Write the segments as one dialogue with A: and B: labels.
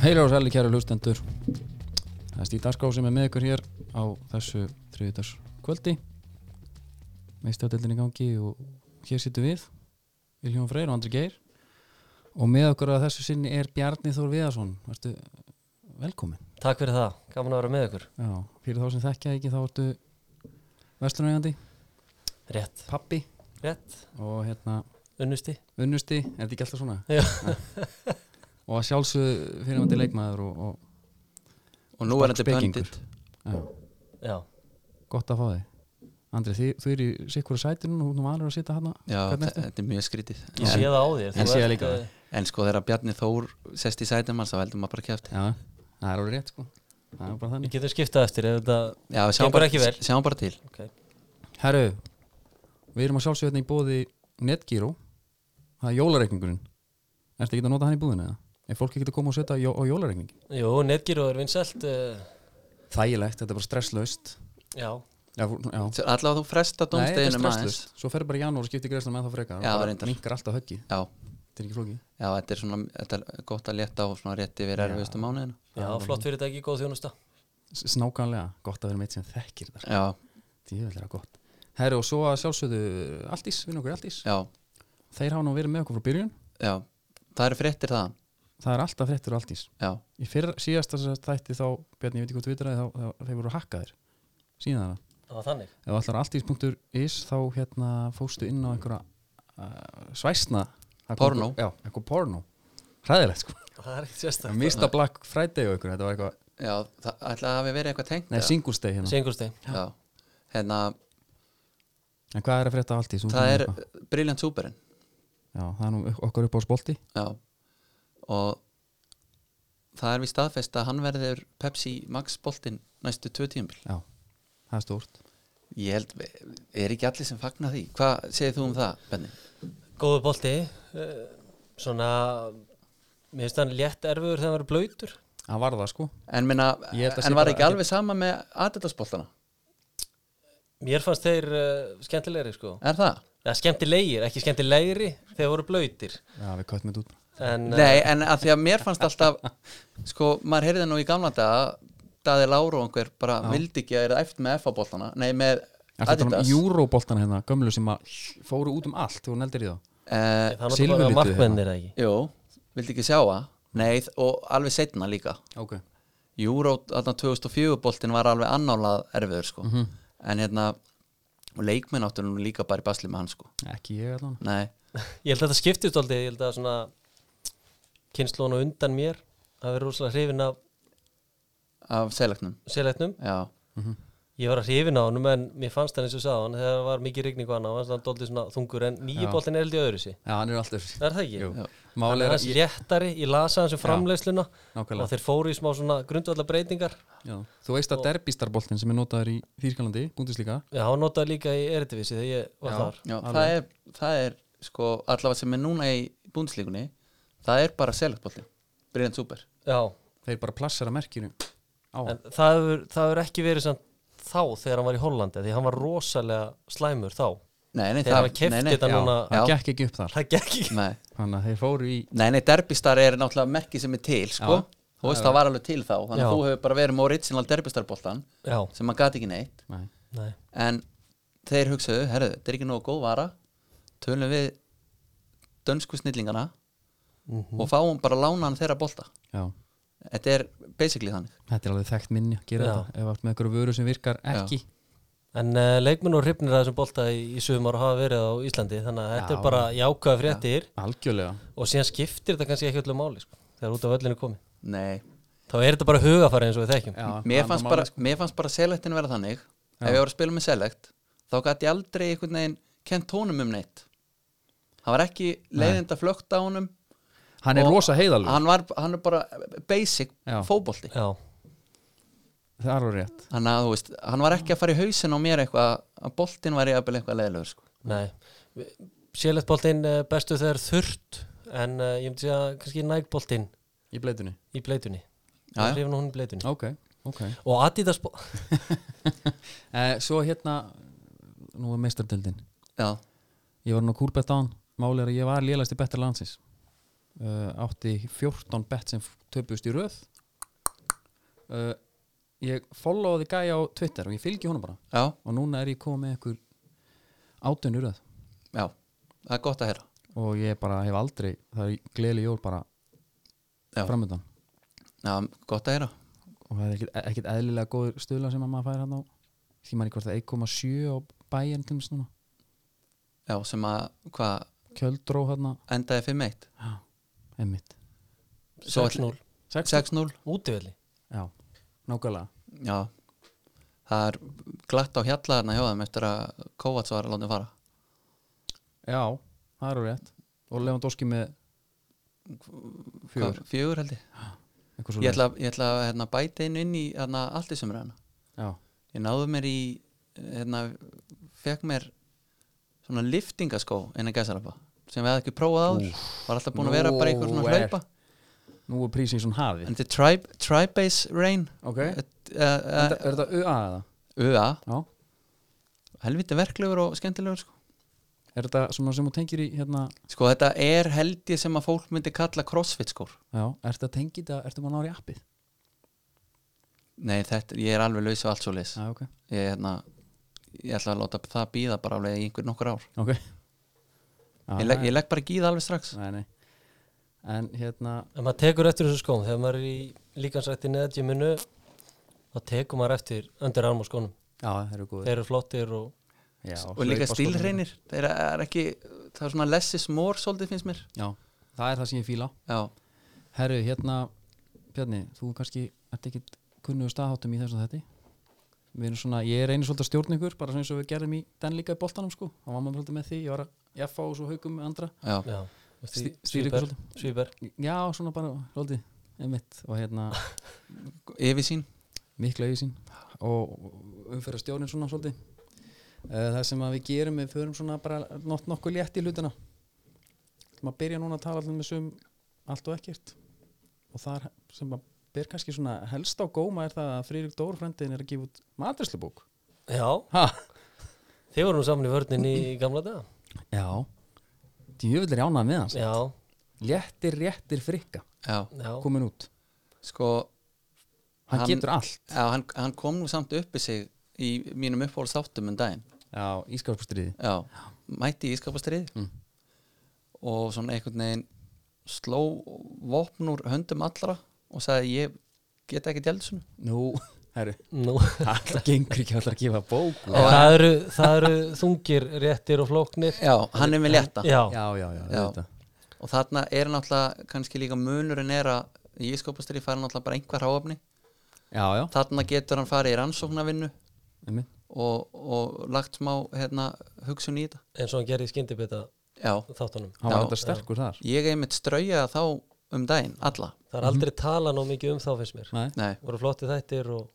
A: Heilir og sæli kæra hlustendur Það er Stíð Darská sem er með ykkur hér á þessu þriðdags kvöldi meistafdeldin í gangi og hér sittum við Viljón Freyr og Andri Geir og með okkur að þessu sinni er Bjarni Þór Viðarsson Vertu velkomin
B: Takk fyrir það, gaman að vera með ykkur
A: Já, fyrir þá sem þekkja ekki þá ertu vestlunarjandi,
B: Rétt,
A: pappi
B: rétt,
A: og hérna
B: unnusti
A: unnusti, er þetta ekki alltaf svona?
B: Já.
A: og að sjálfsögðu fyrirvændi leikmaður og, og
C: og nú er þetta
A: Sparkspekingur.
C: böndit
A: já,
B: Já,
A: gott að fá þig Andri, þið, þú eru í sikkur sætinu og þú varir að sitja hana
C: já,
A: Hvernig ertu?
C: þetta er mjög skrítið
B: ég sé það
C: en,
B: á þér
A: ég
B: þú
A: sé það
B: ert,
A: líka.
B: eh,
C: en sko þegar Bjarni Þór sest í sætum hans þá heldur maður bara kæft
A: Já, það er alveg rétt sko Það er bara
B: Ég
A: þannig
B: getur skiptað eftir ef þetta
C: já,
B: Gengur
C: við sjáum bara,
B: ekki vel.
C: sjáum bara til
B: okay.
A: Herru, við erum að sjálfsögðu hérna í bóði Netgyro Það er jólareikningurinn Ertu ekki að nota hann í búðinu eða? Er fólk ekki að koma og setja á jó- á jólareikning?
B: Jú, netgíru er vinsælt uh,
A: Þægilegt, þetta er bara stresslaust
B: Já,
A: Já, fú- já
C: Svo allavega þú fresta
A: Nei, þetta er
C: dómsteginu maður
A: stresslaust. Svo fer bara í janúar og skiptir greiðslan með það frekar
C: Já,
A: og bara
C: reyndar.
A: minnkar alltaf höggi,
C: já,
A: þetta er ekki flóki
C: já, þetta er svona þetta er gott að leta á svona rétt yfir erfiðustu mánuðinu
B: já flott fyrirtæki, góð þjónusta
A: Snákanlega, gott að vera meitt sem þekkir þetta
C: já,
A: Djöfull er það gott Herru, og svo að sjálfsögðu Altís, vinn okkur í Altís
C: já,
A: Þeir hafa nú verið með okkur frá byrjun
C: já það eru fréttir það
A: Það er alltaf fréttur á Altís
C: já,
A: Í fyrra, síðasta sem sagt þætti þá, Bjarni, ég veit ekki hvort þú vitur að þá, þá, þeir voru hakkaðir síðan þarna.
B: Það var þannig
A: Ef allar alltís.is þá hérna fóstu inn á einhverja uh, svæsna það kom-
C: Pornó.
A: Já, eitthvað porno Hræðilegt sko,
B: Það er ekkert sérstætt
A: mista Black Friday og ykkur, þetta var eitthvað,
C: já, það ætlaði að hafi verið eitthvað tengt
A: nei,
C: eða?
A: Singles Day hérna
B: Sengursteg
C: já, hérna,
A: En hvað er að frétta á alltís? Þú
C: það
A: ert
C: er
A: með eitthvað.
C: Brilliant Superin
A: Já, það er nú okkar upp á spolti
C: já, og það er við staðfest að hann verður Pepsi Max boltinn næstu tvö tíumbil
A: Já, það er stórt
C: Ég held, er ekki allir sem fagna því Hvað segir þú um það, Benni?
B: Góðu bolti uh, Svona Mér finnst hann létt erfiður þegar hann verið blöytur
A: Það var það sko
C: En, minna,
A: Ég held að sé
C: en var
A: bara
C: ekki alveg sama með aðdættasboltana?
B: Mér fannst þeir uh, skemmtilegri sko
C: Er það?
B: Það skemmtilegir, ekki skemmtilegri þegar voru blöytir
A: Já, við köttum þetta út
B: En eh,
C: Nei, en að því að mér fannst alltaf Sko, maður heyrði nú í gamla daga Daði Láru og einhver bara vildi ekki að er eftir með F-boltana Nei, með
A: Er þetta um
C: Adidas uh,
A: júróboltana hérna, gömlu sem að fóru út um allt þegar hún eldir í þá?
B: það var náttúrulega
A: Silfurlitu,
B: bara markmennir eða ekki
C: Eh, Jú, vildi ekki sjá það Nei, þ- og alveg setna líka
A: Ok
C: Euro, þarna 2004 boltin var alveg annálað erfiður sko.
A: Mhm.
C: En hérna Og leikmenn áttur nú líka bara í basli með hann sko.
A: Ekki ég allan
C: Nei,
B: Ég held að þetta skiptist aldrei, ég held að svona kynnslón og undan mér að vera rosalega hrifin af
C: af selegnum
B: seleitnum
C: Já,
B: ég var hrifin á honum en mér fannst hann eins og sagði hann þegar það var mikið rigning og annað, fannst hann doldið svona þungur en
A: Já.
B: nýjuboltin er held í öðru sig
A: Já, hann er alltaf
B: er það ekki?
A: Jú.
C: Já.
B: Hann
A: Máli
B: er
A: er
B: aðeins
A: að ég,
B: léttari, ég lasa hans um framleiðsluna og
A: nákvæmlega
B: þeir fóru í smá svona grundvallar breytingar
A: já. Þú veist að derbistarboltin sem er notaður í Þýrskalandi, Bundesliga
B: Já, hann notaði líka í Eredivisie þegar ég var
A: Já.
B: þar
C: já það, er, það er sko allavega sem er núna í búnslíkunni það er bara selegnbolti Brilliant Super
B: Já,
A: Þeir bara plassara merkinu á
B: en það hefur, það hefur ekki verið samt þá þegar hann var í Hollandi því hann var rosalega slæmur þá
C: Nei, nei,
B: Þeir hafa keypt
C: nei, nei,
B: þetta
C: já,
B: núna-
A: Það
C: já,
A: gekk ekki upp þar
B: Það gekk ekki
C: nei,
A: Þannig að þeir fóru í
C: nei, nei derbistar er náttúrulega merki sem er til sko.
A: Já.
C: þú veist það var alveg til þá þannig
B: Já.
C: að þú hefur bara verið með original derbistarboltan
B: Já,
C: sem maður gati ekki neitt
A: Nei.
B: nei
C: en þeir hugsaðu, herðu, þetta er ekki nógu góð vara tölum við dönsku snillingana
B: Mhm.
C: og fáum bara lánan þeirra bolta
A: Já,
C: þetta er basically þannig
A: þetta er alveg þekkt minni að gera
B: Já.
A: þetta Ef allt með einhverju vöru sem virkar ekki
B: En uh, leikmenn og hrifnir að þessum bolta í, í sumar hafa verið á Íslandi þannig að
A: Já.
B: þetta er bara jákaða fréttir
A: Algjörlega
B: og síðan skiptir þetta kannski ekki öllu máli sko, þegar út af öllinu komi
C: Nei,
B: þá er þetta bara hugafæri eins og við þekkjum
A: Já, það
C: mér
A: er
C: fannst,
A: bara
C: bara,
A: málið, sko.
C: mér fannst bara selectin vera þannig ef ég var að spila með select þá gæti ég aldrei einhvern veginn kent honum um neitt hann var ekki leiðinda flögt á honum
A: sko. Hann er
C: og-
A: rosa heiðalur
C: hann, var, hann er bara basic
A: Já.
C: fótbolti
B: Já,
A: Það er alveg rétt
C: hann, að, þú veist, hann var ekki að fara í hausin á mér eitthvað að boltin var jafnvel eitthvað leiðilegur sko.
B: nei Sérleitt boltinn uh, bestu þegar þurrt en uh, ég myndi segja kannski nægboltinn
A: Í bleitunni
B: í bleitunni
C: Já, já.
B: hrifin hún í bleitunni
A: Ok, ok
B: og Adidas bo-
A: eh, Svo hérna, nú er meistardöldin
C: já,
A: Ég var nú kúrbett á hann Máli er að ég var lélast í betra landsins uh, átti 14 bett sem töpust í röð uh, ég followði gæja á Twitter og ég fylgi honum bara
C: já,
A: og núna er ég komið með ykkur átun í röð
C: já, það er gott að heyra
A: og ég bara hef aldrei það er gleðli jól bara
C: Já.
A: framöndan
C: já, gott að heyra
A: og það er ekkit, ekkit eðlilega góður stöðla sem að maður fær hann á því maður hvort það er 1,7 á bæjan til þess núna
C: já, sem að, hvað,
A: kjöldró hann
C: endaði 5-1
A: einmitt
C: Svo
B: 6-0
A: Sex-
C: 6-0,
B: Útivelli
A: já, nákvæmlega
C: já það er glatt á hjalla þarna hjá þeim eftir að Kovacs var að láta fara
A: já, það eru rétt og Lewandowski með fjögur
C: Hvað, fjögur held ég
A: eitthvað
C: ég
A: svoleiðis.
C: ætla, ég ætla að hérna, bæta einu inn í hérna, allt í sömur
A: já,
C: ég náðu mér í hérna, fekk mér svona liftingaskó innan gæsarapa sem við hafði ekki prófað áður var alltaf búin að vera bara eitthvað svona
A: Nowhere.
C: hlaupa
A: nú er prísið svona hafi
C: en þetta er tri- tri-base rain
A: ok, er þetta-
C: UA
A: er þetta uh, UA eða? Já.
C: helviti verklegur og skemmtilegur sko.
A: er þetta svona sem þú tengir í hérna
C: sko þetta er held ég sem að fólk myndi kalla crossfit sko. skór
A: já, er þetta tengið þetta, er þetta bara nári appið
C: nei þetta, ég er alveg laus og allt svo leis
A: já, ok,
C: ég, hérna, ég ætla að láta það býða bara alveg í einhver nokkur ár
A: ok já,
C: ég, legg- ég legg bara ekki í það alveg strax
A: nei, nei. en hérna
B: En maður tekur eftir þessu skóm Þegar maður er í líkansrættinni eða gyminu þá tekur maður eftir öndir arm og skónum
A: já, það eru góður
B: Þeir eru flottir og
A: já,
C: og líka
A: hlaupaskónir.
C: stílreinir það er ekki, það er svona less is more svolítið finnst mér
A: já, það er það sem ég fíla
C: já,
A: herru, hérna Bjarni, þú kannski ert ekki kunnugur staðháttum í þessu þetta við erum svona, ég reynir svolítið að stjórna ykkur bara svona eins og við gerðum í den líka í boltanum sko þá var maður svolítið með því, ég var að ég fá og svo haugum með andra
C: já,
B: já
A: Stý- stýra ykkur
B: Svíber
A: já, svona bara, svolítið, einmitt og hérna,
C: yfirsýn
A: mikla auðsýn og umferða stjórnin svona svolítið Eh, það sem að við gerum, við förum svona bara nott nokkuð létt í hlutina maður byrja núna að tala allir með sum allt og ekkert og það er sem að ber kannski svona helst á góma er það að Friðrik Dór frendiðin er að gefa út matrislubók
B: Já,
A: ha?
B: þeir voru nú saman í vörninni í gamla daga
A: já djöfull er jánað með hans
B: Já,
A: léttir, réttir frikka
C: já,
B: já
A: komin út,
C: sko
A: hann,
C: Hann-
A: getur allt
C: já, hann, hann kom nú samt uppi sig í mínum uppáhalds þáttum um daginn
A: já, ískarpastriði
C: já, mætti í ískapastrið
A: Mm.
C: og svona einhvern veginn sló vopn úr höndum allra og sagði ég get ekki djældu svona
A: nú, herru,
B: Nú
A: allar gengur ekki allar að gefa bók
B: En Það eru, það eru þungir réttir og flóknir
C: já, hann er með létta
B: Já,
A: já, já, já,
C: Já.
A: auðvitað.
C: og þarna er náttúrulega kannski líka munurinn er að í ískapastrið fara náttúrulega bara einhver hráöfni
A: já, já,
C: þarna getur hann farið í rannsóknarvinnu
A: einmitt
C: og, og lagt smá hérna, hugsun í þetta
B: eins og hann gerði í skyndibita
C: já,
B: þáttunum
A: hann
C: Já.
A: var þetta sterkur þar
C: ég einmitt strauja þá um daginn, alla
B: Það er aldrei tala nóg mikið um þá finnst mér
A: Nei.
C: Nei,
B: voru flotti þættir og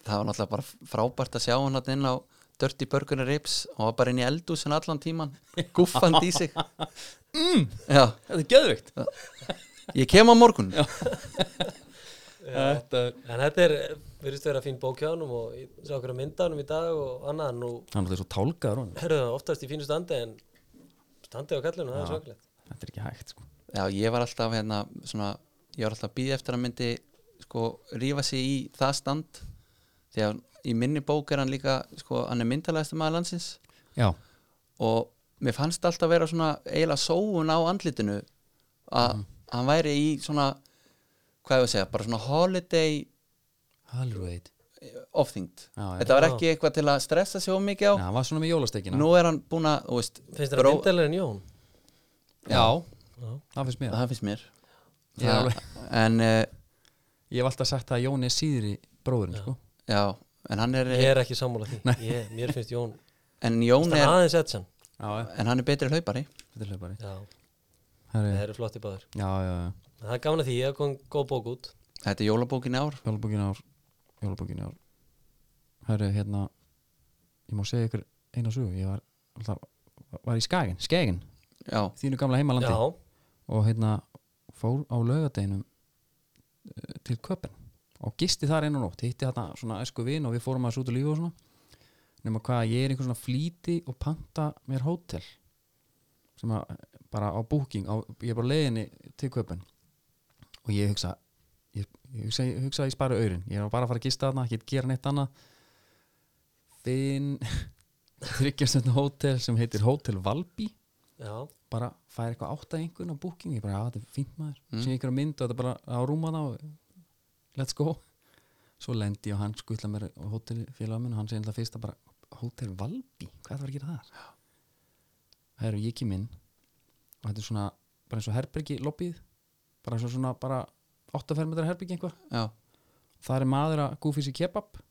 C: það var náttúrulega bara frábært að sjá hann þarna inn á Dirty Burger and Ribs og var bara inn í eldúsin allan tíman guffand í sig mm. já,
A: þetta er geðvikt
C: ég kem á morgun já,
A: þetta er
B: en þetta er, virðist vera fín bók hjá hann og ég sá okkur að mynda hann um í dag og annað nú,
A: hann er svo tálkaður honum
B: herðu það oftast í fínu standi en standi á kallinu, það er svakalegt
A: þetta er ekki hægt sko.
C: ég var alltaf hérna, svona, ég var alltaf að býða eftir að hann myndi sko rífa sig í það stand því að í minni bók er hann líka sko, hann er myndalægstu maður landsins
A: já,
C: og mér fannst alltaf vera svona eiginlega sóun á andlitinu að
A: Mhm.
C: hann væri í svona hvað ég að segja, bara svona holiday
A: halvveit
C: ofþyngd
A: Já, já.
C: þetta var ekki eitthvað til að stressa sig of mikið á
A: hann var svona með jólastekina
C: nú er hann búin að, þú veist
B: finnst þetta
C: bró-
B: myndalegin Jón?
C: já,
A: það finnst mér
C: það finnst mér
A: Ég
C: Það-
A: alveg-
C: en uh,
A: ég hef alltaf sagt það að Jón er síðri bróðurinn sko.
C: já, en hann er
B: ég er ekki sammála því, ég, mér finnst Jón
C: en Jón
B: það er
C: er,
B: aðeins Edson
A: já, já,
C: en hann er betri hlaupari
A: þetta er hlaupari
B: já,
A: Herri,
B: það eru flotti báður
A: já, já, já,
B: það er gaman að því, ég hef komið góð bók út
C: þetta er jólabókin í ár
A: jólabókin ár jólabókin ár herru, hérna ég má segja ykkur eina sögu ég var, alltaf, var í Skagin, Skegin
C: já,
A: þínu gamla heimalandi
B: já,
A: og hérna fór á laugadeginum eh, til köpen og gisti þar einu nótt, hitti þarna svona esku vin og við fórum aðeins út að lífa og svona nema hvað, ég er einhver svona flýti og panta mér hótel sem að bara á booking, á, ég er bara á leiðinni til köpun og ég hugsa ég, ég hugsa, ég hugsa að ég spara aurin ég er bara að fara að gista þarna, ég get gera neitt annað þinn þryggjastönda hótel sem heitir Hótel Valby
B: já,
A: bara fær eitthvað átta einhvern á booking ég bara, já, þetta er fínt maður
C: Mm.
A: mm. sem ykkur á mynd og þetta er bara á rúma þá let's go svo lendi ég og hann skutla mér á hótelfélag minn og hann segir alltaf fyrst að bara hótel Valby, hvað það var að gera þar herru, ég kem inn og þetta er svona, bara eins og herbergi lobbyð, bara eins og svona bara 8 fermetra herbergi einhver
C: já,
A: það er maður að gúfi sér kebab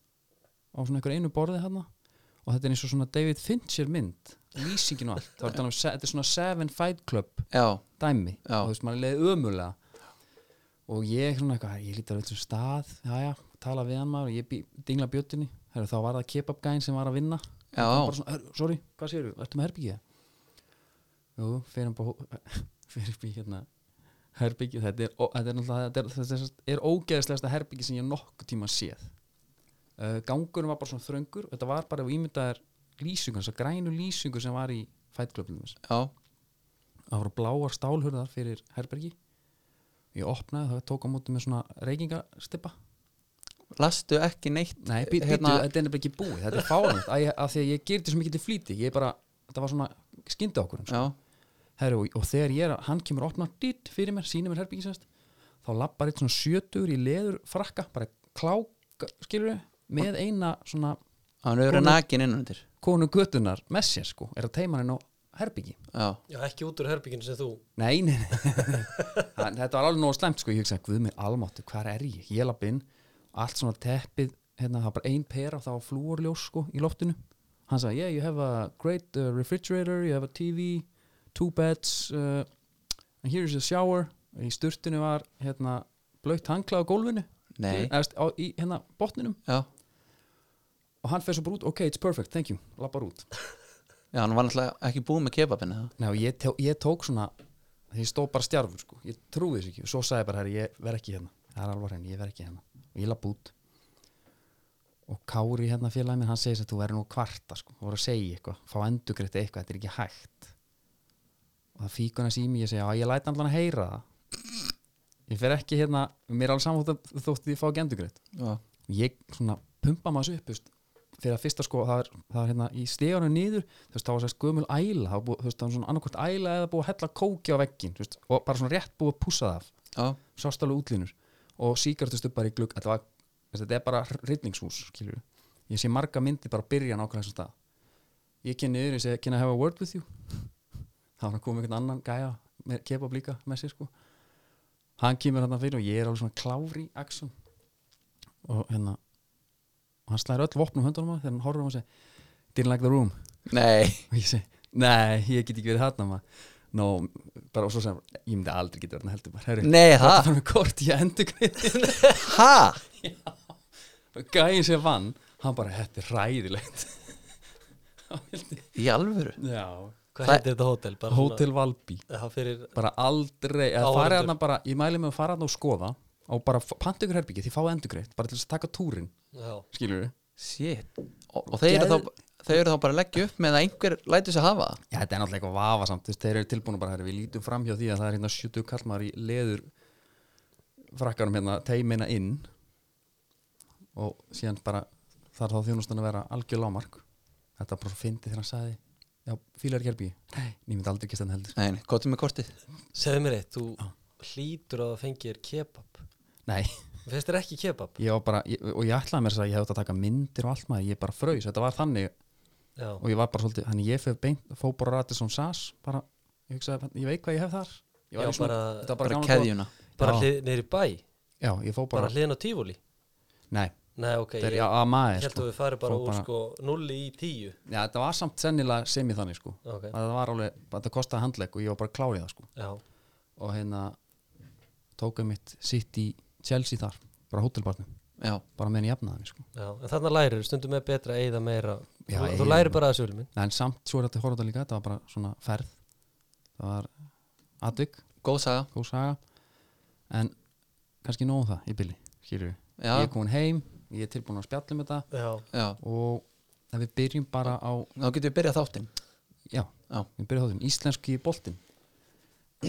A: á svona einhver einu borði hann og þetta er eins og svona David Fincher mynd lýsingin og allt, það var talað um se- þetta er svona Seven Fight Club
C: já,
A: dæmi
C: Já.
A: og þú veist maður leiði ömulega og ég svona eitthvað, ég lítur á eitthvað stað já já, tala við hann maður og ég bý, dingla bjötinni, Heru, þá var það kebab gæn sem var að vinna
C: já,
A: Hann bara svona, "Heyrðu, sorry, hvað séru, ertu með herbyggið? Jú, fyrir hann bara fyrir upp í hérna herbyggið, þetta er, ó- þetta er náttúrulega þetta er, þetta er, þetta er ógeðslegasta herbyggið sem ég nokkuð tíma séð uh, gangurinn var bara svona þröngur þetta var bara ef þú ímyndaðir lýsingur þessar grænu lýsingur sem var í fætklöfnum
C: já,
A: það voru bláar stálhurðar fyrir herbergi ég opnaði það tók á móti með svona reykingastippa
C: lastu ekki neitt
A: nei, bí,
C: Hérna-
A: hérna, þetta er nefnilega ekki búið, þetta er fárönd að, ég- að því að ég gerði svo mikið til flýti ég bara, þetta var svona skyndi okkur sko.
C: já,
A: Herru, og, og þegar ég er, að- hann kemur opna dýtt fyrir mér, sýnir mér herbergi sérst þá lappar eitt svona sjötur í leður frakka, bara klák, skilur við með eina svona
C: hann er
A: Konu-
C: nakin innanundir
A: konu göttunar með sér sko, er að teima hann inn á herbergi
C: já,
B: já, ekki út úr herbygginu sem þú
A: Nei, nei, nei. Hann- þetta var alveg nóg slæmt sko, ég hugsaði, guð minn almáttu, hvar er ég? Ég lapp inn, allt svona teppið, hérna, það var bara ein pera og það var flúorljós sko í loftinu. Hann sagði, yeah, you have a great uh, refrigerator, you have a TV, two beds, uh, and here is a shower. Í sturtinu var, hérna, blöytt hangla á gólfinu,
C: nei,
A: Eðst, á, í, hérna, botninum.
C: já
A: Og hann fer svo bara út, ok, it's perfect, thank you, lappar út.
C: já, hann var náttúrulega ekki búið með kebabinu það
A: Ná, ég, tó, ég tók svona því ég stóð bara stjarfur sko, ég trúi þess ekki og svo sagði ég bara, herri, ég verð ekki hérna það er alvar henni, ég verð ekki hérna og ég lapp út og Kári hérna félagin minn, hann segir þess að þú verður nú að kvarta sko, þú voru að segja eitthvað, fá endugreitt eitthvað þetta er ekki hægt og það fíkur hans í mig, ég segja, já, ég læt allan að heyra það ég fer ekki hérna mér er alveg samfótt þótt ég fá ekki endugreitt
C: já,
A: ég svona pumpa maður þessu upp þú veist, þegar fyrsta sko það er, það er hérna í stegunum niður þú veist þá var sérst gömul æla það var búið, þú veist það var svona annarkvort æla eða búið að hella kóki á veggin veist, og bara svona rétt búið að pússa það af
C: já,
A: sást alveg útlínur og síkartustubbar í glugg þetta, var, þú veist, þetta er bara hrylningshús skilur. ég sé marga myndi bara byrja nákvæmlega þessum stað ég kenni yfir, ég segi, can I have a word with you þá var hann komið einhvern annan gæja með kebab líka með sér sko hann kemur hann fyrir og ég er alveg svona klári axum og hérna og hann slæðir öll vopnum höndunum á þegar hann horfir á mig og segir didn't like the room
C: nei
A: og ég segi, nei, ég get ekki verið þarna maður no, bara og svo segir hann, ég myndi aldrei geta verið þarna heldur bara, herri
C: nei,
A: Það
C: ha,
A: var með kort í endurgreitin
C: ha
A: Gæin sem vann Hann bara, þetta er ræðilegt Hann vildi-
C: í alvöru
A: Já
B: hvað
C: Það-
B: heitir þetta hótel? Bara
A: Hótel Valby
B: svona- já, fyrir,
A: Bara aldrei eða
B: Áhorfendur.
A: farið þarna bara, Ég mæli mig að fara þarna og skoða Og bara f- panta ykkur herbyggi, þið fáið endurgreitt Bara til þess að taka túrin,
B: já,
A: skilur við
C: shit, og, og þeir, eru
A: Geð-
C: þá, þeir eru þá bara að leggja upp með að einhver lætur sig hafa það.
A: Já, þetta er náttúrulega eitthvað vafasamt þú veist, Þeir eru tilbúinu bara, herri, við lítum fram hjá því að það er hérna 70 kallmar í leður frakkarum hérna, teimina inn og síðan bara þar þá þjónustan að vera algjör lámark Þetta var bara svo fyndi þegar hann sagði Já, fílar gerbi Nei, ég myndi aldrei ekki stanna heldur
C: nei, nei, kottum með kortið
B: segðu mér eitt þú hlýtur að það fengir kebab
A: Nei,
B: finnst þér ekki kebab?
A: ég var bara, ég, og ég ætlaði mér þess að ég hefði átt að taka myndir og allt maður, ég bara fraus, þetta var þannig
B: já,
A: og ég var bara svolítið, þannig ég fyrir beint fóbor og rætið sás, bara ég hugsaði, ég veit hvað ég hef þar Ég var
B: Já,
A: í svona-
B: bara-
A: þetta var
C: bara
A: gaman góð-
C: keðjuna
B: bara
A: Já.
B: hlið, niður í bæ
A: Já, ég fó
B: bara
A: bara,
B: hliðin á tífúli
A: nei,
B: nei, ok,
A: Þetta er
B: ég
A: já, að maður
B: held
A: sko.
B: að við farið bara
A: Fór
B: úr
A: bara-
B: sko 0 í 10
A: Já, þetta var samt sennilega sem í þannig sko.
B: ok,
A: að það var alveg, að þetta kostaði handlegg og ég var bara klárið það sko.
B: já,
A: og hérna tókum mitt sitt í Chelsea þar bara hótelbarnum,
C: já,
A: bara meðan ég jafnaði mig, sko.
B: já en þannig lærir, stundum er betra að eyða meira
A: Já,
B: þú,
A: eyða
B: þú
A: meira.
B: lærir bara að þessu ulmin
A: en samt svo er þetta horfða líka, þetta var bara svona ferð það var atvik,
C: góð saga
A: góð saga en kannski nóg um það í bylli, skilur við ég
C: já,
A: er komin heim, ég er tilbúin að spjalla um þetta
B: já,
C: já,
A: og ef við byrjum bara á
C: þá getum við byrjað þáttinn
A: já,
C: Já.
A: við byrjum þáttum, íslenski boltinn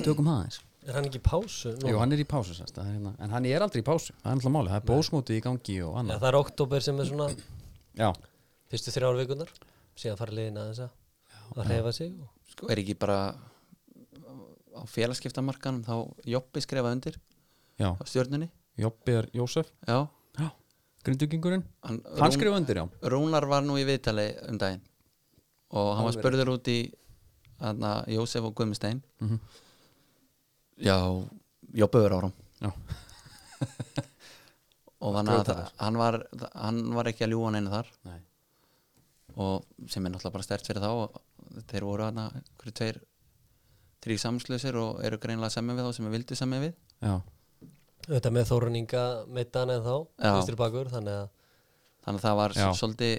A: tökum það eins
B: Er hann ekki í pásu? núna?
A: Jú, hann er í pásu sérst, það er hérna. en hann er aldrei í pásu það er alltaf máli, það er bósmótið í gangi og
B: Já,
A: annað
B: það er oktober sem er svona
A: Já,
B: fyrstu þrjár vikunar síðan fara liðin aðeins að að reyfa sig og
C: sko, er ekki bara á félagskiptamarkanum þá Joppi skrifa undir
A: já,
C: á stjörnunni
A: Jobbi er Jósef
C: já,
A: Já, grindugingurinn
C: hann,
A: Hann skrifa undir, já
C: Rúnar var nú í viðtali um daginn og hann var
A: Alveg
C: spurður út í hana, Jósef og Guðmustein mm
A: Mhm.
C: já, Joppi verið áram
A: Já,
C: og hann,
A: Grjótharður.
C: hann, var, hann var ekki að ljúga hann einu þar
A: nei,
C: og sem er náttúrulega bara stert fyrir þá og þeir voru hann hverju tveir þrý samslösir og eru greinlega semmi við þá sem við vildu semmi við
A: já,
B: auðvitað með Þórun Inga meittan en þá
C: Já.
B: vinstri bakur þannig að
C: þannig að það var
A: Já.
C: s- svolítið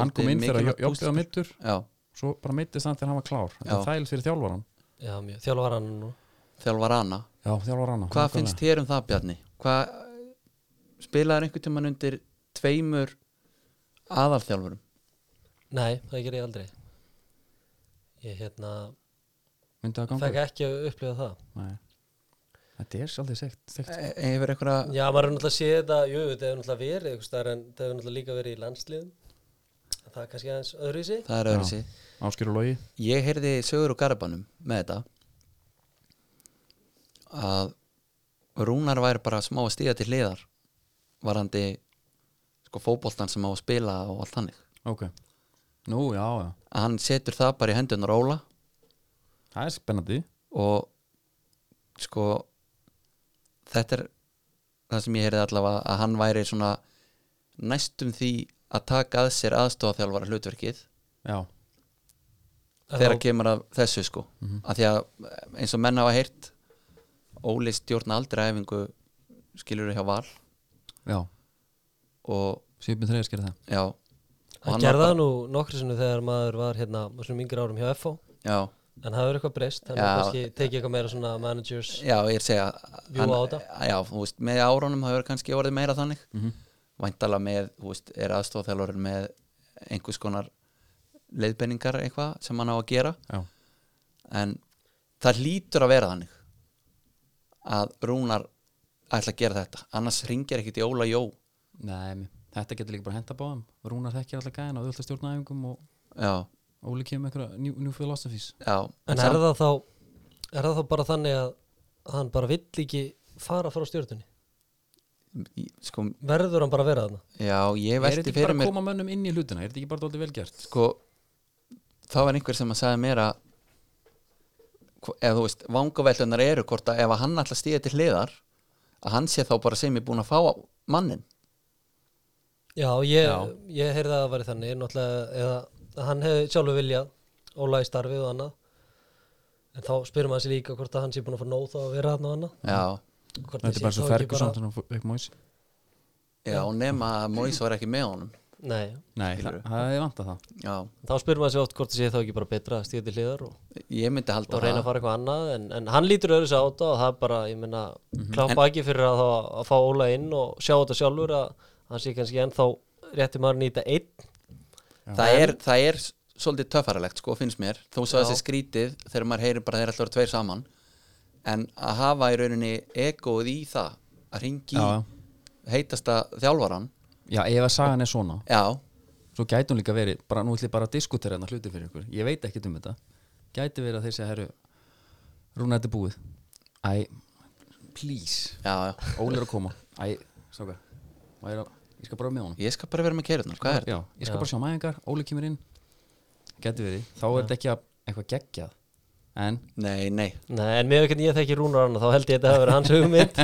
A: hann kom inn þegar
C: mikilvægt
A: Jobbi var
C: púsl-
A: mittur
C: já,
A: svo bara mittist hann þegar hann var klár þetta
C: Já.
A: er þægild fyrir þjálfaran
B: já, mjög, þjálfar hann nú
C: þjálfar hana
A: Já, þjálfaran
C: hvað finnst þér um það Bjarni? Hvað spilaður einhvern tímann undir tveimur aðalþjálfurum?
B: nei, það gerir ég aldrei ég hérna
A: Myndi það
B: fekk
A: ganga?
B: ekki að upplifa það
A: Nei Þetta er svolítið segt, segt
C: E hefur eitthvað
B: já, maður er náttúrulega séð þetta, jú, þetta hefur náttúrulega verið einhvers staðar en það hefur náttúrulega líka verið í landsliðum það er kannski aðeins öðruvísi
C: það er öðru
A: Áskýr og logi
C: ég heyrði sögur og garbanum með þetta að Rúnar væri bara smá að stíða til hliðar varandi sko fótboltan sem á að spila og allt hannig
A: Ok Nú, já, já
C: að hann setur það bara í hendunar Óla
A: Það er spennandi
C: og sko þetta er það sem ég heyrði allavega að hann væri svona næstum því að taka að sér aðstofaþjálfara hlutverkið
A: Já,
B: En
C: þegar
B: þá- Mhm.
C: kemur að þessu sko mm að því að eins og menn hafa heyrt Óli stjórna aldrei æfingu skilur hjá val
A: já
C: og
A: Sýpin þreis gerir það
C: já og
B: hann
C: var
B: gerði
C: bara-
B: það nú nokkri sinu þegar maður var hérna, á svona yngri árum hjá FO
C: já,
B: en það hefur eitthvað breyst þannig
C: Já.
B: að kannski tekið eitthvað meira svona managers
C: já, ég er að segja
B: Jú,
C: hann-
B: á þetta.
C: já, þú veist, með árunum hafa kannski orðið meira þannig mm væntalega með, þú veist, er aðstofþjálfurinn með einhvers konar leiðbenningar eitthvað sem hann á að gera
A: Já,
C: en það hlýtur að vera þannig að Rúnar ætla að gera þetta annars ringir ekkit í Óla Jó
A: nei, þetta getur líka bara henta báðum Rúnar þekkir alltaf gæðina og auðvitað stjórna æfingum og
C: já,
A: Óli kemur með einhverja new, new philosophies
C: já
B: En er það þá er það þá bara þannig að að hann bara vill ekki fara frá stjórnunni
C: Í- sko,
B: verður hann bara að vera þarna
C: já, ég
A: Er þetta
C: velti
A: ekki bara
C: fyrir
A: að
C: mér
A: koma mönnum inn í hlutina? Er þetta ekki bara dálítið vel gert?
C: sko, það var einhver sem að sagði mér að hvo- eða þú veist, vangavellunar eru hvort að ef að hann ætla að stíða til hliðar að hann sé þá bara sem ég búin að fá mannin
B: Já, ég,
A: Já.
B: ég heyrði að það væri þannig náttúrulega eða að hann hefði sjálfur viljað Óla í starfið og annað en þá spyrir maður sér líka hvort að hann sé búin að fá nóg þá að vera þarna og annað
C: já,
B: Hvort
A: Þetta
B: sé
A: er bara svo
B: þá ekki
A: fergur samt þannig að ekki móis
C: já, nema að Móis var ekki með honum
B: Nei,
A: Nei, það
C: Skilurðu?
A: það hefði vantað það
C: já,
B: þá spyrir maður sér oft hvort það sé þá ekki bara betra að stíða til hliðar og,
C: ég myndi halda
B: og reyna að fara eitthvað annað en, en hann lítur öðru sér á þetta og það er bara, ég meina,
A: Mhm.
B: klappa ekki fyrir að, þá, að fá Óla inn og sjá þetta sjálfur að hann sé kannski ennþá rétti maður nýta einn
C: það er, það er s- svolítið töffaralegt sko, finnst mér, þó svo
B: Já.
C: þessi skrítið þegar maður heyrir bara þeir alltaf eru tveir saman en að hafa í rauninni egoð í það, að ringi
A: Já, já.
C: heitasta þjálfaran
A: Já, ef að sagan er svona
C: já,
A: Svo gæti hún líka verið, bara, nú ætlum ég bara að diskutera hérna hluti fyrir ykkur Ég veit ekkert um þetta Gæti verið að þeir segja, herru Rúna, þetta er búið Æ, please
C: já, já
A: Óli er að koma Æ, sáka Ég er að- ég skal bara vera með honum
C: ég skal bara vera með keirurnar, hvað er þetta?
A: Já, ég skal
B: Já.
A: bara sjá mæðingar, Óli kemur inn Gæti verið, þá er þetta ekki að- eitthvað geggjað En,
C: Nei, nei,
B: Nei, en með hvernig ég þekki Rúnar hann þá held ég að þetta hafa verið hans hugmynd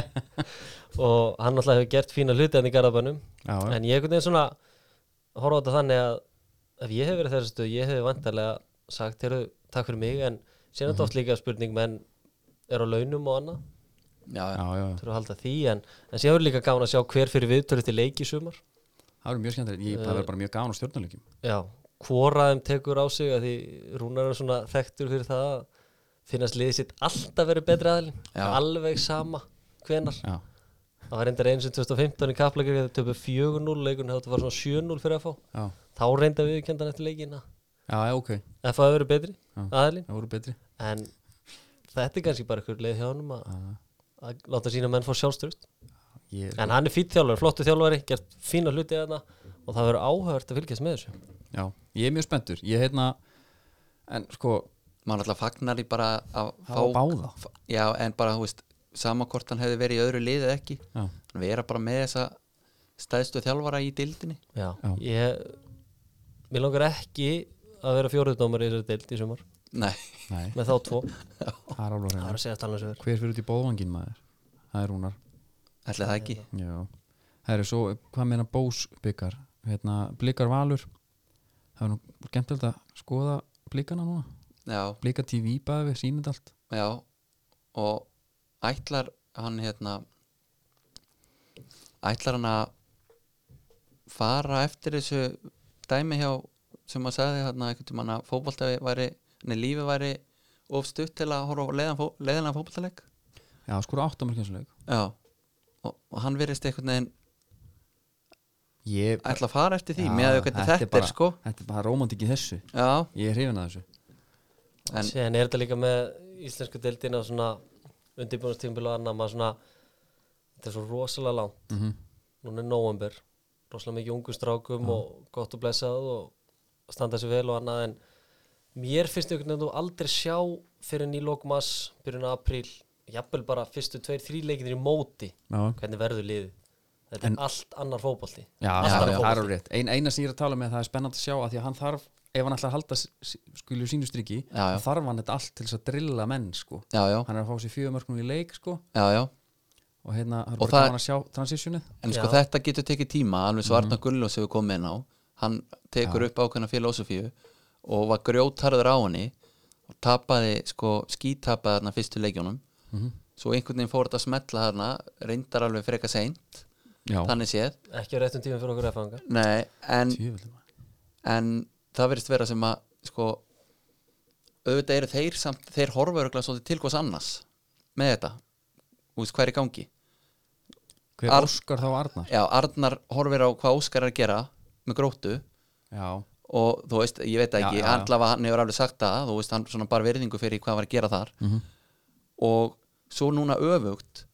B: og hann náttúrulega hefur gert fína hluti hann í garðabænum
A: já, já.
B: en ég einhvern veginn svona horfa á þetta þannig að ef ég hef verið þessu stöð, ég hef vantarlega sagt heru, takk fyrir mig en síðan er
A: Mhm.
B: þetta oft líka spurning um menn er á launum og annað
C: já, já,
A: já, já, já.
B: þurfa að halda því en, en síðan verður líka gaman að sjá hver fyrir viðtölu til leik í sumar
A: Það eru mjög skemmtilegt, ég það verður bara mjög gáðan á stjórnuleikjum
B: já, hvora þeim tekur á sig að því Rúnar er svona þekktur fyrir það að finnast liðið sitt alltaf verið betri aðlinn
C: Já.
B: alveg sama hvenar
A: Já,
B: það var reyndar eins og 2015 í kaplækir þegar töpu 4-0 leikun þetta var svona 7-0 fyrir að fá
A: já,
B: þá reynda við kendan eftir leikina
A: já, já, ok
B: að það verið betri aðlinn
A: Það voru betri
B: en þetta er kannski bara einhver leið hjá honum að,
A: Uh,
B: að láta sína menn fór sjálfstrust
A: ég,
B: en hann er fýtt þjálfari, flottu þjálfari gert fína hluti þarna og það verður áhört að fylgjast með þessu
A: já, ég er mjög spenntur Ég heitna En sko,
C: maður alltaf fagnar í bara að
A: Fá báða.
C: f- já, en bara, þú veist, sama hvort hann hefði verið í öðru liði eða ekki
A: já,
C: vera bara með þessa stæðstu þjálfara í dildinni
B: Já,
A: Já.
B: ég mér langar ekki að vera fjóruðdómar í þessari deild í sumar
C: nei,
A: nei,
B: með þá tvo,
A: það er alveg
B: það
A: reyna
B: er að um segja talan sem verður
A: Hver fyrir út í bóðvangin maður? Það er Rúnar
C: ætli það ekki
A: Já, það eru svo, hvað meina Bós byggar, hérna, blikar valur það er nú gentald að skoða blikana núna,
C: já,
A: blika TV bæði við sýnir allt,
C: já og ætlar hann hérna ætlar hann að fara eftir þessu dæmi hjá sem maður sagði hérna einhvern tímann að fótbolta væri, nei lífi væri of stutt til að horfa á leiðan fó, leiðanlega fótboltaleg
A: já, sko, skora áttamarkinsleik
C: já og, og hann virðist einhvern veginn
A: ég,
C: ætla að fara eftir því
A: Já,
C: með að þetta, þetta er
A: bara-
C: sko
A: þetta er bara rómantik í þessu
C: já,
A: ég er hrifin að þessu
C: En-
B: Sér er þetta líka með íslensku deildina svona undirbúinastímbil og annað maður svona, þetta er svo rosalega langt
A: mm -hmm.
B: núna er november rosalega mikið ungu strákum
A: Mhm.
B: og gott og blessað og standa sér vel og annað en mér finnst einhvern veginn að þú aldrei sjá fyrir en í lókmas byrjun af apríl, jafnvel bara fyrstu tveir, þrý leikinir í móti
A: já,
B: hvernig verður liðið þetta
A: En-
B: er allt annar fótbolti
A: já,
B: Allt
A: já,
B: annar
A: já, það er
B: fótbolti.
A: á rétt Ein, eina sem ég er að tala með það er spennandi að sjá að því að hann þarf, ef hann ætlar að halda skilju sínu striki,
C: Já, já.
A: þá þarf hann þetta allt til þess að drilla menn, sko
C: já, já,
A: hann er að fá sér fjöðumörknum í leik, sko
C: já, já
A: og hérna, hann er bara
C: Og það-
A: gaman að sjá transitionið
C: en sko
B: Já.
C: þetta getur tekið tíma alveg svo Arna Gunnlós hefur komið inn á hann tekur upp ákveðna filosofíu og var grjótarður á henni og tapaði, sko, skítapaði þarna fyrstu leikjónum svo einhvern veginn fór þetta að smetla þarna reyndar alveg freka seint
A: já,
C: þannig séð,
B: ekki á réttum tímum fyrir okkur að fanga
C: nei en,
A: Tjöfull, maður.
C: en það verðist vera sem að sko auðvitað eru þeir samt, þeir horfa örgulega svolítið til hvers annars með þetta Þú veist, hvað er í gangi
A: hver
C: Ar-
A: óskar þá Arnar
C: Já, Arnar horfir á hvað Óskar er að gera með gróttu
A: já,
C: og þú veist, ég veit
A: Já,
C: ekki,
A: já, já.
C: allavega hann hefur alveg sagt það, þú veist, hann svona bara verðingu fyrir hvað hann var að gera þar
A: Mhm.
C: og svo núna öfugt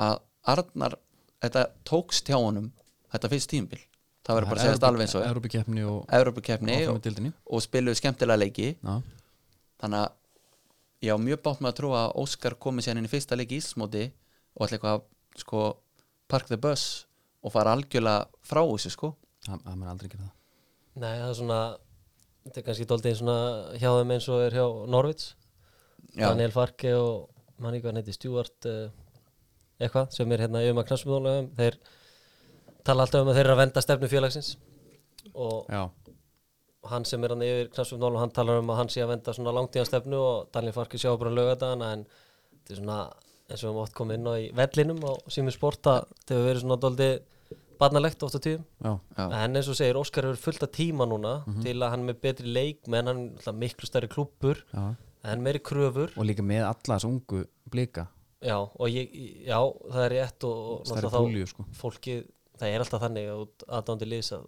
C: að Arnar þetta tókst hjá honum þetta fyrst tímbil, það verður bara að segja alveg eins og er
A: Európikeppni og
C: Evropakeppni
A: áfram í
C: og,
A: dildinni
C: og spiluðu skemmtilega leiki
A: Já,
C: þannig að ég á mjög bátt með að trúa að Óskar komið sér inn í fyrsta leik í Íslandsmóti og allir eitthvað að sko park the bus og fara algjörlega frá þessu sko
A: það það mun aldrei gera það
B: nei, það er svona þetta er kannski doldið svona hjá þeim eins og er hjá Norvits
C: Já.
B: Daniel Farke og mann ekki hvað hann heiti Stuart uh, eitthvað sem er hérna um að knafsumdónum þeir tala alltaf um að þeir eru að venda stefnu félagsins og
A: Já,
B: hann sem er hann yfir knafsumdónum hann talar um að hann sé að venda svona langtíðan stefnu og Daniel Farke sjá bara lögadagana en þetta er svona eins og við mátt koma inn á í vellinum á sími sporta þegar við verið svona doldið barnalegt oft á tíðum
A: já, Mhm.
C: Já.
B: en eins og segir Óskar hefur fullt af tíma núna til að hann er með betri leikmenn hann er náttúrulega miklu stærri klúppur
A: já
B: en meiri kröfur
A: Og líka með alla þessu ungu blika
B: Já, og ég, já, það er rétt og og
A: Stærri
B: náttúrulega
A: púlju, sko
B: þá fólkið, það er alltaf þannig að aðdándi liðs að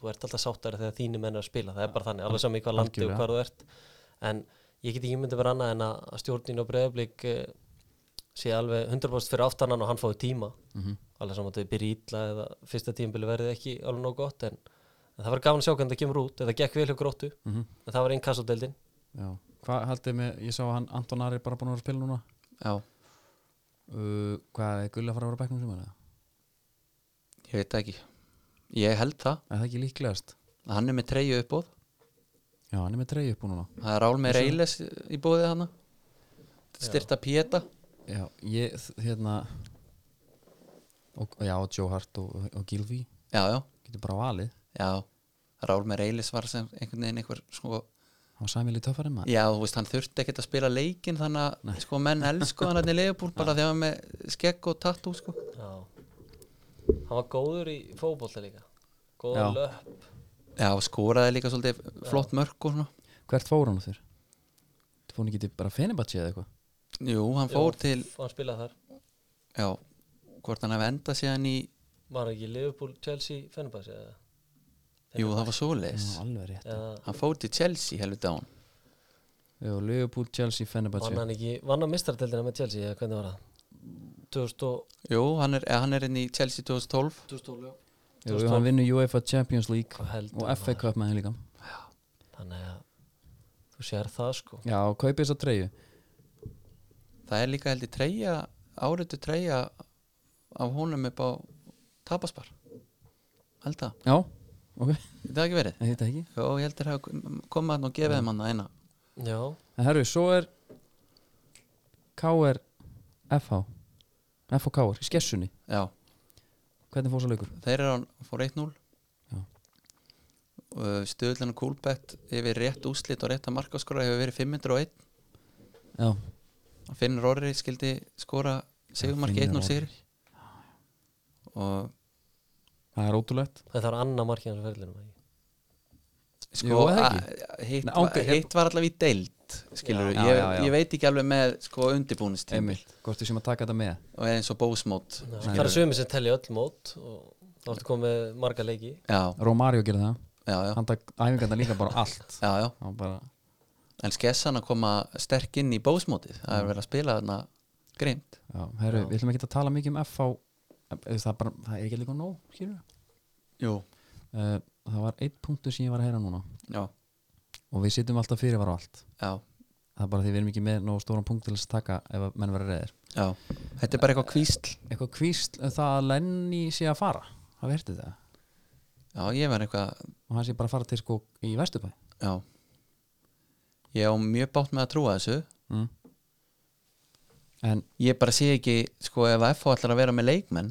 B: þú ert alltaf sáttari þegar þínu menn er að spila, það er bara þannig, alveg saman í hvað landi og
A: Algjörlega.
B: hvar þú ert en ég get ekki myndið vera annað en að að stjórnin og breyðablík sé alveg 100% fyrir aftanan og hann fái tíma
A: Mhm.
B: alveg saman að þau byrja ítla eða fyrsta tímbili verði ekki alveg nóg gott en, en það var gaman að sjá hvernig það kemur út eða gekk vel hjá gróttu,
A: Mhm.
B: en það var einn kassadeldin
A: Já, hvað haldið með, ég sá að hann Anton Ari er bara búin að vera að spila núna
C: Já,
A: uh, Hvað er gull að fara að vera á bekknum sem hann eða?
C: ég veit það ekki ég held það,
A: Er það ekki líklegast?
C: að hann er með treyju uppbóð
A: Já, hann er með treyju upp núna
C: það er Álmeir Eiles í bóðið hann styrta Pieta
A: Já, ég, þ- hérna og, Já, og Joe Hart og, og Gilvi
C: já, já,
A: Getur bara valið
C: já Rálmeir Eilis var sem einhvern veginn einhver sko,
A: Hann var sæmil í töffari maður
C: já, þú veist, hann þurfti ekkert að spila leikin þannig að sko, menn elsku hann hann í leifbúl bara þegar hann er með skegg og tattoo sko.
B: Já Hann var góður í fótbolta líka Góður
A: Já.
B: löpp
C: Já, og skoraði líka svolítið flott mörk og svona
A: Hvert fór hann á þér? Þú fór hann ekki til bara Fenebatsi eða eitthvað?
C: Jú, hann fór til
B: Jú, Hann spilaði þar
C: Já, hvort hann hafi endað síðan í
B: Var hann ekki Liverpool, Chelsea, Fenerbahce eða
C: Jú, það var svoleiðis
A: Já, alveg rétt
B: eða
C: Hann fór til Chelsea, helvita á hann
A: Já, Liverpool, Chelsea, Fenerbahce
B: vann hann ekki, vann hann mistardeldina með Chelsea eða hvernig var það 2012,
C: Jú, hann er, eh, hann er inn í Chelsea 2012
B: já
A: Jú, jú, hann vinnur UEFA Champions League
B: Hvað
A: og
B: heldur maður?
A: FA Cup með henni líka
B: þannig að þú sér það sko
A: Já, og kaupið þess að treyju
C: það er líka held ég treyja áriðu treyja af honum upp á tapaspar held það,
A: Já, ok,
C: þetta er ekki verið
A: ég heit ekki
C: og ég held þér að koma hann og gefa þeim hann eina
B: já,
A: En herru, svo er KR FH FH KR, í skessunni
C: já,
A: Hvernig fór svo leikur?
C: þeir eru hann fór 1-0
A: Já.
C: stöðlunum kúlbett yfir rétt úslit og rétta markaskora hefur verið 501
A: Já,
C: Finn Rorri skildi skora
A: Já,
C: segumarki
A: Finnur
C: 1-0
A: Orri.
C: sigur og
A: það er ótrúlegt
B: þetta var annar markið hans á ferlinum ekki?
C: sko,
A: Jú, eða
C: að- hitt,
A: Nei,
C: var-
A: ok, ég-
C: hitt var allavega í deild
A: Já,
C: skilur, ég,
A: já, já.
C: ég veit ekki alveg með sko undirbúnistími
A: Emil, hvort við sem að taka þetta með
C: og er eins og bósmót
B: Ná,
A: Nei.
B: það er sömi sem telli öll mót og þá ertu komið með marga leiki
C: já,
A: Romario gerði það,
C: já, já,
A: hann takk æfingarna líka bara allt
C: já, já.
A: Hann bara,
C: en skessan að koma sterk inn í bósmótið það er verið að spila þarna grimt
A: já, herru, við ætlum ekki að tala mikið um FH Eh, Það, er bara, það er ekki líka nóg, skilur
C: Jú.
A: uh, Það var einn punktur sem ég var að heyra núna
C: já,
A: og við sittum alltaf fyrir var á allt
C: já,
A: það er bara því við erum ekki með nógu stóran punkt til þess að taka ef að menn verður reyðir
C: já þetta er bara eitthvað kvísl
A: eitthvað kvísl um það að Lenny sé að fara það verður það
C: já, ég var eitthvað
A: og hann sé bara að fara til sko í Vesturbæ
C: já. ég á mjög bátt með að trúa þessu
A: mm. en
C: ég bara sé ekki, sko, ef að FH ætlar að vera með leikmenn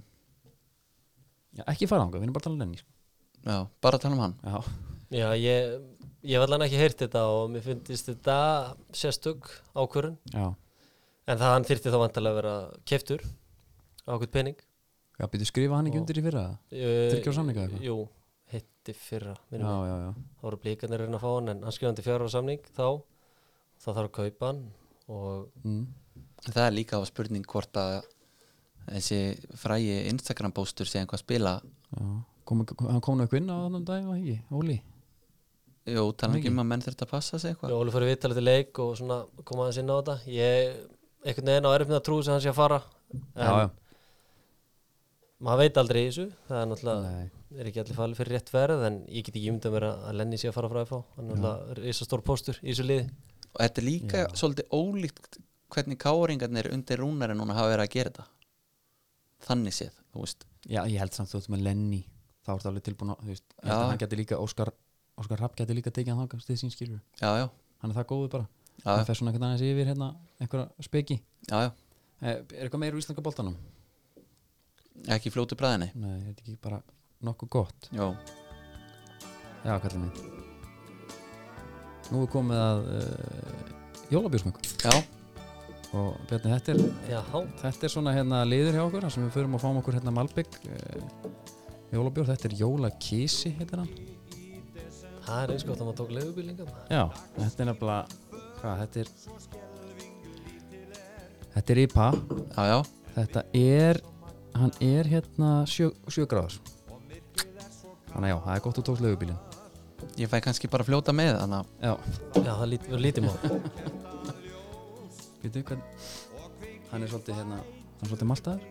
A: já, ekki fara ánga, við erum bara að tala um Lenny sko.
C: já, bara tala um hann
A: já,
B: já, ég, ég hef allan ekki heyrt þetta og mér finnst þetta sérstök ákvörun
A: já,
B: en það hann þyrfti þá vantilega að vera keftur á okkur pening
A: já býtu skrifa hann ekki
B: Og-
A: undir í fyrra það? Þriggja
B: Þryggja
A: ára samninga eða eitthvað?
B: Eh, Jú, hitti fyrra
A: já,
B: minnum
A: já, já,
B: þá voru blíkarnir að reyna að fá hann en hann skrifandi fjárra samning þá þá þarf að kaupa hann og
A: mm.
C: það er líka á spurning hvort að þessi frægi Instagram póstur sé einhvað að spila
A: já. Kom, kom- hann kom nú eitthvað inn á þannig dag var það ekki, Óli
C: Jú, tala ekki um að menn þurft að passa sig eitthvað
B: Óli fyrir viðtalið til leik og svona koma aðeins inn á þetta ég, einhvern veginn á erum með að trú sem hann sé að fara en
A: já, já,
B: maður veit aldrei í þessu það er náttúrulega,
A: Nei.
B: er ekki allir falið fyrir rétt verð en ég get ekki umdað mér að Lenny sé að fara frá FH hann er náttúrulega risastór póstur í þessu liði
C: og þetta er líka svolítið ólíkt hvernig káringarnir undir rúnari núna hafa verið að gera þetta þannig séð, þú veist
A: já, ég held samt þú ert með Lenny þá ertu alveg tilbúin að, þú veist, ég held
C: Já.
A: að hann geti líka Óskar, Óskar Rapp geti líka tekið hann þangað til sín skilur
C: já, já,
A: hann er það góður bara
C: Já.
A: hann fer svona einhvern aðeins yfir hérna einhverja speki
C: já, já
A: eh, er eitthvað meira úr íslenska boltanum?
C: ekki í fljótu bræðinni
A: nei, er þetta ekki bara nokkuð gott
C: Jó,
A: já, kallar minn nú er komið að uh, jólabjörsmöku
C: já,
A: og Bjarni, þetta er,
B: já,
A: þetta er svona hérna liður hjá okkur þar sem við förum að fáum okkur hérna Malbygg uh, jólabjörn, þetta er jólakísi heitir hann
B: það er eins gott að maður tók leigubílingam
A: já, þetta er nefnilega hvað, þetta er þetta er IPA
C: já, já
A: Þetta er hann er hérna sjö, sjö gráður þannig að já, það er gott að tókst lögubílin
C: ég fæ kannski bara að fljóta með þannig að
A: Já,
B: já, það lít, lítið mál
A: veitum hvern hann er svolítið hérna hann er svolítið maltaður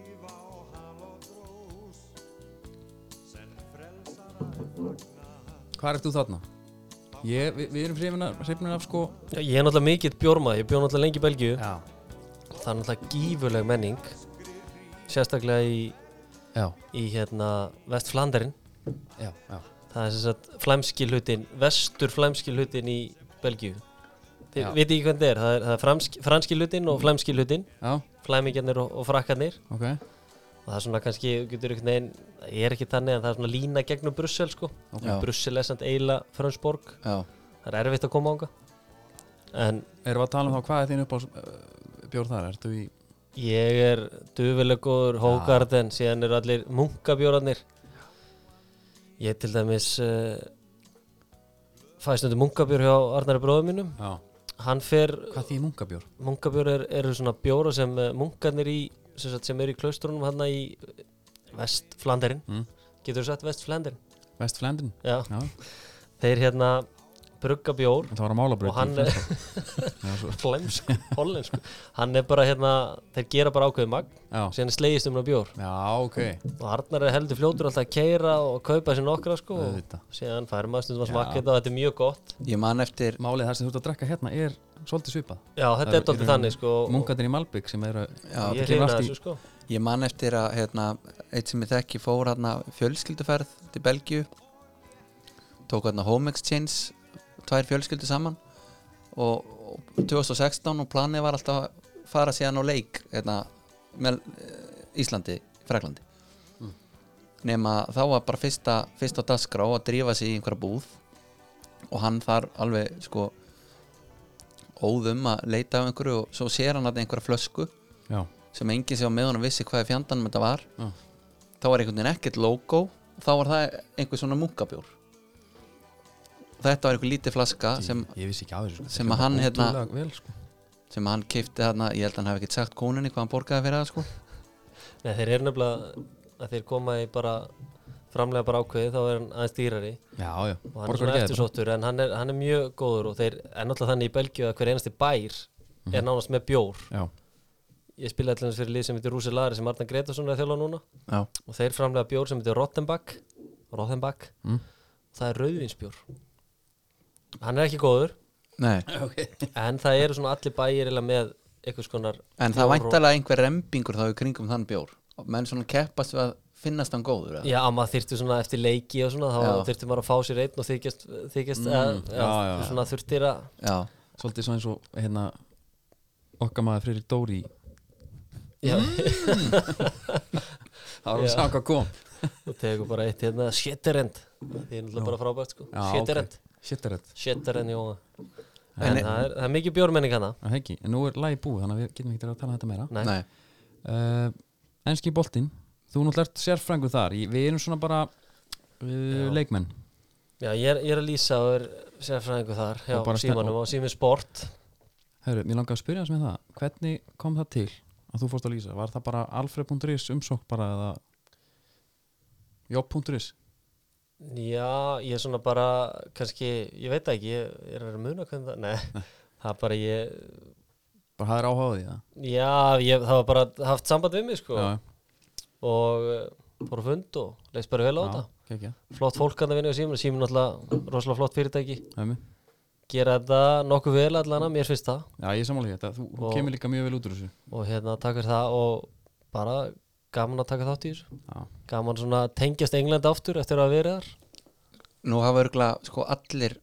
A: Hvað ert þú þarna? Ég, við, við erum hrifnir hrifnir af sko
B: Já, ég er náttúrulega mikill bjórmaður, ég bjóð náttúrulega lengi í Belgíu
A: Já,
B: það er náttúrulega gífurleg menning sérstaklega í,
A: já,
B: í hérna vestflandarinn
A: já, já.
B: það er sem sagt flæmski hlutin vestur flæmski hlutin í Belgíu
A: Já. Mm.
B: þið veit ekki hvernig það er það er, það er franski, franski hlutin og flæmski hlutin
A: já
B: flæmingjarnir og, og frakkarnir
A: ok
B: og það er svona kannski, þú getur einhvern veginn það er ekki þannig en það er svona lína gegnum Brussel sko
A: Ok.
C: Já.
B: Brussel er samt eila Frönsborg
C: já,
B: það er erfitt að koma ánga en
A: Erum við að tala um þá hvað er þín upp á uh, bjór þar? Ertu í
B: Ég er dufileg góður Hógarden, síðan eru allir munkabjórarnir Ég til dæmis uh, fæstundu munkabjór hjá Arnari bróðum mínum
A: Já
B: Hann fer,
A: Hvað því munkabjór?
B: munkabjór er, eru svona bjóra sem eh, munkarnir í sem, sagt, sem eru í klaustrunum hann í vestflanderinn
A: Mm.
B: Getur þú sagt vestflanderinn?
A: Vestflandin?
B: Já,
A: Já,
B: þeir hérna brugga bjór
A: það var að mála
B: og hann eh, er flemsk, hollensku hann er bara hérna, þeir gera bara ákveðið magn
A: já,
B: síðan er slegist um hann á bjór
A: já, ok
B: og Arnar er heldur fljótur alltaf að keira og kaupa sér nokkra sko og
A: Auðvitað.
B: síðan fær maður stundum að smakka þetta og þetta er mjög gott
C: Ég man eftir
A: Málið þar sem þú ert að drekka hérna er svolítið svipað
B: já, þetta
A: Það
B: er dóttir
A: eru
B: þannig sko og-
A: Munkarnir í Malbygg sem eru
C: já,
B: og ég
A: þetta kemur
B: reyna
A: allt í-
B: þessu sko
C: Ég man eftir að hérna, eitt sem ég þekki fór hérna fjölskylduferð til Belgíu tók hérna home exchange tvær fjölskyldu saman og, og 2016 og planið var alltaf að fara síðan á leik hérna, með eh, Íslandi, Fraklandi nema þá var bara fyrsta, fyrsta dasgrá að drífa sig í einhverja búð og hann þar alveg sko óðum að leita af einhverju og svo sér hann að einhverja flösku
A: Já,
C: sem enginn sem var með honum vissi hvað fjandanum þetta var
A: Já.
C: þá var einhvern veginn ekkert logo þá var það einhver svona munkabjór þetta var einhver lítið flaska sem,
A: ég, ég vissi ekki á þessu sko.
C: sem
A: Þetta
C: að hann,
A: er
C: hérna-
A: ótrúlega vel, sko.
C: sem hann keipti þarna ég held að hann hef ekkert sagt konunni hvað hann borgaði fyrir það sko.
B: Nei, þeir eru nefnilega að þeir koma í bara framlega bara ákveðið þá er hann aðeins dýrari
A: Já, já,
B: og hann er svona eftirsóttur en hann er, hann er mjög góður og þeir er náttúrulega þannig í Belgíu að hver einasti bær er
A: Mhm.
B: nánast með bjór
A: Já,
B: ég spila allir fyrir lið sem heitir Rúsi Lari sem Arnar Gretarsson er að þjóla núna
C: já,
B: og þeir framlega bjór sem heitir Rottenbach Rottenbach
A: Mm.
B: það er rauðvinsbjór hann er ekki góður
C: nei
B: en það eru svona allir bæir eiginlega með einhvers konar
C: en það
B: bjór og-
C: væntalega einhver rembingur þá í kringum þann bjór og menn svona keppast við að finnast hann góður eða?
B: Já, maður þyrfti svona eftir leiki og svona
C: Já.
B: þá þyrfti maður að fá sér einn og þykjast, þykjast mm,
A: já, já, já.
B: svona þurftir að
C: já,
A: svolítið svo eins og hérna okkar maður Friðrik Dóri
B: já,
A: Það var að sjá hvað kom
B: og tegur bara eitt hérna shetterend, það er náttúrulega bara frábært sko
A: Já,
B: shetterend,
A: ok. Shitterend
B: shetterend, jó
C: En-
A: e-
B: en það er, það er mikið bjórmenning hana
A: Það ekki, en nú er lagi búið þannig að við getum ekki að tala um þetta meira
B: Nei.
C: nei,
A: uh, Enski boltinn, þú náttúrulega ert sérfrængu þar Í- Við erum svona bara uh, leikmenn
B: Já, ég er, ég er að lýsa og er sérfræðingu þar hjá
A: Og bara stel-
B: símanum og símin sport
A: Hörru, mér langar að spyrja þess með það Hvernig kom það til að þú fórst að lýsa? Var það bara alfred.is umsók bara eða jobb.is?
B: Já, ég er svona bara kannski, ég veit það ekki, ég ég er að muna hvernig það, nei, það er bara ég
A: Bara hafðir áhugaði það?
B: Já, ég, það var bara haft samband við mig sko
A: Já,
B: og eh, fór á fund og leist bara vel á
A: já,
B: þetta
A: kekja
B: flott fólk hann að vinna á síminu, síminu alltaf rosalega flott fyrirtæki,
A: Ömmi.
B: gera þetta nokkuð vel allan að mér finnst það
A: Já, ég samála þetta, þú þú
B: Og-
A: kemur líka mjög vel út úr þessu
B: og hérna takk fyrir það og bara gaman að taka þátt í þessu
A: Já,
B: gaman svona að tengjast England aftur eftir að vera þar
C: nú hafa örgla sko allir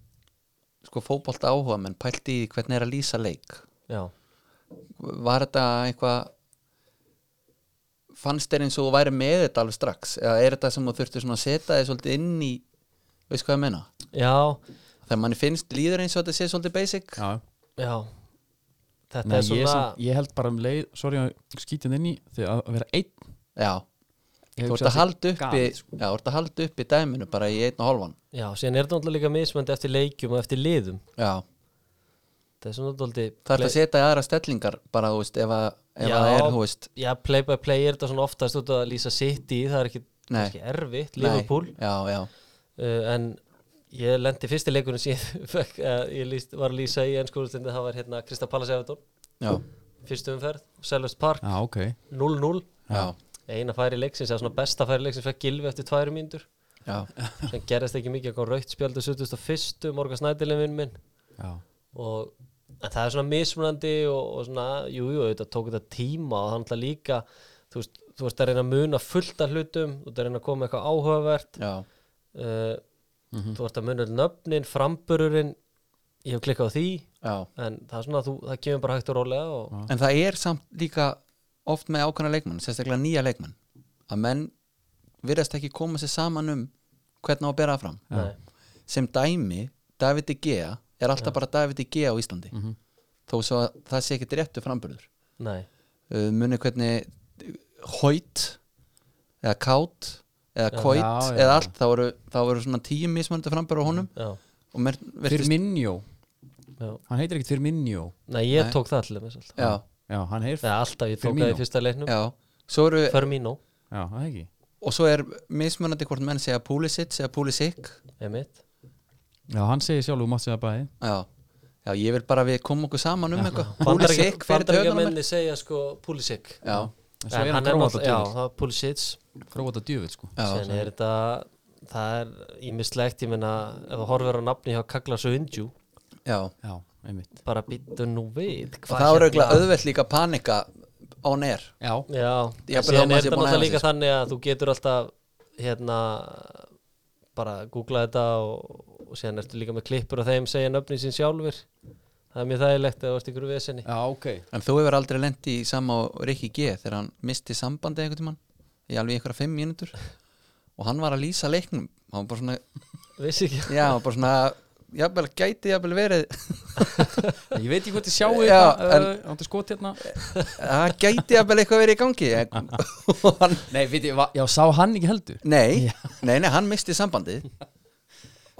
C: sko fótbolta áhuga menn pælt í því hvernig er að lýsa leik
B: Já,
C: var þetta eitthvað fannst þér eins og þú væri með þetta alveg strax eða er þetta sem þú þurftir svona að setja þig svolítið inn í veist hvað ég meina
B: já,
C: þegar manni finnst líður eins og þetta sé svolítið basic
A: já
B: já Þetta
A: Nei,
B: er
A: ég,
B: svona
A: sem, ég held bara um leið, sorry að skítið inn í því að að vera einn
C: já,
A: Ég
C: þú
A: hugsa
C: ert að
A: sé
C: halda uppi
A: galið, sko.
C: já, þú ert að halda uppi dæminu bara í einn og hálfan
B: Já, síðan er þetta náttúrulega líka mismöndi eftir leikjum og eftir liðum
C: já,
B: Það er svona náttúrulega
C: það ert að setja í aðra stellingar bara, þú veist, ef að, ef
B: Já.
C: að það er, þú veist
B: Já, play by play er þetta svona oftast út að lýsa sitt í, það er ekki,
C: Nei.
B: ekki erfitt,
C: nei,
B: Liverpool,
C: já, já,
B: uh, en ég lendi fyrsti leikunum sem ég, fekk, uh, ég líst, var að lýsa í ennskóðustendi, það var hérna Krista Pallas Evertón,
C: já,
B: fyrstu umferð, Selvest Park,
A: Já, ok
B: 0-0,
C: já,
B: eina færi leiksins, eða svona besta færi leiksins fekk Gilvi eftir tværi mínútur,
C: já.
B: sem gerðist ekki mikið, kom raukt spjaldu 71. morga snædilin minn
A: Já,
B: og en það er svona mismunandi og, og svona, jú, jú, þetta tók þetta tíma og það er náttúrulega líka þú veist, þú veist að reyna að muna fullt af hlutum þú veist að reyna að koma með eitthvað áhugavert
C: já.
B: uh, þú veist að muna nöfnin, frambururinn ég hef klikkað á því
C: já.
B: en það er svona, þú, það kemur bara hægt og rólega og,
C: En það er samt líka oft með ákvæmna leikmann, sérstaklega nýja leikmann að menn virðast ekki koma sér saman um hvernig á að bera það fram
B: nei,
C: sem dæmi, David De Gea er alltaf bara David De Gea á Íslandi
A: Mhm.
C: þó svo að það sé ekki réttu framburður
B: nei,
C: uh, muni hvernig hóit eða kátt eða kóit
A: já, já.
C: eða allt, þá voru, þá voru svona tíu mismöndu framburður á honum
B: já,
C: og mér virtist,
A: Firminjó,
B: já
A: hann heitir ekkert Firminjó
B: nei, ég
C: Nei.
B: tók það allir með svolítið
C: já,
A: Já, hann heitir,
B: eða alltaf, ég tók
A: Firmino.
B: það í fyrsta leiknum
C: já svo eru,
B: Firmino,
A: já, það er ekki
C: og svo er mismunandi hvort menn segja Pulisic eða Pulisic
B: emitt
A: Já, hann segir sjálf og mátt segja bæði
C: já, já, ég vil bara að við komum okkur saman um eitthvað Púlisik fyrir þetta höfðan á mér
B: Bandaríkjamenni segja sko Pulisic
C: já,
A: En svo
B: En
A: er
B: hann
A: hann gróðat
B: er
A: að
B: náttúrulega, já,
A: djöfitt
B: það er Pulisic
A: Gróðat að djöfitt sko
C: já,
B: Sen er þetta, það er ímislegt, ég meina ef það horfir á nafni hjá Kagla Söndjú
C: já.
A: Já, einmitt
B: bara býttu nú við hérna-
C: og
A: hérna?
C: það voru auðvitað auðvelt líka að panika on air
A: Já,
B: Já,
C: Jafnvel
B: en síðan er
C: þó maður sé
B: þetta
C: búinn að æfa
B: náttúrulega líka
C: sig,
B: þannig að þú getur alltaf hérna bara googla þetta og, og síðan ertu líka með klippur og þeim segja nöfnin sín sjálfur það er mjög þægilegt að það varst ykkur vesenni
A: já ok
C: en þú hefur aldrei lent í sama á Rikki G þegar hann misti sambandi einhvern tímann í alveg einhverja fimm mínútur og hann var að lýsa leiknum hann var bara svona,
B: Vissi ekki
C: já, hann var bara svona jafnvel gæti jafnvel verið
A: Ég veit ekki hvað þið sjáu
C: Já,
A: þetta
C: en-
A: uh, Ándu skot hérna
C: það gæti jafnvel eitthvað verið í gangi en- og hann
A: Nei, veit ég, va- já, sá hann ekki heldur
C: Nei, nei, nei, hann misti sambandið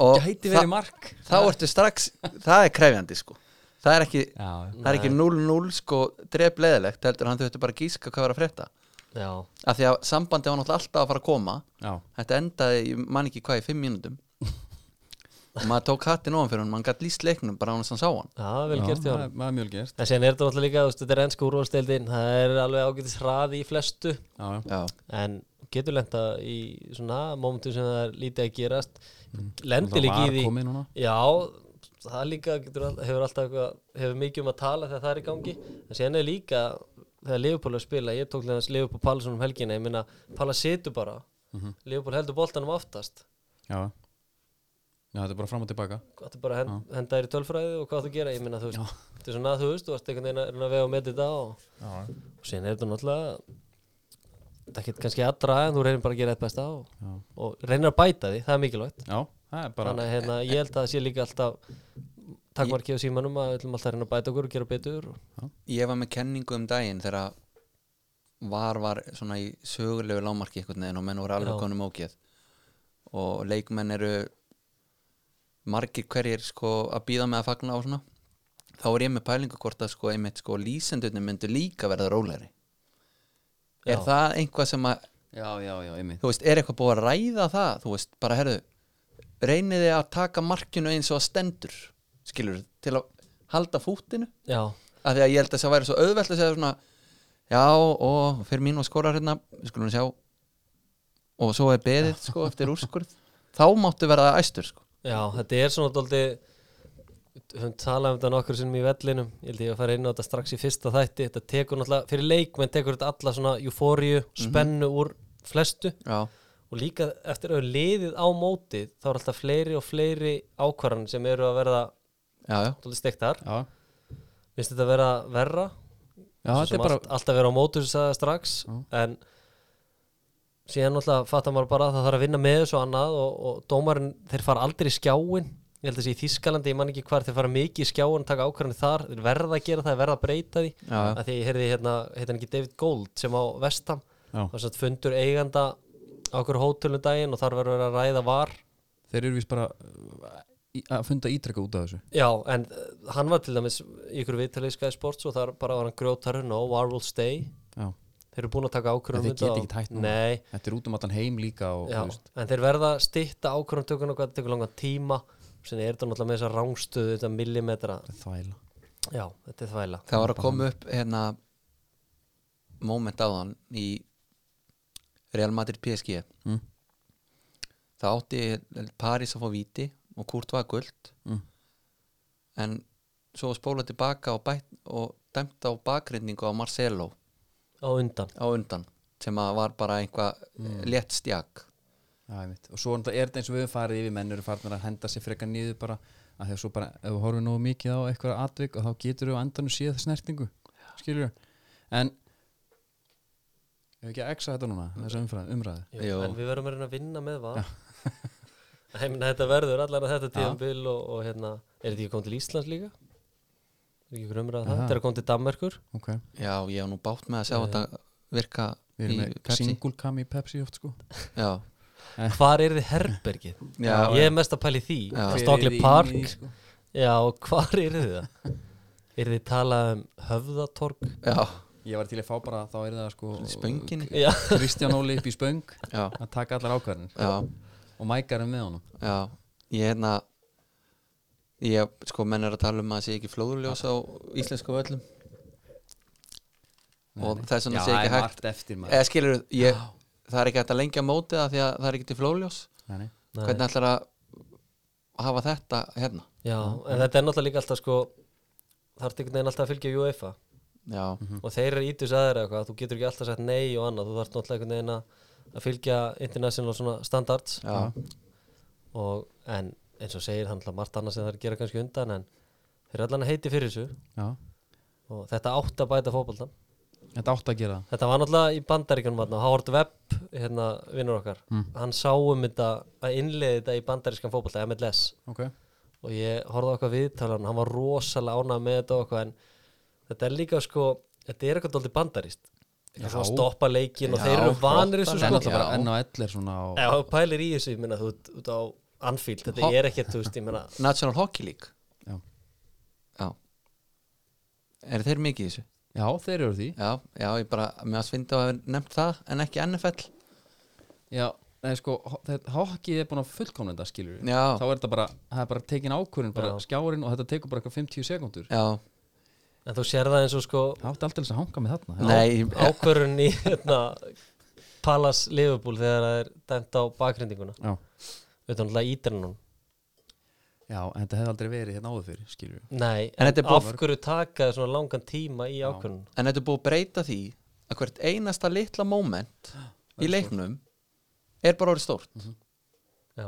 C: og
A: Gæti
C: þa-
A: verið mark
C: þá ertu strax það er krefjandi sko það er ekki,
A: Já, já.
C: það er ekki 0-0 sko dref leðilegt, heldur hann þurftu bara að gíska hvað var að frétta,
B: Já,
C: af því að sambandið var náttúrulega alltaf að fara að koma
A: já
C: þetta endaði, ég man ekki hvað, í 5 mínútum og maður tók hattin ofan fyrir hann maður gætt líst leiknum bara án að hann sá hann
B: já vel gert hjá
A: það
B: hann
A: er- það er mjög vel gert
B: En síðan er þetta náttúrulega líka, þú veist, þetta er ennska úrvalsteldin það er alveg ágætis hraði í flestu
A: Já, já
C: Já,
B: en getur lenda í svona momentum sem það er lítið að gerast lendir
A: Mm. Það
B: líka
A: var
B: í því
A: komið núna
B: Já, það líka getur, all- hefur alltaf eitthvað, hefur mikið um að tala þegar það er í gangi en síðan er líka þegar Leopold er að spila, ég tók leðans Leopold Pálsson um helgina, ég minna, Pála setur bara mm
A: Mhm.
B: Leopold heldur boltanum aftast
A: Já Já, þetta er bara fram og tilbaka
B: hvað þú bara að hend, henda þér í tölfræði og hvað þú gera, ég minna, þú veist þetta er svona, þú veist, þú ert einhvern veginn að reyna að vega og meti þetta og,
A: Já,
B: og síðan er þetta náttúrulega þetta er ekkert kannski aðra en þú reynir bara að gera eitt besta og,
A: Já.
B: og reynir að bæta því, það er mikilvægt
A: já það er bara
B: Þannig að hérna, ég held að það sé líka alltaf takkmarki á símanum að við ætlum alltaf að reyna að bæta okkur og gera betur og...
C: ég var með kenningu um daginn þegar var var svona í sögulegu lámarki einhvern veginn og menn voru alveg
B: Já.
C: konum ógeð og leikmenn eru margir hverjir sko að býða með að fagna á svona þá er ég með pælingu hvort að sko einmitt sko lýsendurnir myndu líka verða rólegri
B: Já.
C: er það einhvað sem að
A: Já, já, já, einmitt
C: þú veist, er eitthvað búið að ræða það þú veist, bara herðu reyniði að taka markinu eins og að stendur skilur, til að halda fútinu
B: Já,
C: af því að ég held að það væri svo auðvelt að segja svona já og fyrir mínu að skora hérna við skulum sjá og svo er beðið sko eftir úrskurð þá máttu verða æstur sko
B: já, þetta er svona dóldi við höfum talað um þetta nokkur sinnum í vellinum ég held ég að fara inn á þetta strax í fyrsta þætti þetta tekur náttúrulega, fyrir leikmenn tekur þetta alla svona eufóriu, spennu úr flestu
C: já,
B: og líka eftir að liðið á mótið þá er alltaf fleiri og fleiri ákvarðan sem eru að verða
C: já, já,
B: dóldi stektar,
A: Já,
B: minnst þetta að vera verra
A: já
B: Svo
A: þetta
B: sem
A: er bara
B: allt, alltaf vera á mótur sem sagði strax en síðan náttúrulega fattar maður bara að það þarf að vinna með þessu og annað og, og dómarinn þeir fara aldrei í skjáin ég held að sé í Þískalandi, ég man ekki hvar þeir fara mikið í skjáin og taka ákvarðanir þar, þeir verða að gera það þeir verða að breyta því,
C: Já, já.
B: að því ég heyrði hérna heit hann ekki David Gold sem á Vestam
A: Já.
B: og satt fundur eiganda á okkur hótelum daginn og þar verður að ræða var
A: Þeir eru vist bara uh, í- að funda ítrekka út af þessu
B: Já, en uh, hann var til dæmis í ykkur viðtalið í Sky Sports og þar bara var hann grjótarinn og War Will Stay
A: Já
B: þeir eru búin að taka ákvörðum
A: En þeir geta ekki hætt núna.
B: Nei,
A: Þetta er út um allan heim líka og,
B: já,
A: þú veist,
B: en þeir verða að stytta ákvörðumtökun og hvað þetta tekur langan tíma sem er þetta náttúrulega með þessa rángstöðu þetta millimetra,
A: þetta er þvæla
B: já, þetta er þvæla
C: það var að koma upp hérna moment áðan í Real Madrid PSG
A: Mm.
C: það átti Paris að fá viti og Kurt var guld
A: Mm.
C: en svo spóla tilbaka og, bætt, og dæmt á bakgrindningu á Marcelo
B: á undan,
C: á undan sem að var bara einhvað létt stjak
A: Já, einmitt. og svo náttúrulega er þetta eins og við höfum farið yfir menn eru farin að henda sér frekar niður bara að þegar svo bara, ef við horfum nógu mikið á eitthvað atvik og þá getur við á endanum séð snertingu skilur en ef ekki að exa þetta núna þessa umfræð, umræði
B: Jú,
C: Jú.
B: en við verðum að reyna að vinna með var ég meina þetta verður allan að þetta tíðanbil og, og hérna, er þetta ekki komið til Íslands líka? Er ekki ykkur umræða um það?
A: Aha.
B: Þetta er að komið til Danmerkur
A: ok,
C: já, ég hef nú bátt með að sjá þetta virka
A: við
C: í
A: erum með
C: Pepsi
A: single cam í Pepsi oft sko
C: já,
B: Hvar er þið herbergið?
C: já,
B: ég er mest að pæli því
C: Já.
B: Hvað
A: Hver
B: Stokely
A: yrði
B: Park
A: inni í, sko?
B: Já, og hvar er þið það? er þið talað um höfðatorg?
C: já,
A: ég var til að fá bara, þá er það sko
C: spönginni
B: Já,
A: Kristján Óli upp í spöng
C: já,
A: að taka allar ákvarðin
C: já,
A: og mækar er með honum
C: já ég hérna Já, sko, menn er að tala um að það sé ekki flóðurljós á íslensku völlum og þess
D: Já,
C: vegna sé
D: það
C: ekki
D: er
C: hægt
D: margt eftir
A: Eh.
D: maður
C: eða skilur, ég, það er ekki hægt að lengja mótið af því að það er ekki til flóðljós
A: Nei, nei.
B: Nei.
C: hvernig ætlar að hafa þetta hérna
B: Já, en þetta er náttúrulega líka alltaf sko það er einhvern veginn alltaf að fylgja UEFA
C: já,
B: og þeir eru ítis aðeir eitthvað, þú getur ekki alltaf sagt nei og annað, þú þarf náttúrulega einhvern veginn að- að fylgja international svona standards
C: já,
B: og, en eins og segir hann alltaf margt annað sem það er að gera kannski undan en þeir eru allan að heiti fyrir þessu
A: Já,
B: og þetta átt að bæta fótboltan
A: þetta átt að gera það
B: Þetta var náttúrulega í bandaríkjunum þarna, Howard Webb, hérna vinnur okkar
A: Mm.
B: hann sá um þetta að innleiði þetta í bandarískan fótbolta, MLS
A: Ok,
B: og ég horfði á okkar viðtalan hann var rosalega ánað með þetta og okkar en þetta er líka sko þetta er eitthvað dóldi bandarist
A: Já.
B: eitthvað svona stoppa leikinn og
C: Já,
B: þeir eru
A: það
B: vanir þessu
A: er
B: sko
A: náttúrulega bara
C: Já.
A: enn á ellir svona á
B: ef þú pælir í þessu, ég minna þú ert út á Anfield, þetta
C: Hopp.
B: er ekkert, þú veist, ég minna
C: National Hockey League
A: Já.
C: já eru þeir mikið í þessu?
A: Já, þeir eru því
C: já, já, ég bara, mér að svinda að hafa nefnt það en ekki NFL
A: Já, nei sko, ho- þetta- hockey er búin að fullkomna þetta skilur við
C: já,
A: Þá er þetta bara, það er bara tekin ákvörðin bara
B: Já.
A: skjáurinn og þetta tekur bara eitthvað 50 sekundur
C: já,
B: en þú sér það eins og sko
A: Það átti alltaf að hanga með þarna
C: nei
B: ákvörun í hérna, Palace Liverpool þegar það er dæmt á bakrindinguna
A: Já,
B: utan alltaf ídrennun
A: já en þetta hefði aldrei verið hérna áður fyrir skilur við
B: Nei,
C: En
B: en,
C: þetta er
B: af
C: búið.
B: hverju taka þér svona langan tíma í ákvörun
C: en þetta er búið að breyta því að hvert einasta litla moment í leiknum er bara orðið stórt
B: Já,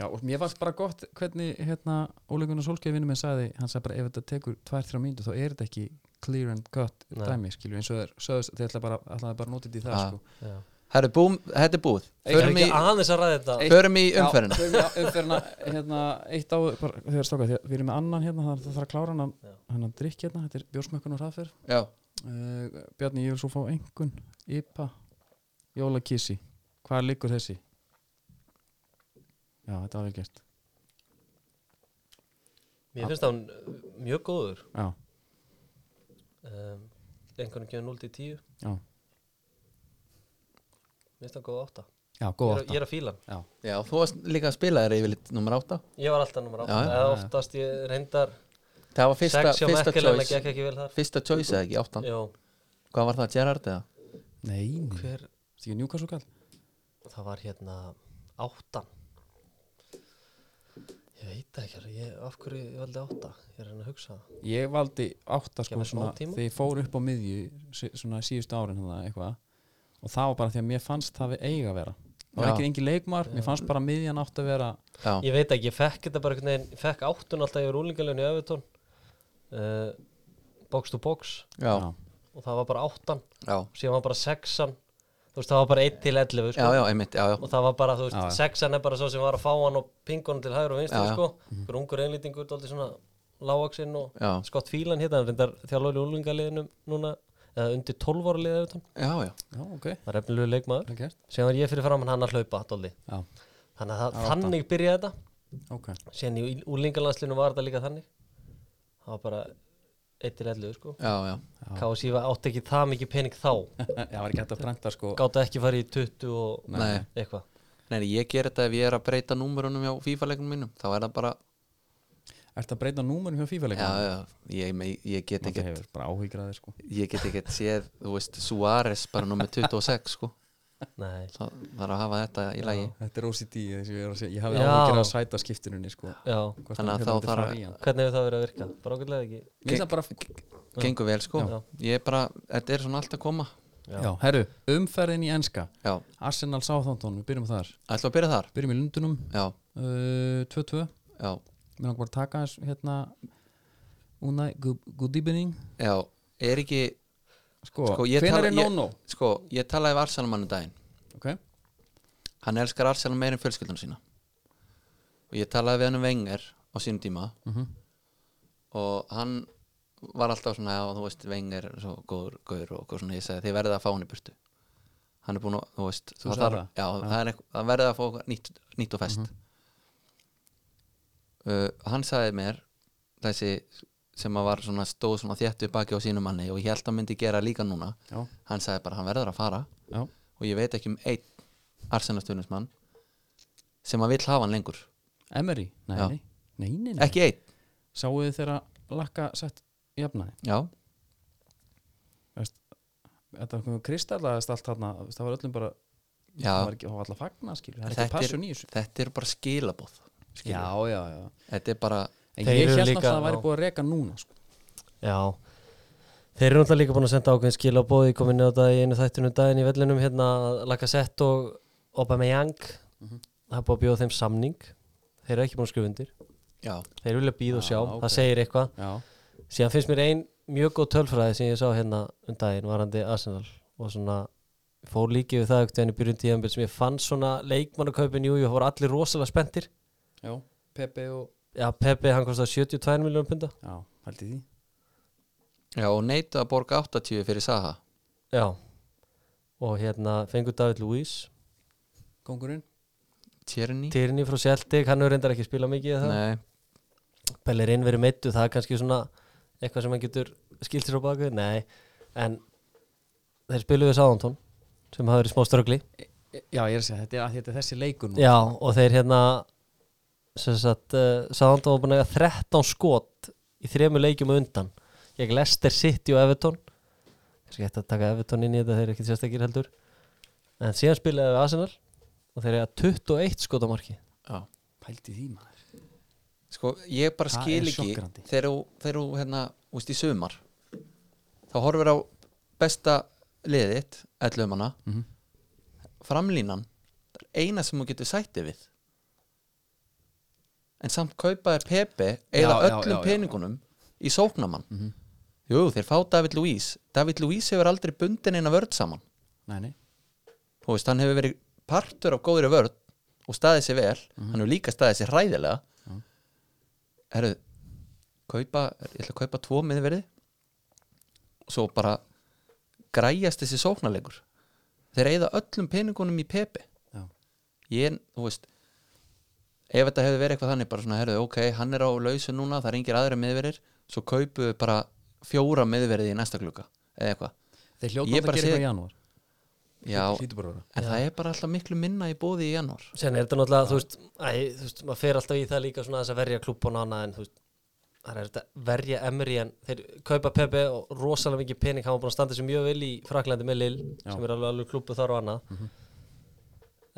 A: Já, og mér fannst bara gott hvernig hérna Óli Gunnar Solskjafi vinnum minn sagði hann sagði bara ef þetta tekur 2-3 mínútur þá er þetta ekki clear and cut
B: Nei.
A: dæmi skilur við eins og þeir sögðust þeir ætlaði bara, ætlaði bara að nota þetta í það
C: Já.
A: sko
B: já
C: Herru, búm, þetta er búið
B: Ég er
C: Förum í,
B: ekki aðeins að ræða þetta
C: förum í umferðina
A: Já, förum í umferðina hérna, eitt á, bara, þau eru stokkað því að við erum með annan hérna, það þarf að klára hann
B: Já.
A: hann að drikk hérna, þetta er bjórsmökkun og hraðferð
C: Já,
A: uh, Bjarni, ég vil svo fá engun IPA, jólakísi hvað liggur þessi? Já, þetta var vel gert
B: Mér finnst það hún mjög góður
A: Já,
B: um, einhvern veginn 0 til 10
A: já,
B: Mér finnst það góð 8
A: já,
B: ég
A: góð
B: er,
A: átta
B: ég er að fíla hann.
A: Já,
C: já þú varst líka að spila þér yfirleitt nummer átta
B: Ég var alltaf nummer 8
C: Já, já,
B: Eða oftast ég reyndar
C: Það var fyrsta,
B: Sex hjá
C: fyrsta
B: Mekkelega
C: choice
B: gekk ekki vel þar
C: Fyrsta choice eða ekki, áttan
B: Jó,
C: Hvað var það, Gerard eða?
A: nei,
C: Mm.
A: þetta
B: hver
A: ekki njúkast og kall
B: Það var hérna 8 Ég veit það ekki alveg, ég, Af hverju ég valdi 8 Ég er að reyna að hugsa það
A: Ég valdi átta sko
B: Gefur
A: svona
B: smá tíma?
A: þegar ég fór upp á miðju sí- svona síðustu árin hérna eitthvað og það var bara því að mér fannst það við eiga að vera það var
C: Já.
A: ekki engin leikmar, mér fannst bara miðjan átt að vera
C: Já,
B: Ég veit ekki, ég fekk þetta bara einhvern veginn Ég fekk 8 alltaf yfir úlingalögnu í Evertón uh, Box to box
C: já,
A: Já.
B: Og það var bara 8
C: já,
B: Síðan var bara 6 Þú veist, það var bara 1 til 11 sko.
C: já, já, einmitt, já, já
B: og það var bara, þú
A: Já, já.
B: veist, sexan er bara svo sem var að fá hann og pinga hann til hægur og vinstri,
C: Já, já.
B: sko
A: Mhm.
B: einhver ungur einlýtingur, dóldi svona lágaksinn og
C: Já,
B: skott fílan hérna, hann reyndar þjálfur í úlingaliðinu núna, eða undir 12 ára liða auðvitað,
C: já, já,
A: Já, ok,
B: það er efnilegu leikmaður
A: það er gert
B: síðan var ég fyrir framann hann að hlaupa, dóldi
A: Já,
B: þannig að
A: Já,
B: það, þannig byrjaði þetta
A: ok
B: síðan í úlingalanslinu var þetta líka þannig það var bara 1 til 11, sko
C: já, já,
B: KSI var- átti ekki það mikið pening þá
A: Já, var ekki hægt að prenta sko
B: gáttu ekki farið í 20 og
C: Nei.
B: eitthvað
C: Nei, ég ger þetta ef ég er að breyta númerunum hjá FIFA-leikunum mínum Þá er það bara,
A: Ertu að breyta númurum hjá
C: já,
A: FIFA-leikum?
C: já, ég, ég, ég get
A: Þetta
C: ekkert
A: hefur bara áhygraði sko
C: Ég get ekkert séð, þú veist, Suárez bara nummer 26, sko
B: Nei.
C: Það það er að hafa þetta í lagi
A: Þetta er OCD þess að ég er að segja Ég hafi
B: Já.
A: áhyggjur að sæta skiptuninni sko
B: Já.
A: Hvort
C: Þannig að
A: hann
C: þá
A: myndi
C: þarf
A: fara
C: að-
A: í hann.
B: hvernig hefur það verið að virka? bara ágætlega ekki
A: Mér finnst það bara
C: Gengur vel, sko
B: Já.
C: Ég er bara, þetta er svona allt að koma
B: Já.
A: Já, herru, umferðin í enska
C: Já,
A: Arsenal Southampton, við byrjum þar
C: ætlum við að byrja þar
A: Byrjum í Lundunum
C: Já,
A: uh, 2-2
C: já,
A: Mér langar bara að taka hans hérna Unai Gu- Gudibning
C: já Er ekki,
A: Sko,
C: Sko,
A: sko
C: ég tala-
A: hvenær er
C: ég-
A: nóno?
C: sko, ég talaði við Arsenal mann um daginn
A: Ok,
C: Hann elskar Arsenal meir en fjölskyldunum sína Og ég talaði við hann um Wenger á sínum tíma
A: Mhm.
C: Og hann var alltaf svona Já, þú veist, Wenger er svo góður, góður og eitthvað svona, ég sagði, þið verðið að fá hann í burtu Hann er búin að, þú veist
A: Þú sagðir það?
C: Já, það, er eitthvað, það verðið að fá eitthvað nýtt, nýtt og fest
A: Mhm.
C: uh, Hann sagði mér Þessi sem að var svona stóð svona þéttu baki á sínum manni og ég held að hann myndi gera líka núna
A: já,
C: hann sagði bara hann verður að fara
A: já
C: og ég veit ekki um einn arsenastunusmann sem að vill hafa hann lengur
A: Emery, nei,
C: Já.
A: nei, nei, nei, nei.
C: ekki einn,
A: Sáuð þið þeirra lakka sett jafnaði?
C: já,
A: Þetta var kristallaðist allt þarna þú veist, það var öllum bara,
C: já
A: það var ekki, það var alltaf fagna skilur, það er
C: Þetta
A: ekki
C: er-
A: passun í þessu
C: þetta er bara skilabóð
A: Já, já, já
C: þetta er bara,
A: En
B: Þeir
A: ég
B: eru
A: held
B: líka-
A: líka, að það væri
B: já.
A: búið að reka núna sko.
B: Já Þeir eru náttúrulega líka búin að senda ákveðin skil á bóði komin á dag í einu þættunum daginn í vellinum hérna Lacazette og Aubameyang Það er búið að bjóða þeim samning Þeir eru ekki búin að skrifa undir
C: já,
B: Þeir vilja býða og
A: Já,
B: sjá,
A: ok.
B: það segir eitthvað
A: Já,
B: Síðan finnst mér ein mjög góð tölfræði sem ég sá hérna um daginn varandi Arsenal og svona fór líkið við það ekkert en í byrjun tíðanbyrð sem ég fann svona leikmannukaupin, jú, jú, það voru allir rosalega spenntir
A: já, Pepe og
B: Já, Pepe, hann kostar 72 miljónum punda
A: Já, held í því
C: já og neita að borga 80 fyrir Saha
B: Já Og hérna fengur David Luiz
A: Kongurinn
C: Tierney,
B: Tierney frá Celtic, hann hefur reyndar ekki spila mikið í það.
C: Mm. nei,
B: Bellerin verið meittu, það er kannski svona eitthvað sem hann getur skilt sér á baku nei, en þeir spiluðu Sáðantón sem hafa verið smá ströggli
A: E, Já, ég er að segja, þetta er, að- þetta er þessi leikur núna
B: já, og þeir hérna sem sagt, uh, Sáðantón var búin að eiga 13 skot í þremur leikjum á undan gegn Leicester City og Everton kannski hægt að taka Everton inn í þetta þeir eru ekkit sérstakir heldur en síðan spilaðu við Arsenal og þeir eiga 21 skot á marki
C: já
A: Pældi því maður
C: Sko, ég bara
A: Það
C: skil
A: er
C: ekki
A: sjokkerandi.
C: þegar þú- þegar þú, hérna, úst í sumar þá horfir á besta liðið, ætlum hana
A: Mhm.
C: framlínan það er eina sem þú getur sætti við en samt kaupaði Pepe eða
A: Já, já, já, já.
C: öllum peningunum í sóknamann
A: mhm.
C: jú, þeir fá David Luís David Luís hefur aldrei bundin eina vörð saman
A: Nei, nei,
C: þú veist, hann hefur verið partur af góðri vörð og staðið sér vel
A: Mhm.
C: hann hefur líka staðið sér hræðilega herru kaupa, ég ætla að kaupa tvo miðverði og svo bara græjast þessi sóknarleikur þeir eigða öllum peningunum í pepi
A: já,
C: ég, þú veist ef þetta hefði verið eitthvað þannig bara svona, herru, ok, hann er á lausu núna það er engir aðra miðverðir svo kaupu bara fjóra miðverði í næsta klukka eða eitthvað
A: þeir
C: Ég
A: hljóta að
C: bara
A: gera
C: sé-
A: eitthvað í janúar
C: Já,
A: Hlýtur bara að vera.
C: en það er bara alltaf miklu minna í bóði í janúar
B: Sen er þetta náttúrulega, þú veist, æ, þú veist, maður fer alltaf í það líka svona þess að verja klúbun og annað en þú veist, það er þetta verja Emery en þeir kaupa Pepe og rosalega mikið pening, hann var búin að standa sér mjög vel í Fraklandi með Lille,
A: Já.
B: sem er alveg alveg klúbu þar og annað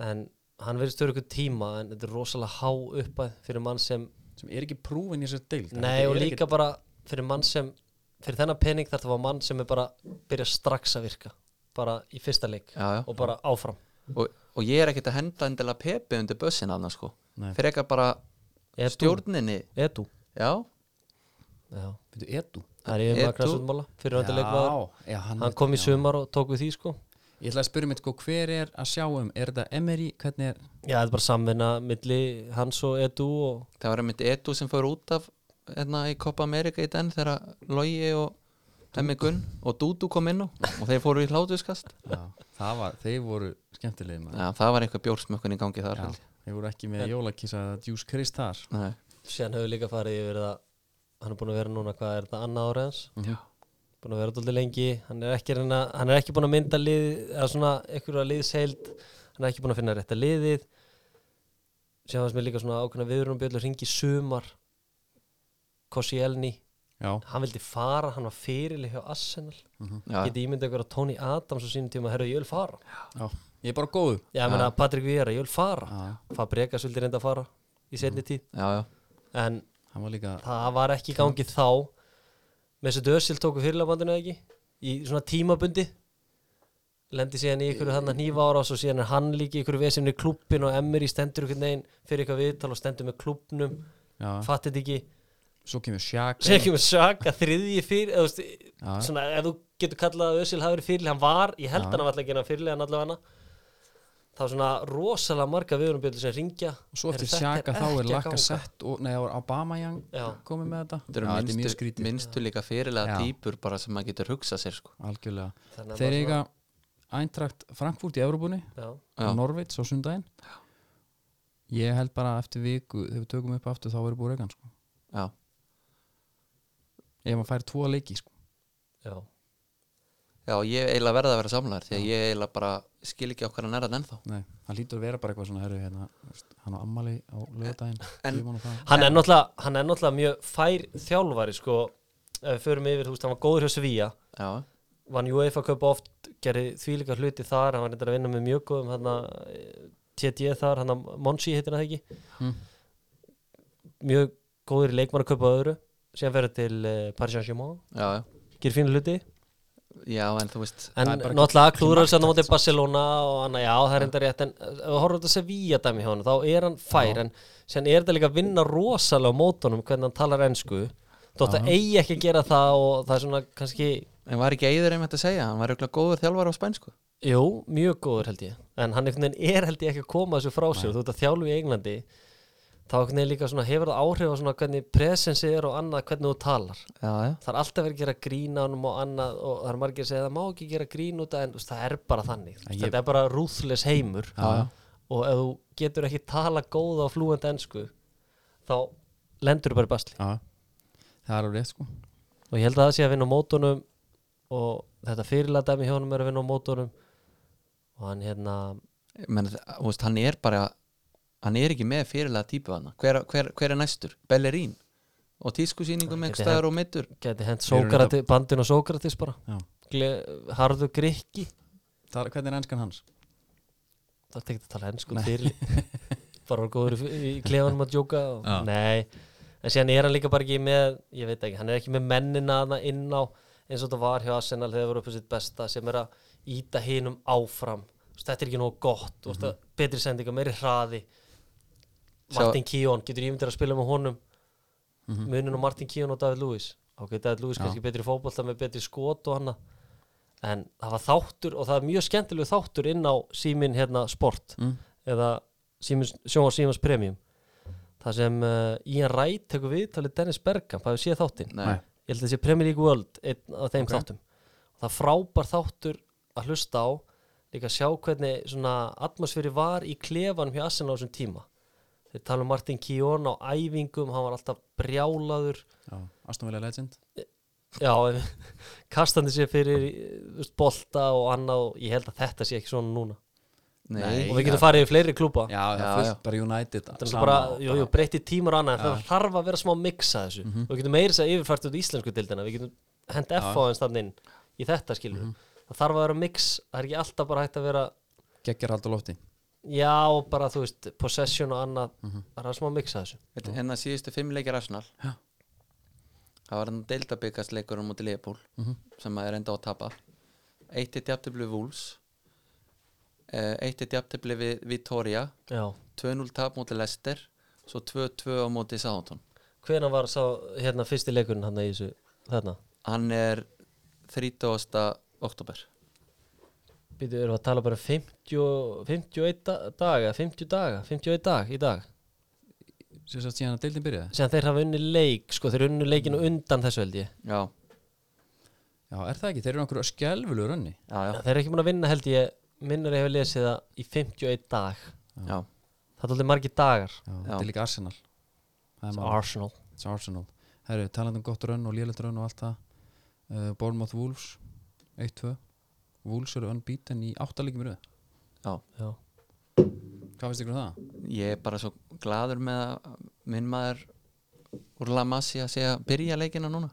B: en hann verið störu ykkur tíma en þetta er rosalega há uppæð fyrir mann sem,
A: sem er ekki prúfin í þessar deild
B: nei og líka bara fyrir mann sem, fyrir þennan pening þarf það var mann sem er bara, byrja strax að virka, bara í fyrsta leik
C: Já, já.
B: og bara áfram
C: og, og ég er ekkert að henda endilega Pepe undir bussin annars sko
A: Nei.
C: fyrir eitthvað bara
B: Edu,
C: stjórninni
B: Edu
C: já,
B: Já
A: Fyrir edu
B: Það er yfir
C: Edu.
B: maður græsutmála fyrir öndi leikmaður
A: já, hann,
B: Hann kom í sumar og tók við því sko
A: Ég ætla að spyrja mig, sko, hver er að sjá um Er þetta Emery, hvernig er
B: Já, þetta er bara samvinna milli hans og Edu og
C: það var einmitt Edu sem fór út af hérna í Copa America í den þegar Logi og Hemmi Gunn og Dudu kom inn á og þeir fóru í hlátuskast
A: já, Það var, þeir voru skemmtilegir maður
C: já, það var eitthvað bjórsmökkun í gangi þar
A: Já, þeir voru ekki með jólakísa Djús Krist þar
C: Nei,
B: síðan hefur líka farið yfir það Hann er búin að vera núna, hvað er þetta, annað ára hans
A: Mhm.
C: já.
B: Búin að vera dóldi lengi Hann er ekki, að reyna, hann er ekki búin að mynda lið eða svona einhverja liðsheild Hann er ekki búin að finna rétta liðið Síðan fannst mér líka svona ákveðna viðurumbjöldu Ringi sumar Kossi Elni
A: Já,
B: Hann vildi fara, hann var fyrirlið hjá Arsenal
A: Hm.
C: Já.
B: Geti ímyndið ykkur að Tony Adams á sínum tíma, herru, ég vil fara
A: já, ég er bara góð
B: Já, ég meina, Patrik Vieira, ég vil fara
A: Já,
B: Fabregas vildi reynda að fara í
A: Mm.
B: setni tíð
C: já, já,
B: en
A: hann var líka
B: það var ekki í gangi þá með þessu dösil tóku fyrirlabandinu ekki í svona tímabundi lendi síðan í ykkur hann að nýfa ára og síðan er hann líka í ykkur vesimni klubbin og Emery stendur ykkur neginn fyrir ykkur viðtal og stendur með klubbnum
A: já,
B: fattir þetta ekki,
A: Svo kemur Shaq
B: segja ekki með saka þriðji fyrir, eða þú veist
A: Já.
B: svona, ef þú getur kallað að Ösil hafi verið fyrirlið, hann var, ég held
A: Já.
B: hann var alltaf ekki hann fyrirlið hann allavega hana þá svona rosalega marga viðurumbjöldur sem ringja
A: Og Svo eftir
B: Heyrðu, þetta
A: Shaka þá er
B: ekki að
A: Laka
B: ganga.
A: sett og, Nei, það var Aubameyang
B: Já.
A: komið með þetta
C: þetta eru
A: Já, er mjög
C: minnstu,
A: skrítið
C: minnstu líka fyrirlega
A: Já.
C: týpur bara sem maður getur hugsað sér sko
A: Algjörlega
B: Þannig að
A: Þeir
B: maður
A: eiga Eintrakt Frankfurt í Evrópunni
B: Já.
C: Já.
A: og Norvits á sundaginn Ég held bara eftir viku þegar við tökum upp aftur þá verður búið reygan sko.
C: já,
A: ef maður fær tvo leiki sko.
B: Já,
C: Já, ég eiginlega verða að vera samlæður því að ég eiginlega bara skil ekki okkar að næra hann ennþá
A: Nei, hann lítur að vera bara eitthvað svona herru, hérna, þú veist, hann á ammali á lögadaginn
C: En-
A: ég man að það.
B: hann er náttúrulega, hann er náttúrulega mjög fær þjálfari sko, ef við förum yfir, þú veist, hann var góður hjá Svíja
C: Já,
B: vann UEFA Cup oft, gerði þvílíka hluti þar, hann var reyndar að vinna með mjög góðum hann TD þar, hann Monsi heitir það ekki
A: Mm.
B: mjög góður í leikmannaköp og öðru síðan ferði til uh, Paris Saint-Germain
C: já, já,
B: gerir fínu hluti,
C: já, en þú veist
B: en
A: Það er bara sko.
B: náttúrulega klúður þess að náttúrulega Barcelona og hann, já, það er reyndar rétt en eh, ef við horfum þetta Sevilla dæmi hjá hann þá er hann fær, en síðan er þetta líka að vinna rosalega á mótunum hvernig hann talar ensku þótt að eigi ekki að gera það og það er svona kannski,
C: En var ekki Eiður einmitt að segja, hann var auðvitað góður þjálfar á spænsku
B: jú, mjög góður held ég en hann einhvern veginn er held ég ekki að koma þessu frá sér þú ert að þjálfu í Englandi þá einhvern veginn líka svona hefur það áhrif á svona hvernig presensi er og annað hvernig þú talar
C: Já, já,
B: það er alltaf verið að gera grín á honum og annað og það er margir að segja það má ekki gera grín út af en þú veist, það er bara þannig ég...
A: ég-
B: þetta er bara rúðles heimur
A: Já,
B: og ef þú getur ekki tala góða og flúandi ensku þá lendur þú bara í basli
A: já, það er alveg rétt sko
B: og ég held að það sé að vinna á mótunum og þetta fyrirlæðdæmi hjá honum er að vinna á mótunum og hann hérna
C: menn, þú veist, hann er bara hann er ekki með fyrirlega típu hann hver, hver, hver er næstur? Bellerín og tískusýningum
B: Hann
C: einhver
B: geti
C: staðar og meittur
B: geti hent
A: Þeir eru
B: Sókratis, bandin og Sókratis bara
A: Já.
B: Gle, harðu grikki
A: það, er- Hvernig er enskan hans?
B: það er ekki að tala ennsku fyrir bara var góður í- í klefanum að djóka og,
A: Já.
B: nei, en síðan er hann líka bara ekki með ég veit ekki, hann er ekki með mennina hana inn á eins og þetta var hjá Arsenal þegar það voru upp á sitt besta sem er að íta hinum áfram Þú veist, þetta er ekki nógu gott mm -hmm. betri sendinga, meiri hraði
C: Sjá-
B: Martin Kíón, getur ímyndir að spila með honum mm
A: Mhm.
B: munin á Martin Kíón og David Lewis ok, David Lewis kannski betri fótbolta með betri skot og hana en það var þáttur og það er mjög skemmtilegu þáttur inn á símin hérna sport
A: Mm.
B: eða símins, sjónvars símins premium það sem uh, Ian Wright tekur við talið Dennis Bergkamp, hafið séð þáttinn
C: Nei,
B: ég held að sé Premier League World einn af þeim þáttum það er frábær þáttur að hlusta á líka sjá hvernig svona atmosfæri var í klefanum hjá Arsenal á þessum tíma þeir tala um Martin Kijón á æfingum hann var alltaf brjálaður
A: Já, Astonvillega legend
B: já, kastandi sér fyrir eh, þú veist, bolta og annað og ég held að þetta sé ekki svona núna
C: nei,
A: Nei.
B: og við getum farið í fleiri klúpa
A: Já, það
C: Já,
A: er fullt
C: já.
A: bara United
B: Þetta er
A: sama
B: náttúrulega bara, Mhm.
A: og
B: jú, jú, breytti tímar og annað en það þarf að vera smá mix að þessu og við getum meira þess að yfirfært út í íslensku dildina við getum hent F á hans þannig inn í þetta skilur það þarf að vera mix, það er ekki alltaf bara hægt að vera
A: Geggjar hald á lofti
B: já, bara þú veist, possession og annað það er smá mix að þessu
C: Þetta- en það síðustu fimm leikir Arsenal
A: Já.
C: það var hann deildabikast leikurinn mútið Leopold sem maður enda á að tapa eitt eitt jafntefli við Wolves eh, eitt eitt jafntefli við Vitoria
B: já.
C: 2-0 tap mútið Leicester svo 2-2 á mútið Sáhantón
B: hvenær var sá, hérna, fyrsti leikurinn hann í þessu, þarna
C: hann er 30. oktober
B: býtu, erum við að tala bara um 50, og- 51 da- daga 50 daga, 51 dag í dag
A: Sér satt síðan að deildin byrjaði
B: sem þeir hafa unni leik, sko, þeir unni leikinu undan þessu held ég
C: já,
A: Já, er það ekki? Þeir eru okkur skelvulu rönni
C: já, já,
B: Þeir eru ekki búin að vinna held ég minnur ég hefur lesið það í 51 dag
C: já.
B: Það er alveg margir dagar
A: Já, þetta er líka Arsenal Það er
B: It's
A: málið.
B: Arsenal
A: It's Arsenal Herru, talandi um gott rönn og lélegt rönn og allt það uh, Bournemouth Wolves 1-2 Wolves eru unbeaten í áttalegjum röð
B: Já.
A: Hvað finnst ykkur um það?
C: ég er bara svo gladur með að minn maður úr La Masia sé að byrja leikina núna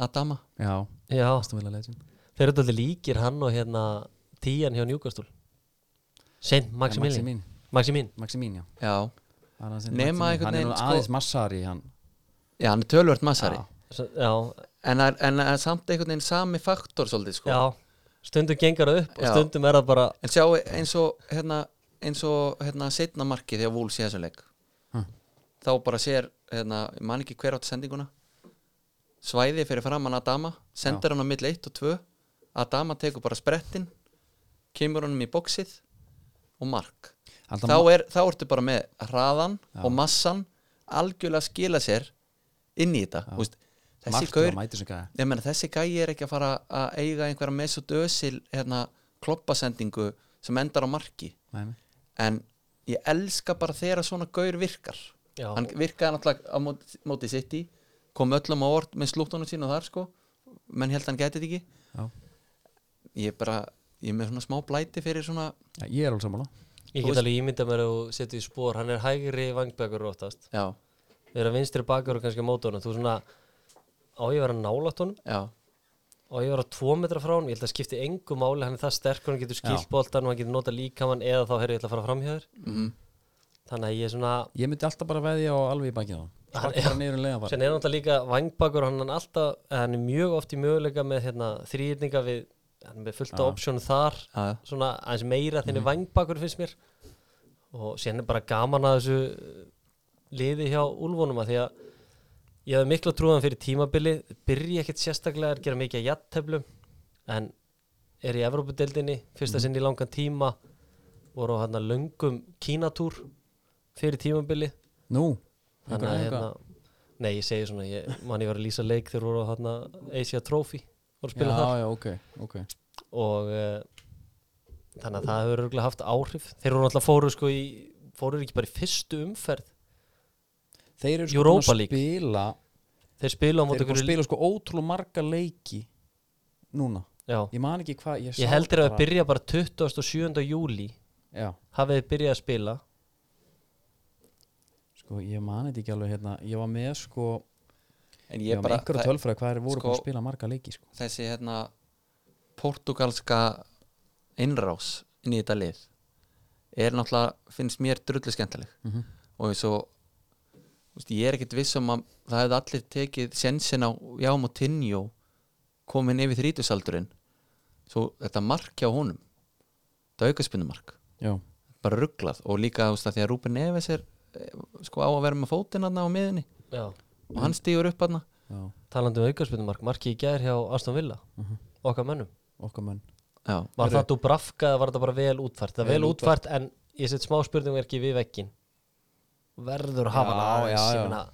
C: Adama
A: Já,
B: Já,
A: Aston Villa legend
B: þeir eru alveg líkir hann og hérna tíjan hjá Newcastle Saint Maximilian
A: Maximin,
B: Maximin
A: Maximin já
C: já,
A: Það er hans
C: Nema
A: Maximin.
C: einhvern
A: Hann er
C: veginn,
A: nú
C: sko-
A: aðeins massari hann
C: já hann er tölvört massari
A: Já.
B: S- Já,
C: en, það er- en það er samt einhvern veginn sami faktor svolítið sko
B: já Stundum gengur það upp og
C: Já.
B: stundum er það bara
C: en sjá eins og hérna, eins og hérna setna markið þegar Wolves í þessum leik
A: Hm.
C: þá bara sér hérna, ég man ekki hver átt sendinguna svæði fyrir framann Adama sendir hann á milli 1 og 2 Adama tekur bara sprettin kemur honum í boxið og mark
A: Alltaf
C: þá, er, þá ertu bara með hraðan og massan algjörlega skila sér inn í þetta Úst, þessi
A: margt að
C: gaur
A: mæti sem gæða
C: ég meina þessi gæi er ekki að fara að eiga einhverja mesodösil hérna, kloppasendingu sem endar á marki
A: Nei, nei.
C: en ég elska bara þegar svona gaur virkar
B: Já.
C: hann virkaði náttúrulega á móti, móti sitt í kom öllum á orð með slúttunum sína þar sko menn held að hann gæti þetta ekki
A: Já.
C: ég er bara, ég er með svona smá blæti fyrir svona,
A: Já, ég er alveg sammála
B: Ég get
C: Þú veist-
B: alveg ímyndað mér að þú setja í spór Hann er hægri vangbækur róttast
C: já,
B: Við erum vinstri bakur og kannski á móti honum Þú svona, á ég að vera nálægt honum
C: já
B: Á ég að vera tvo metra frá honum Ég held að skipti engu máli, hann er það sterkur Hann getur skilt boltan og hann getur nota líkamann Eða þá herri ég ætla að fara fram hjá þér
C: mm,
B: Þannig að ég er svona,
A: Ég myndi alltaf bara veðja á alveg í bakið á hann Sparka bara niður um leiðan bara
B: sem er náttúrulega líka vangbakur Hann er alltaf, eða hann er mjög oft í möguleika Með hérna, þrýrninga við Hann er með fullt á option þar
C: já, já,
B: svona aðeins meira þenni mm. vangbakur finnst mér og síðan er bara gaman að þessu uh, liði hjá Úlfónum að því að ég hafði mikla trúðan fyrir tímabili byrja ekkert sérstaklega að gera mikið að jatnteflum en er í Evrópudeldinni fyrsta sinn í langan tíma voru hann að löngum Kínatúr fyrir tímabili
A: Nú, einhver
B: þannig að
A: æfinga
B: hérna nei ég segi svona, ég, man ég var að lýsa leik þegar voru hann að Asia Trophy voru að spila þar
A: Já, já, ok, ok
B: og uh, þannig að það hefur örgulega haft áhrif þeir eru náttúrulega fóru sko í fóru ekki bara í fyrstu umferð
A: Þeir eru sko
B: Europa
A: búin að
B: League.
A: spila
B: þeir spila á
A: Þeir
B: móti
A: eru búin að
B: einhverju-
A: spila sko ótrúlega marga leiki Núna
B: já,
A: Ég man ekki hvað Ég, sá
B: ég held þeir að
A: bara-
B: byrja bara 27. júli
A: Já,
B: hafið þeir byrjað að spila
A: sko, ég man þetta ekki alveg hérna Ég var með sko
C: en
A: Ég
C: ég
A: var með
C: bara,
A: einhverja tölfræði hvað þeir voru
C: sko-
A: búin að spila marga leiki sko
C: þessi hérna portugalska innrás inn í þetta lið er náttúrulega, finnst mér drullu skemmtileg
A: Mhm.
C: og eins og þú veist, ég er ekkert viss um að það hefði allir tekið sensin á Jám og Tinjó komin yfir þrítusaldurinn svo þetta mark hjá honum þetta aukaspunumark
A: Já,
C: bara rugglað og líka þú veist, að því að Rúben Neves er eh, sko á að vera með fótinn hann á miðinni
B: já.
C: og
A: Mm.
C: hann stígur upp hann
A: já,
B: talandi um aukarspilnumark, markið í gær hjá Aston Villa okkar mönnum
A: okkar mönnn
C: já,
B: var
A: Mhm. Heyrðu.
B: það Dubravka eða var það bara vel útfært það er
A: Vel
B: vel útfært en ég set smá spurningum ekki við vekkin verður að hafa
A: Já,
B: hana aðeins,
A: já,
B: ég
A: já.
B: meina.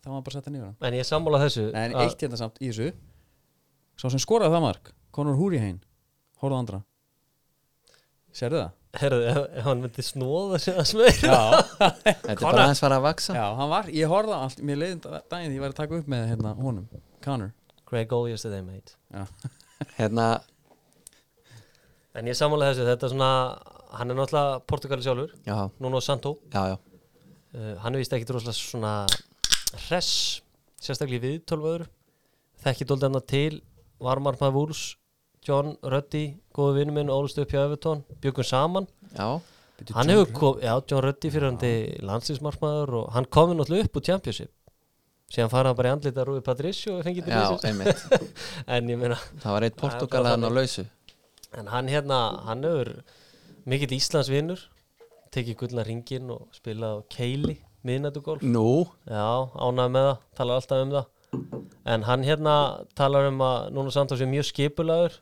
A: Það var bara að setja nýra
B: en ég er sammála þessu
A: Nei, en
B: að-
A: eitt hérna samt í þessu Sá sem skoraði það mark Conor Húrihein Hóruð andra Sérðu það?
B: Herðu, ef ef hann myndi snóða sig að smegja
A: Já,
C: þetta er bara aðeins fara að vaksa
A: já, hann var, ég horfði á allt Mér leiðin daginn því ég var að taka upp með hérna honum Conor
B: Greg Goal yesterday mate
A: Já,
C: hérna,
B: En ég samanlega þessu, þetta er svona hann er náttúrulega Portugali sjálfur
C: já,
B: Nuno Santo,
C: já, já
B: uh, hann er vist ekki droslega svona hress sérstaklega við tölvöður þekki dóldi hann til, varmarmað vúls John Ruddy, góðu vinnu minn ólst upp hjá Evertón, byggum saman
C: Já,
A: Bíddu,
B: hann
A: John
B: hefur kom, já, John Ruddy fyrir hann til landslísmarkmaður og hann komi náttúrulega upp úr Championship síðan fara hann bara í andlita Rúi Patricio og fengið til
C: já,
B: þessu
C: einmitt
B: en ég meina
C: Það var eitt
B: Það er
C: portugalaðan á lausu
B: En hann hérna, hann hefur mikill Íslandsvinnur, tekið gullna ringin og spilað á keili, miðnættugolf.
C: Nú,
B: Já, ánægð með það, talar alltaf um það. En hann hérna talar um að núna samtáls er mjög skipulagur,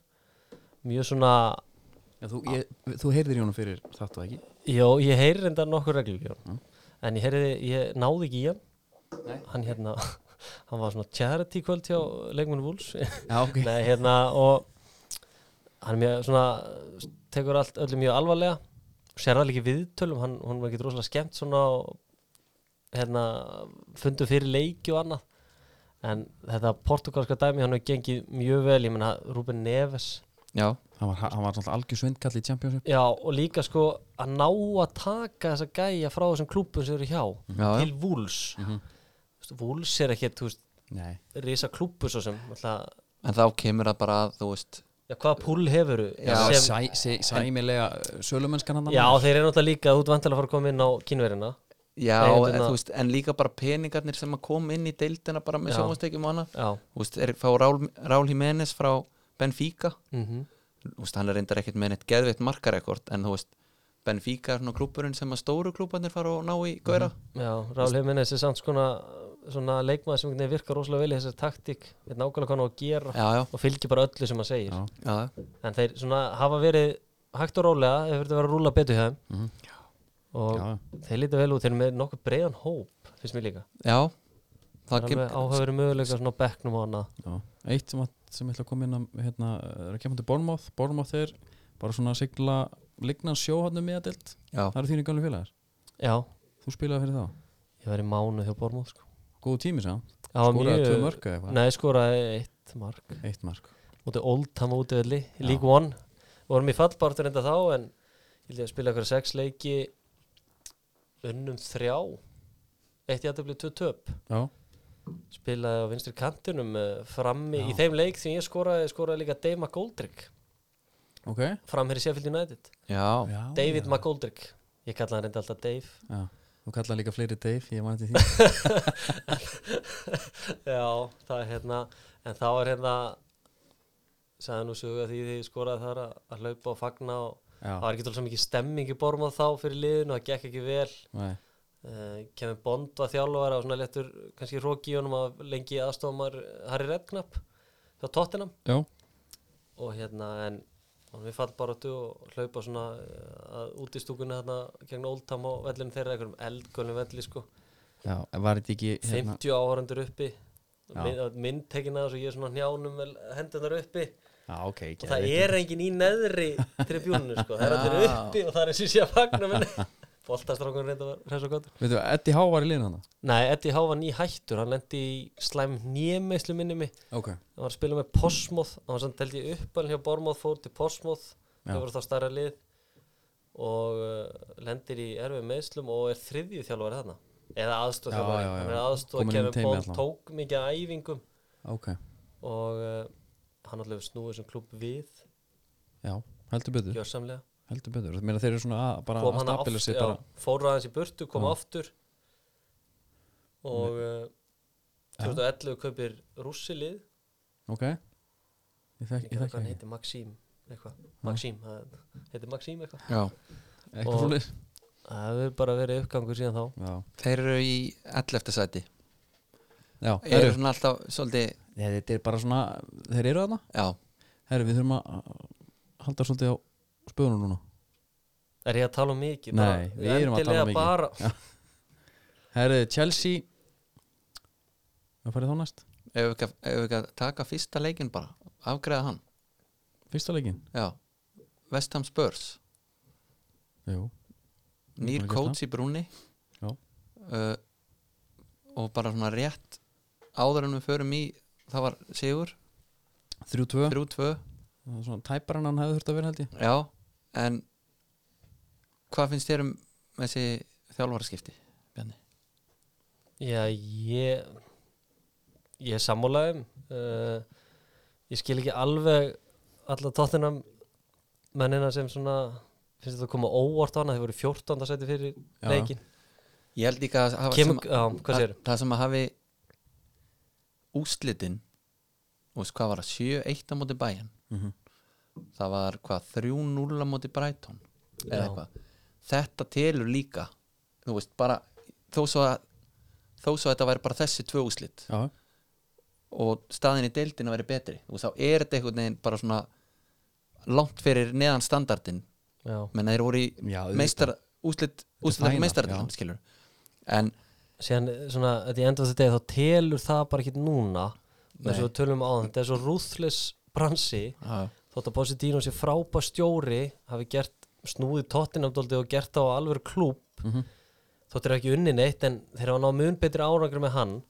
B: mjög svona,
A: Já, þú, ég, þú heyrðir í honum fyrir þetta ekki?
B: já, ég heyri reyndar nokkur reglur, já. En ég heyri, ég náði ekki í hann. Nei. Hann hérna, hann var svona charity kvöld hjá leikmennu Vúls.
A: Já, ok
B: Nei, hérna, og hann er mjög svona, tekur allt öllu mjög alvarlega sér það líka í viðtölum, hann, hann var ekki rosalega skemmt svona og, hérna, fundu fyrir leiki og annað en þetta portugalska dæmi hann hefur gengið mjög vel, ég menna Ruben Neves
C: já,
A: Hann var, hann var alltaf algjör svindkall í Championship
B: já, og líka sko að ná að taka þessa gæja frá þessum klúbum sem eru hjá
C: já, Mhm. já.
B: til Vúls Vúls er ekki, þú veist,
A: Nei
B: risa klúbu svo sem alltaf,
C: En þá kemur það bara að, þú veist
B: já, hvaða púl hefuru
C: Já,
A: Já, sæ, sæ, sæmilega uh, sölumennskan hann
B: Já, þeir eru náttúrulega líka þú út vantilega að fara að koma inn á kínverina
C: Já,
B: Nei,
C: en,
B: hérna-
C: þú veist, en líka bara peningarnir sem að koma inn í deildina bara með
B: Já.
C: sjónvastekjum og annað
B: Já,
C: Þú veist, er, fá Rál, Rál Jiménez frá Benfica
B: mm
A: Mhm.
C: Þú veist, hann er reyndar ekkert með neitt geðveitt markarekord En þú veist, Benfica er svona klúburinn sem að stóru klúbarnir fara og ná í gauðra
B: já Rál Heiminn er samt skona svona leikmaður sem einhvern veginn virkar rosalega vel í þessari taktík veit nákvæmlega hvað hann á að gera
C: Já, já,
B: og fylgir bara öllu sem hann segir
A: Já.
C: já, já,
B: en þeir svona hafa verið hægt og rólega hefur verið að vera að rúla betur hjá þeim
A: Mhm.
B: og
A: Já,
B: þeir lítið vel út þeir eru með nokkuð breiðan hóp finnst mér líka
C: já.
B: það
C: Það
B: er alveg
C: kemur,
B: áhafður möguleika svona á bekknum og annað
A: já. Eitt sem, að, sem ætla að koma inn að hérna, er að kemur til Bornmoth Bornmoth er bara svona að sigla lignan sjóhannum miðadild
C: já,
A: Það eru þínu gamlu félagar
B: Já,
A: Þú spilaði fyrir þá
B: ég var í mánu hjá Bormóð sko.
A: Góðu tími sá
B: Já,
A: Skoraði
B: mjög-
A: tvö mörk eða eitthvað
B: Nei, skoraði eitt eitt mark
A: eitt mark
B: mútið Oldham útöðli,
A: Já.
B: League One við vorum í fallbartur enda þá en ég held ég að spila ykkur sex leiki unnum þrjá eitt í aðtöfli tvö töp
A: já,
B: spilaði á vinstri kantinum eh, frammi
A: Já.
B: í þeim leik sem ég skoraði, skoraði líka Dave McGoldrick
A: ok
B: framherri Sheffield United,
C: Já,
A: já,
B: David
A: já.
B: McGoldrick ég kallaði hann enda alltaf Dave
A: já. þú kallar líka fleiri Dave, ég man eftir því
B: Já, það er hérna en þá er hérna sagði nú sögu að því því skoraði þar að, að hlaupa og fagna og það
A: já,
B: var ekki alveg mikið stemming í borma þá fyrir liðinu, það gekk ekki vel
A: nei,
B: uh, Kevin Bond var þjálfara og svona léttur kannski róki í honum að lengi aðstofamar Harry Redknapp hjá Tottenham
A: já,
B: og hérna en honum við fallbaratu og hlaupa svona uh, út í stúkunni hérna gegn Oldham og vellinu þeirra einhverjum eldgölnum velli sko
A: já, var þetta ekki hérna,
B: 50 áhörandur uppi
A: Já.
B: mynd, myndtekin að þessu, ég er svona á njánum vel hendunar uppi
A: já, ok,
B: og
A: ekki
B: það er engin í neðri tribjúninu sko, það er allir
C: Já.
B: uppi og það er eins og sé að fagna minni Boltastrákun reynda var hress og gott
A: veitu, Eddie Há var í liðinu hann
B: Nei, Eddie Há var ný hættur, hann lendi í slæm nýjameislu minni mig
A: ok,
B: hann var að spila með Posmóð hann var samt held ég uppalinn hjá Bormóð fór til Posmóð
A: Já.
B: þau voru þá starra lið og uh, lendir í erfið meðslum og er þriðju þjálfari þarna eða aðstóð
A: Já,
B: þjálfari
A: já, já.
B: hann er aðstóð
A: Kominn inn í
B: Kevin
A: teimið
B: Bond
A: allavega.
B: tók mikið af æfingum
A: ok,
B: og uh, hann allavega snúið þessum klubb við
A: já, heldur betur
B: gjörsamlega
A: heldur betur, Meina, þeir eru svona að, bara
B: kom
A: að
B: hann aftur,
A: stabila sig
B: já,
A: bara
B: fór aðeins í burtu, kom
A: Já.
B: aftur og uh,
A: Já.
B: 2011 kaupir rússilið
A: ok ég þekki ég
B: ekki það
A: þekki
B: hvað hann
A: ekki,
B: heitir Maxím eitthvað, Maxím það heitir Maxím eitthvað
C: já
A: eitthvað
B: Og-
A: fólks
B: Það hefur bara verið uppgangur síðan þá
A: já,
C: Þeir eru í 11. sæti
A: já,
C: Þeir eru
A: herru,
C: svona alltaf svolítið
A: Nei, þetta er bara svona þeir eru þarna,
C: Já,
A: herru, við þurfum að halda svolítið á spöðunum núna
B: Er ég að tala um mikið?
A: Nei,
B: Bara-
A: við erum að
B: endilega
A: tala um mikið.
B: bara,
A: herru, Chelsea hvað farið þá næst?
C: ef við ekki- ef við ekki að taka fyrsta leikinn bara Afgreða hann,
A: Fyrsta leikin?
C: já Vestham Spurs
A: Jú,
C: nýr
A: Búin að
C: coach í brúni
A: Já.
C: uh, og bara svona rétt áður en við förum í það var Sigur,
A: 3-2
C: 3-2
A: Það er Svona tæpar en hann hefði þurft að vera held ég
C: já, en hvað finnst þér um þessi þjálfarskipti, Bjarni?
B: Já, ég Ég er sammálaðum uh, Ég skil ekki alveg alla tóttinam mennina sem svona finnst þetta að koma óvart á hana, þeir voru 14. seti fyrir
A: Já,
B: leikin
C: Ég held líka að hafa
B: Kemur,
C: sem,
B: já, hvað
C: að,
B: sér?
C: það sem að hafi úslitin og veist hvað var það, 7-1 á móti bæjan
A: Mhm.
C: það var hvað 3-0 á móti Brighton eða
B: Já.
C: eitthvað þetta telur líka þú veist bara þó svo að þó svo að þetta væri bara þessi tvö úslit
A: Já,
C: og staðin í deildin að veri betri þú veist þá er þetta einhvern veginn bara svona langt fyrir neðan standardin
B: Já,
C: menn þeir voru í
A: Já, auðvitað.
C: meistar úslit
A: er
C: úslit
A: final,
C: meistarðan
A: já.
C: skilur en
B: síðan eh, svona að ég enda þetta degi þá telur það bara ekki núna þess að við tölum á þetta er svo ruthless bransi
C: já,
B: þótt að Positino sé frábær stjóri hafi gert snúið tóttinamdóldi og gert það á alveg klúb
C: Mhm.
B: þótt er ekki unni neitt en þeir hafa náð mun betri árangur með hann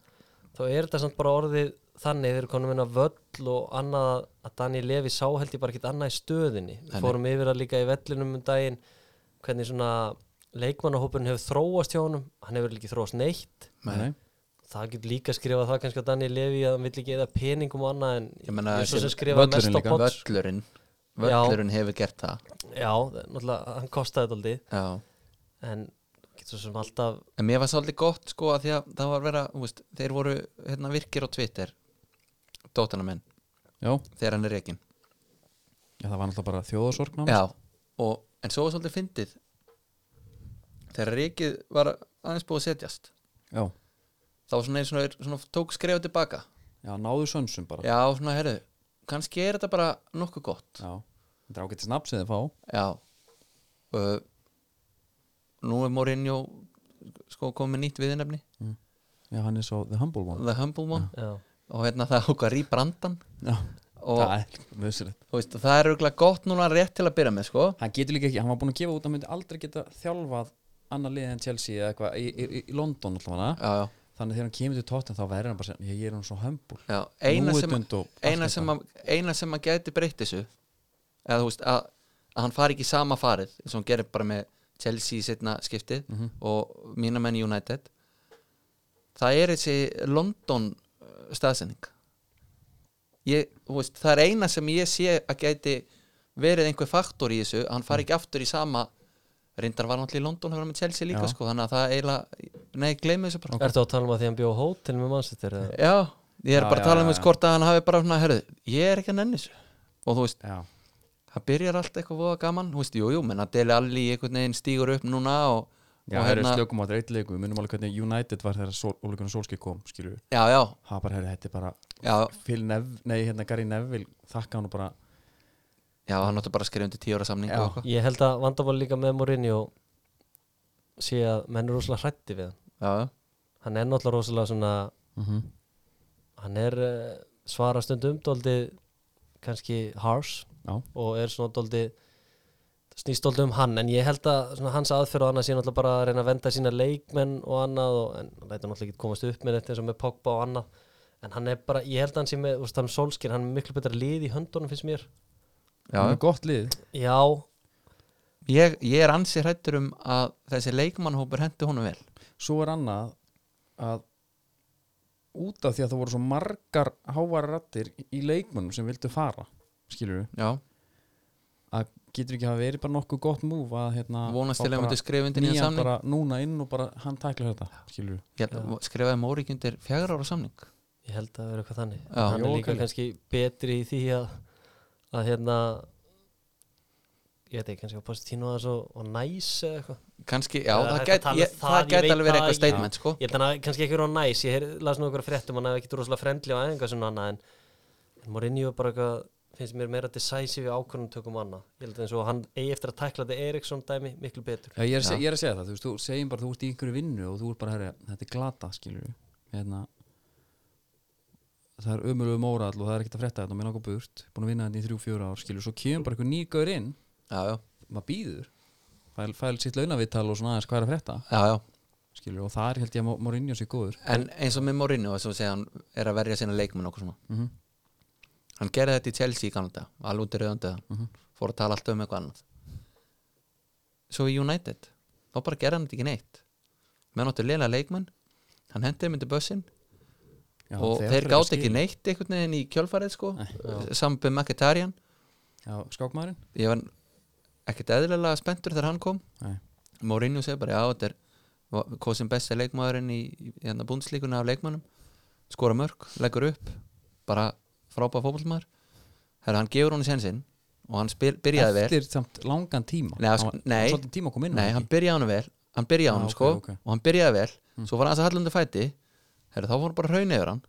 B: þá er þetta samt bara orðið þannig þeir eru konum inn að völl og annað að Dani Levi sá held ég bara ekkert annað í stöðinni
C: Nei, nei.
B: Við fórum yfir að líka í vellinum um daginn hvernig svona leikmannahópurinn hefur þróast hjá honum hann hefur ekki þróast neitt
A: nei, nei.
B: það getur líka skrifað það kannski að Dani Levi að hann vill ekki eða peningum og annað en
C: Ég meina,
B: er svo sem
C: þessi
B: skrifað
A: völlurinn
B: mest á
A: líka,
B: pots
C: völlurinn völlurinn hefur gert það
B: Já, það er náttúrulega, hann kostaði þetta aldrei
C: já
B: en getur svo sem alltaf
C: En mér var svolítið gott sko að því að það var vera, þú veist, þeir voru hérna virkir á Twitter Dóttanamenn,
A: Já.
C: þegar hann er reikin
A: Já, það var náttúrulega bara þjóðasorg nánast.
C: Já, og, en svo var svolítið fyndið Þegar reikið var aðeins búið að setjast
A: Já.
C: þá svona, eins og svona, svona tók skrefa tilbaka
A: Já, náðu sönsum bara
C: Já, svona herðu, kannski er þetta bara nokkuð gott
A: Já. Þetta er ágætt snabb sem þið fá
C: Já uh, Nú er Mourinho sko komið nýtt viðinefni
A: Já, hann er svo The Humble One
C: The Humble One
B: já,
C: og hérna það ákvað rýbrandan
A: Já,
C: og
A: það er nöðsilegt
C: Þú veist, það er auðvitað gott núna rétt til að byrja með sko.
A: Hann getur líka ekki, hann var búin að gefa út að hann myndi aldrei geta þjálfað annar lið en Chelsea eða eitthvað í, í, í London allavega
C: já, já.
A: þannig að þegar hann kemur til tóttin þá verður hann bara sem, ég er hann svo hömbul
C: Já, eina sem,
A: Núvitund og allt
C: eina,
A: þetta.
C: sem að, eina sem að geti breytt þessu eða þú veist að, að hann fari ekki í sama farið eins og hann gerir bara með Chelsea í setna skiptið
A: Mhm.
C: og mína menn í United það er þessi London uh, staðsending ég, þú veist, það er eina sem ég sé að geti verið einhver faktor í þessu að hann
A: Mhm.
C: fari ekki aftur í sama reyndar var hann allir í London hefur hann með Chelsea líka
A: Já.
C: sko, þannig að það eiginlega, nei, gleymið þessu bara
B: Ertu að tala um að því hann bjó á hótel með mannsættir?
C: Já, ég er
A: Já, já,
C: bara að tala um
A: já,
C: þess
A: já.
C: hvort að hann hafi bara svona, herðu, ég er ekki að nenni þessu og þú veist,
A: já,
C: það byrjar allt eitthvað voða gaman, þú veist, jú, jú, menn að deli allir í einhvern veginn stígur upp núna og,
A: já,
C: og hérna-
A: það er slökum á þetta eitleiku við munum alveg hvernig United var þegar sól, ólíkunar sólskið kom skilur við,
C: já, já,
A: það bara herri, þetta er bara
C: já,
A: Phil Nev, nei, hérna Gary Neville þakka hann og bara,
C: já, hann átti bara að skrifa undir tíu ára samning
A: Já.
C: og eitthvað,
B: Ég held að vandamál líka með Mourinho sé að menn er rosalega hrætti við hann
C: já, já,
B: hann er náttúrulega rosalega svona
C: Mhm.
B: hann er uh, svara stundum doldið kannski harsh
A: já,
B: og er svona doldið snýst doldið um hann en ég held að svona, hans aðferð og annað sé náttúrulega bara að reyna að venda sína leikmenn og annað og, en hann lætur náttúrulega ekki komast upp með þetta eins og með Pogba og annað en hann er bara, ég held að hann sé með, þú veist, hann solskir hann er með miklu betra lið í höndunum finnst mér
A: það
C: já.
A: er gott lið
B: já,
C: Ég, ég er ansi hrættur um að þessi leikmannhópur hendi honum vel
A: svo er annað að út af því að það voru svo margar háværa rattir í leikmönnum sem vildu fara skilur við,
C: já,
A: að getur ekki að verið bara nokkuð gott múf að hérna
C: vonast
A: fá
C: til að hann
A: bara
C: myndi skrifa undir nýja
A: nýjan
C: samning
A: bara núna inn og bara hann tækla þetta skilur við,
C: Ég held að- skrifaði Mórik undir fjagur ára samning
B: Ég held að það vera eitthvað þannig
C: Já.
B: Hann er
A: Jó,
B: líka
A: Kalli.
B: kannski betri í því að að hérna ég veit ekki kannski að posti tínu að það svo og næs eða eitthvað
C: kannski, já,
B: Það er
C: það
B: hægt að
C: gæti
B: tala um
C: ég-
B: það,
C: það
B: ég
C: gæti
B: veit
C: alveg verið
B: það
C: eitthvað
B: ekki.
C: statement sko
B: Ég held að hann kannski ekki verið á næs ég heyr- las nú okkur fréttum hann hefði ekki rosalega frendli á æfinga sem annað en, en Mourinho er bara eitthvað finnst mér meira decisive ákvörnum tökum annað ég held að eins og hann eigi eftir að tækla þetta Eriksson dæmi miklu betur
A: Já, ég, er að seg, ég er að segja það, þú veist, þú segjum bara þú ert í einhverju vinnu og þú ert bara, herri, þetta er glata skilur við, hérna það er ömulegu mórall og það er ekkert að frétta þetta og mér langar burt, búin að vinna þetta í þrjú, fjóra ár skilur, við, svo kemur bara einhver nýgaur inn
C: já, já,
A: maður býður fæl, fæl sitt launavittal og svona aðeins hvað er að frétta
C: já, já
A: skilur, og þar held ég að Mourinho sé góður
C: En eins og með Mourinho þess að segja hann er að verja sína leikmenn og okkur svona
A: Mhm.
C: Hann gerði þetta í Chelsea í Kanada alveg út í rauðanda mm fór að tala alltaf um eitthvað annað Svo í United þá bara gerði hann þetta ekki neitt menn áttu leila leikmenn hann hendiði myndi bussinn
A: Já,
C: og þeir gátt ekki neitt einhvern veginn í kjölfarið sko sambið Mkhitaryan
A: skákmaðurinn
C: ég var ekkert eðlilega spenntur þegar hann kom
A: Nei.
C: Mourinho segir bara, já, þetta er va- kosin besti leikmaðurinn í, í hérna búndslíkuna af leikmannum skora mörg, leggur upp bara frábæð fótbollmaður Herra, hann gefur honum sensinn og hann spyr, byrjaði vel
A: eftir samt langan tíma
C: Nei,
A: Hann
C: sko-
A: var-
C: nei.
A: svolítið tíma kom inn
C: Nei, hann byrjaði honum vel, hann byrjaði
A: Já,
C: honum
A: Ah, ok,
C: sko
A: ok. Hm.
C: og hann byrjaði vel, svo var hann að hallundu fæti Herra, þá var hann bara hraun yfir hann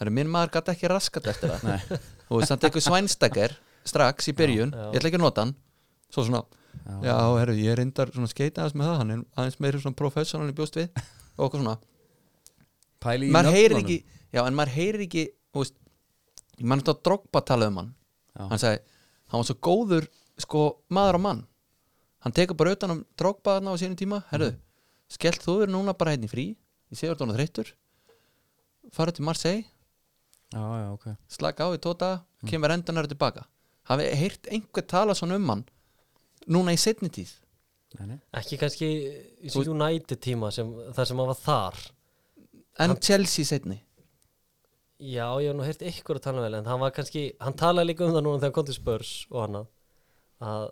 C: Herra, minn maður gæti ekki raskat eftir það og þess að hann tekur svænstakar strax í byrjun,
B: Já, já.
C: ég ætla ekki að nota hann svo svona,
A: Já.
C: já, herru, ég reyndar svona skeita aðeins með það, hann er aðeins meiri svona professional í bjóst við og okkur svona
A: pæli í
C: maður heyrir
A: nöfnunum.
C: ekki, já, en maður heyrir ekki þú veist, ég mann þetta að drogba tala um hann
A: Já.
C: hann sagði, hann var svo góður sko, maður á mann hann tekur bara utan um drogba þarna á sínum tíma herru,
A: Mhm.
C: skellt þú verið núna bara hérna í frí ég sé að þú er þreyttur farið til Marseille
A: já, já, ok
C: slaka á í tóta
A: Mhm.
C: kemur endanar tilbaka hafi heyrt einhver tala svona um hann núna í setni tíð
A: nei, nei.
B: ekki kannski í
C: Þú-
B: þessu United tíma sem, þar sem hann var þar
C: en Chelsea setni
B: Já, ég hef nú heyrt ykkur að tala vel en hann var kannski, hann talaði líka um það núna þegar hann kom til spörs og annað að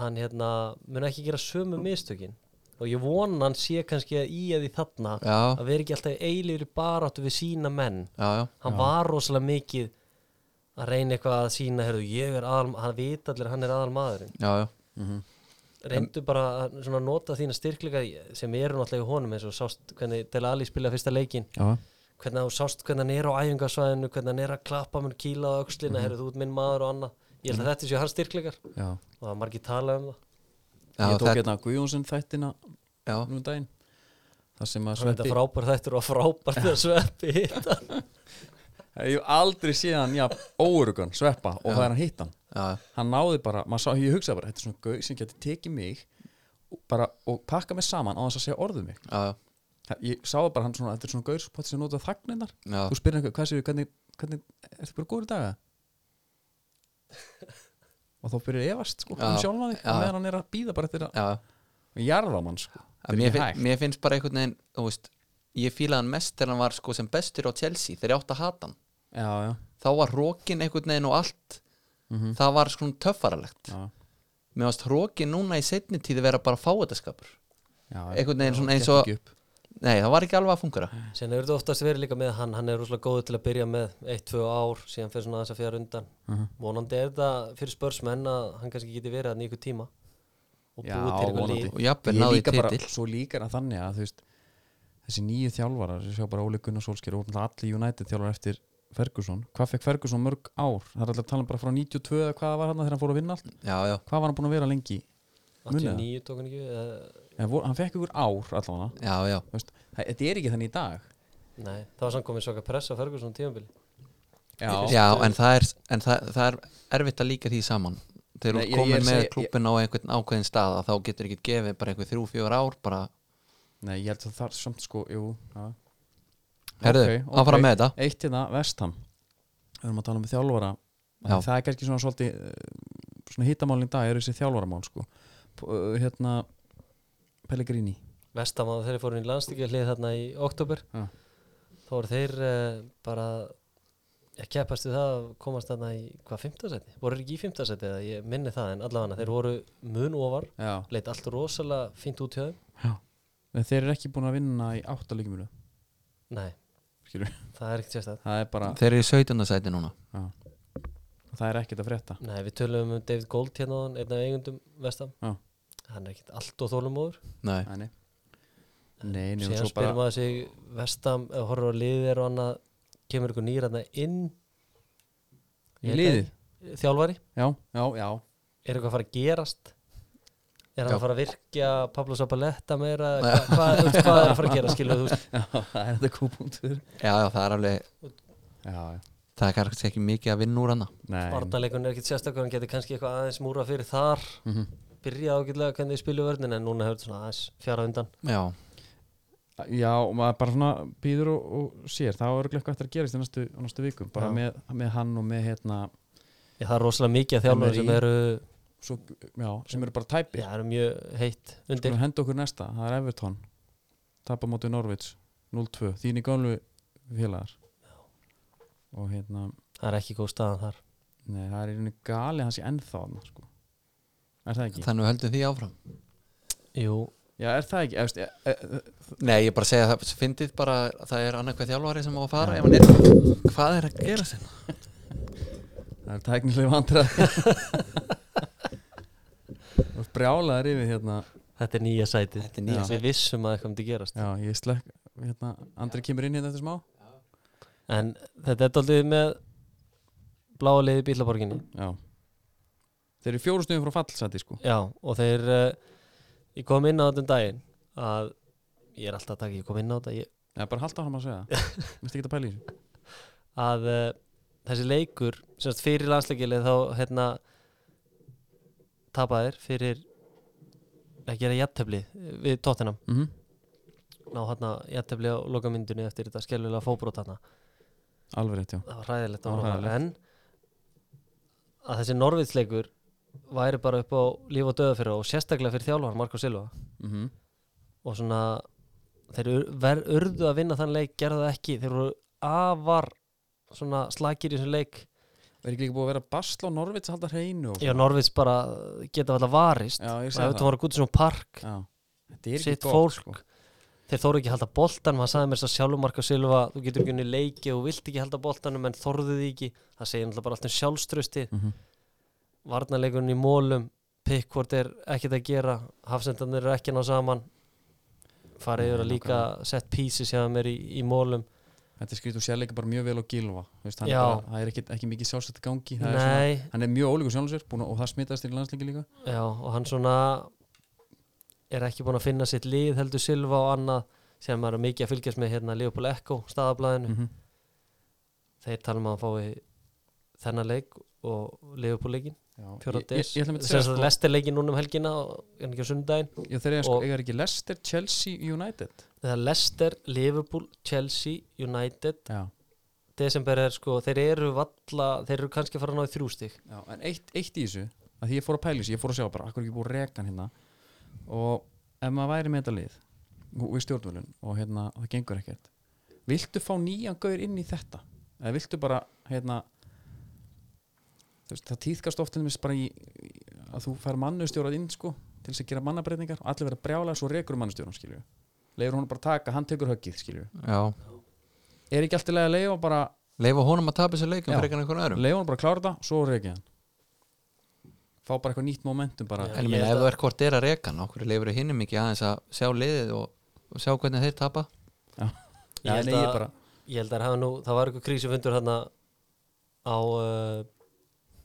B: hann hérna mun ekki gera sömu mistökin og ég vona hann sé kannski að í að því þarna
C: já,
B: að vera ekki alltaf í eilífri baráttu við sína menn
C: já, já,
B: hann var rosalega mikið að reyna eitthvað að sína, heyrðu, ég er aðal hann vita allir að hann er aðal maðurinn
C: já, já.
B: reyndu bara að svona nota þína styrkleika sem eru náttúrulega í honum eins og sást hvernig Del Ali spila fyrsta leikinn
A: já,
B: hvernig þú sást hvernig hann er á æfingasvæðinu hvernig hann er að klappa mér kíla á öxlina mm
C: Mhm.
B: -hmm. þú út minn maður og annað ég held að þetta séu hans styrkleikar
A: já.
B: og það er margir tala um það
C: já,
A: ég tók
C: það-
A: hérna Guðjónsson þættina
C: já.
A: nú um daginn þar sem að
B: hann er þetta
A: Sveppi
B: frábær þættur og frábær þegar sveppi hitta
A: ég hef aldrei séð hann, já, óurugan Sveppa og það er hann hittan
C: já,
A: hann náði bara, maður sá, ég hugsaði bara þetta er svona gauð sem getur tekið mig og bara, og pakka mig saman á þess að segja orðum mig
C: já, já.
A: Það- ég sá það bara hann svona, þetta er svona gaurspott sem nota þagninnar
C: já,
A: þú spyrir einhver, hvað séu, hvernig, hvernig ertu bara góður í daga og þá byrjar ég efast sko,
C: Já.
A: hann sjálfa þig
C: Já.
A: meðan hann er að býða bara eftir að
C: já.
A: jarða mann sko,
C: Að
A: þetta
C: mér,
A: er
C: finn,
A: ekki hægt
C: mér finnst bara einhvern veginn þú veist, ég fílaði hann mest þegar hann var sko, sem bestur á Chelsea, þegar ég átt að hata hann
A: já, já,
C: þá var rókin einhvern veginn og allt
A: Mhm.
C: það var sko töffaralegt
A: já,
C: mér varst rókin núna í seinni tíð vera bara fáetaskapur
A: já, já.
C: einhvern veginn svona eins
A: Gekk
C: og
A: ekki upp.
C: nei, það var ekki alveg að fungura
B: Sen hefur þetta oftast verið líka með hann, hann er rúslega góður til að byrja með 1-2 ár, síðan fyrir svona þess að fjara undan.
A: Mhm.
B: Vonandi er þetta fyrir spörsmenn að hann kannski geti verið hann í ykkur tíma og
A: Já,
B: búið til eitthvað
A: vonandi.
B: líf.
C: og jafnvel
A: ég er
C: náði í
A: líka bara
C: titil
A: svo líkar að þannig að þú veist þessi nýju þjálfarar, ég sjá bara Óli Gunnar Solskjær og náttúrulega allir United þjálfar eftir Ferguson hvað fekk Ferguson mörg ár það er alltaf að tala um bara frá 92 eða hvað var hann þegar hann fór að vinna allt
C: já, já,
A: hvað var hann búin að vera lengi Munið það?
B: 89 tók hann ekki, við, eða,
A: en vor, hann fekk ykkur ár allavega
C: já, já,
A: Þú veist, það- þetta er ekki þannig í dag
B: nei, það var samt komið svaka pressa á Ferguson tímabili.
A: já,
C: já en, það er, en það, það er erfitt að líka því saman þegar
A: Nei,
C: þú
A: ég- ég er
C: komir
A: að
C: með
A: segja-
C: klúppin á einhvern ákveðin stað að þá getur ekki gefið bara einhver þrjú, fjör ár bara,
A: Nei, ég held að það er samt sko jú, já.
C: herðu,
A: Ok, ok.
C: áfram með þetta
A: eitt hérna, Vestham við erum að tala um þjálfara
C: Já.
A: það er kannski svona svolítið eh, svona hittamálin í dag eru þessi þjálfaramál sko P eh, hérna Pellegrini
B: Vestamáð þeirri fórum í landstíkja hlið þarna í oktober.
A: Já.
B: Þá voru þeir uh, bara að keppast við það að komast þarna í hvað, 15 seti? Voru þeir ekki í 15 seti eða ég minni það en allavega þeir voru mun ofar,
A: Já.
B: leitt allt rosalega fínt út hjá þeim.
A: En þeir eru ekki búin að vinna í áttaleguminu
B: Nei,
A: skilur,
B: það er ekkert sérstæð.
A: það er bara
C: þeir eru í 17. sæti núna
A: já. það er ekkert að frétta
B: Nei, við tölum um David Gold hérna áðan, einn af eigundum vestam
A: Já.
B: Hann er ekkert allt og þólumóður
C: nei,
A: Nei, nei. Nei, nei, og
B: Síðan
A: svo
B: spyrir
A: bara
B: maður sig vestam, ef horfur á liðir og annað kemur ykkur nýr hérna inn eh,
A: í liði
B: Þjálfari,
A: Já, já, já
B: er eitthvað að fara að gerast? Er hann
C: Já.
B: að fara að virkja Pablo Sabaletta meira? Hva, hvað, þú veist, hvað er að fara að gera, skilu þú veist?
A: Já, það er þetta kúpunktur
C: já, já, það er alveg
A: Já, já
C: það er kannski ekki mikið að vinna úr hana
A: Nei,
B: Varnarleikun er ekkert sérstakur, hann getur kannski eitthvað aðeins múra fyrir þar
A: Mhm.
B: Byrja ágætlega hvernig þið spilu vörnin en núna hefur þetta svona aðeins fjara undan
C: já,
A: já, og maður bara svona býður og, og sér Það var örugglega eitthvað eftir að gerast í næstu, á næstu vikum Bara
C: Já.
A: með, með hann og með hérna
B: Já, það er rosalega mikið af þjálfari sem
A: Emery.
B: eru,
A: svo, Já, sem eru bara tæpi
B: já, eru mjög heitt undir
A: Skulum henda okkur næsta, það er Everton Tapa mótið Norvits 0-2, þín í gálfu félagar Og hérna
B: Það er ekki góð staðan þar
A: Nei, það er einu gali hans í ennþá þarna, sko. Er það ekki?
C: þannig við höldum því áfram
B: Jú,
A: Já, er það ekki? Efst, e, e,
C: Nei, ég bara segja að það fyndið bara að það er annað hvað þjálfari sem á að fara ef hann er, hvað er að gera sinna?
A: það er tæknilega vandræð Og brjálaðar yfir hérna
B: þetta er nýja sætið
C: Þetta er nýja
B: Já. Við vissum að eitthvað myndi gerast
A: Já, ég slekk hérna, Andri kemur inn hérna eftir smá
B: En þetta er daldið með bláa liði bílaborginni
A: Já Þeir eru fjóru stöðum frá fallsæti, sko
B: Já, og þeir uh, Ég kom inn á þetta um daginn að ég er alltaf að taka, ég kom inn á þetta ég,
A: Já, bara halda áfram að segja það Minnst ekki að pæla í þessu
B: að uh, þessi leikur semst fyrir landsleikilið þá hérna tapaðir fyrir ekki er að jættefli við tóttinam
A: mm -hmm.
B: ná hérna jættefli á lokamyndunni eftir þetta skellulega fóbrót hérna
A: Alveg rétt, já
B: það var hræðilegt
A: Það
B: að
A: var
B: horfa á. en
A: hræðilegt.
B: að þessi Norvidsleikur væri bara upp á líf og döða fyrir og sérstaklega fyrir þjálfan Marko Silva
A: mm
B: Mhm.
A: -hmm.
B: og svona þeir ur- ver, urðu að vinna þann leik gerðu það ekki, þeir voru afar svona slakir í þessum leik
A: Er ekki líka búið að vera basla og Norvits að halda hreinu og...
B: já Norvids bara geta alltaf varist
A: Já, ég
B: og
A: segi
B: ef
A: það
B: þú var að gúti svona park
A: Já, þetta er ekki
B: sitt
A: gott,
B: fólk
A: sko.
B: þeir þóru ekki að halda boltan maður sagði mér svo sjálfur Marko Silva þú getur ekki unni leiki og þú vilt ekki halda boltanum en þorðu því ekki, það segir náttúrulega bara allt um sjálfströsti
A: Mhm.
B: varnarleikunni í mólum Pickford er ekkert að gera hafsendarnir eru ekki að ná saman farið
A: Nei,
B: yfir að líka set pieces hjá mér í, í mólum
A: Þetta er skrýt og sérleika bara mjög vel á gilva veist, hann er
B: Já.
A: bara, Það er ekki, ekki mikið sjálfsett í gangi það er svona,
B: Nei,
A: Hann er mjög ólíkur sjálfsett búin, að- og það smitaðist í landsleiki líka
B: já, og hann svona er ekki búin að finna sitt lið heldur Silva og annað sem maður er mikið að fylgjast með hérna Leopold Echo, staðablaðinu
A: mm -hmm.
B: þeir tala um að hann fái þennan leik og Leopold leikin
A: Ég-
B: fjóra
A: ég-
B: des
A: ég ætla einmitt að
B: þess
A: segja,
B: að
A: sko-
B: leste leikin núna um helgina og en ekki á sundaginn
A: Já, þeir eiga, sko,
B: Og-
A: eiga þeir ekki Leicester, Chelsea, United
B: það er Leicester, Liverpool, Chelsea, United
A: Já,
B: desember er sko, þeir eru valla þeir eru kannski farin á í þrjú stig
A: já en eitt, eitt í þessu að því ég fór að pæla í þessu, ég fór að sjá bara akkur er ekki búið að reka hann hérna og ef maður væri með þetta lið og við stjórnvölun og hérna, og það gengur ekkert viltu fá nýjan gaur inn í þetta eða viltu bara, hérna þú veist, það týðkast oft til þess bara í, í- að þú fær mannustjórað inn sko, til þess að gera mannabreitingar og allir verða brjála svo rekur mannustjóran, skilju leiður hún bara að taka, hann tekur höggið, skilju
C: já,
A: er ekki alltaf að leiða bara
C: leifa honum að tapa þessu leikum
A: Já.
C: frekar en einhvern öðrum
A: leiða hann bara að klára þetta, svo reykja hann fá bara eitthvað nýtt momentum bara
B: Já.
C: en ég
B: ég
C: meina
B: held
C: ef
B: að-
C: þú er hvort er að reka hann okkur leifur hinnum ekki aðeins að sjá liðið og, og sjá hvernig þeir tapa
A: Já,
B: held
A: nei, ég
B: að-
A: bara,
B: ég held að það hafa nú, það var eitthvað krísufundur hérna á uh,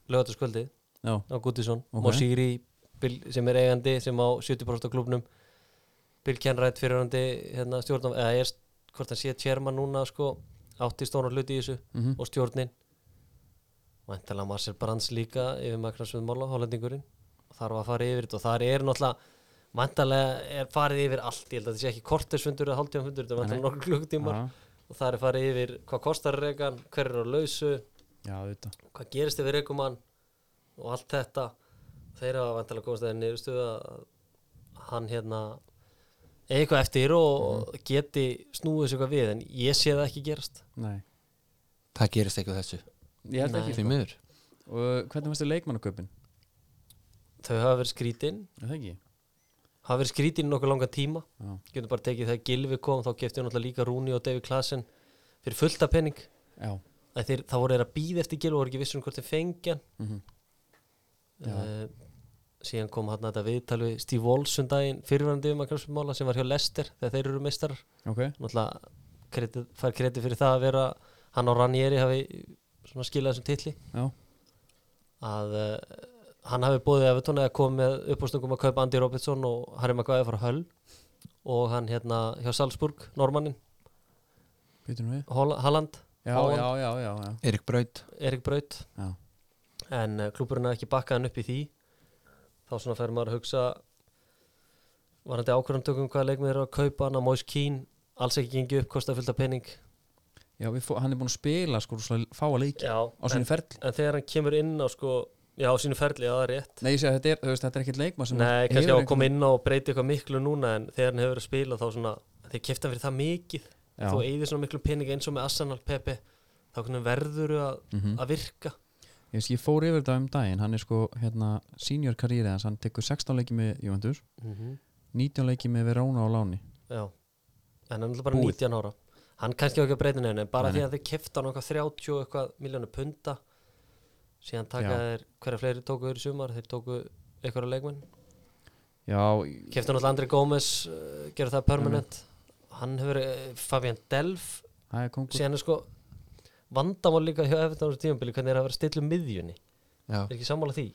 B: lögataskvöldi
A: já,
B: á Guttisson,
A: Ok.
B: okay. Mosíri Bill, sem er eigandi, sem á 70% af klubnum Bill Kenrætt fyrirhandi hérna stjórnum, eða er hvort hann sé tjerman núna sko átti stónar hluti í þessu
A: mhm,
B: og stjórnin Væntalega Marcel Brands líka yfir Magnarsviðmála, hollendingurinn og þar var að fara yfir þetta og þar er náttúrulega væntalega er farið yfir allt ég held að þetta sé ekki kortisfundur eða hálftímanfundur þetta er
A: Nei, nei.
B: væntalega nokkur klukkutímar
A: já,
B: og það er farið yfir hvað kostar regan, hver er á lausu
A: já, þetta
B: hvað gerist ef við rekum hann og allt þetta þeir hafa vantilega komast að nýðustuðu að hann hérna eigi eitthvað eftir og geti snúið sér eitthvað við en ég sé það ekki gerast
A: nei,
C: það gerist ekki á þessu,
A: ég held
B: Nei.
A: ekki
C: því
A: sko.
C: miður
A: og hvernig fannst þið leikmannaköpin,
B: þau hafa verið skrítin
A: er það ekki
B: hafa verið skrítin í nokkuð langan tíma
A: já.
B: getum bara tekið þegar Gilvi kom þá gefti hann náttúrulega líka Rúni og David Klassen fyrir fullta penning
A: já,
B: að þeir, þá voru þeir að býða eftir Gilvi og voru ekki vissum hvort þeir fengja
A: mhm, Já.
B: uh, síðan kom hann þetta viðtal við Steve Olsundaginn fyrirverandi um að kransmála sem var hjá Lester þegar þeir eru meistarar
A: ok
B: náttúrulega kredið, fær kredið fyrir það að vera hann og Ranieri hafi svona skilað þessum titli
A: já,
B: að uh, hann hafi búið Evertón eða komið með uppástungum að kaupa Andy Robertson og Harry Maguire frá Hull og hann hérna hjá Salzburg Normannin,
A: býtum við
B: Hol- Halland
A: já,
B: Fá hann.
A: já, já, já, já,
C: Erik Braut
B: Erik Braut
A: já.
B: en uh, klúburinn hafði ekki bakkað hann upp í því þá svona fer maður að hugsa var þetta ákvörðumtökum hvaða leikmið eru að kaupa hann að Moise Keane alls ekki gengi upp, kostaði fullt af penning
A: já við, fó- hann er búin að spila sko, rosalega fáa leiki
B: já,
A: á sinni
B: en,
A: ferli
B: en þegar hann kemur inn á sko, já, á sínu ferli, já, það er rétt
A: nei, ég segi að þetta er, þú veist, þetta er ekkert leikmann sem
B: nei, kannski á
A: hefur
B: að koma inn á og breyti eitthvað miklu núna en þegar hann hefur verið að spila þá svona þegar kefta hann fyrir það mikið
A: Já.
B: þú eigðir svona miklu penning eins og með Arsenal Pepe þá hvernig verður að,
A: Mhm.
B: að virka
A: Ég, veist, ég fór yfir þetta um daginn, hann er sko hérna, senior karriere, hans, hann tekur 16 leiki með Juventus, Mhm. 19 leiki með Verona á láni
B: já, en hann er bara
A: Búið.
B: 19 ára hann kannski á ekki að breyti nefn en bara
A: Nei,
B: því að þeir kefta hann okkar 30 og eitthvað miljónu punta síðan taka
A: Já.
B: þeir hverja fleiri tóku þeir í sumar, þeir tóku einhverja leikmenn
A: já,
B: Kefti náttúrulega Andri Gómez uh, gera það permanent
A: Mhm.
B: hann hefur uh, Fabian Delf
A: það er kongur
B: síðan er sko vandamál líka hjá Evertón á tímabili hvernig er að vera stillu miðjunni
C: já.
B: er ekki sammála því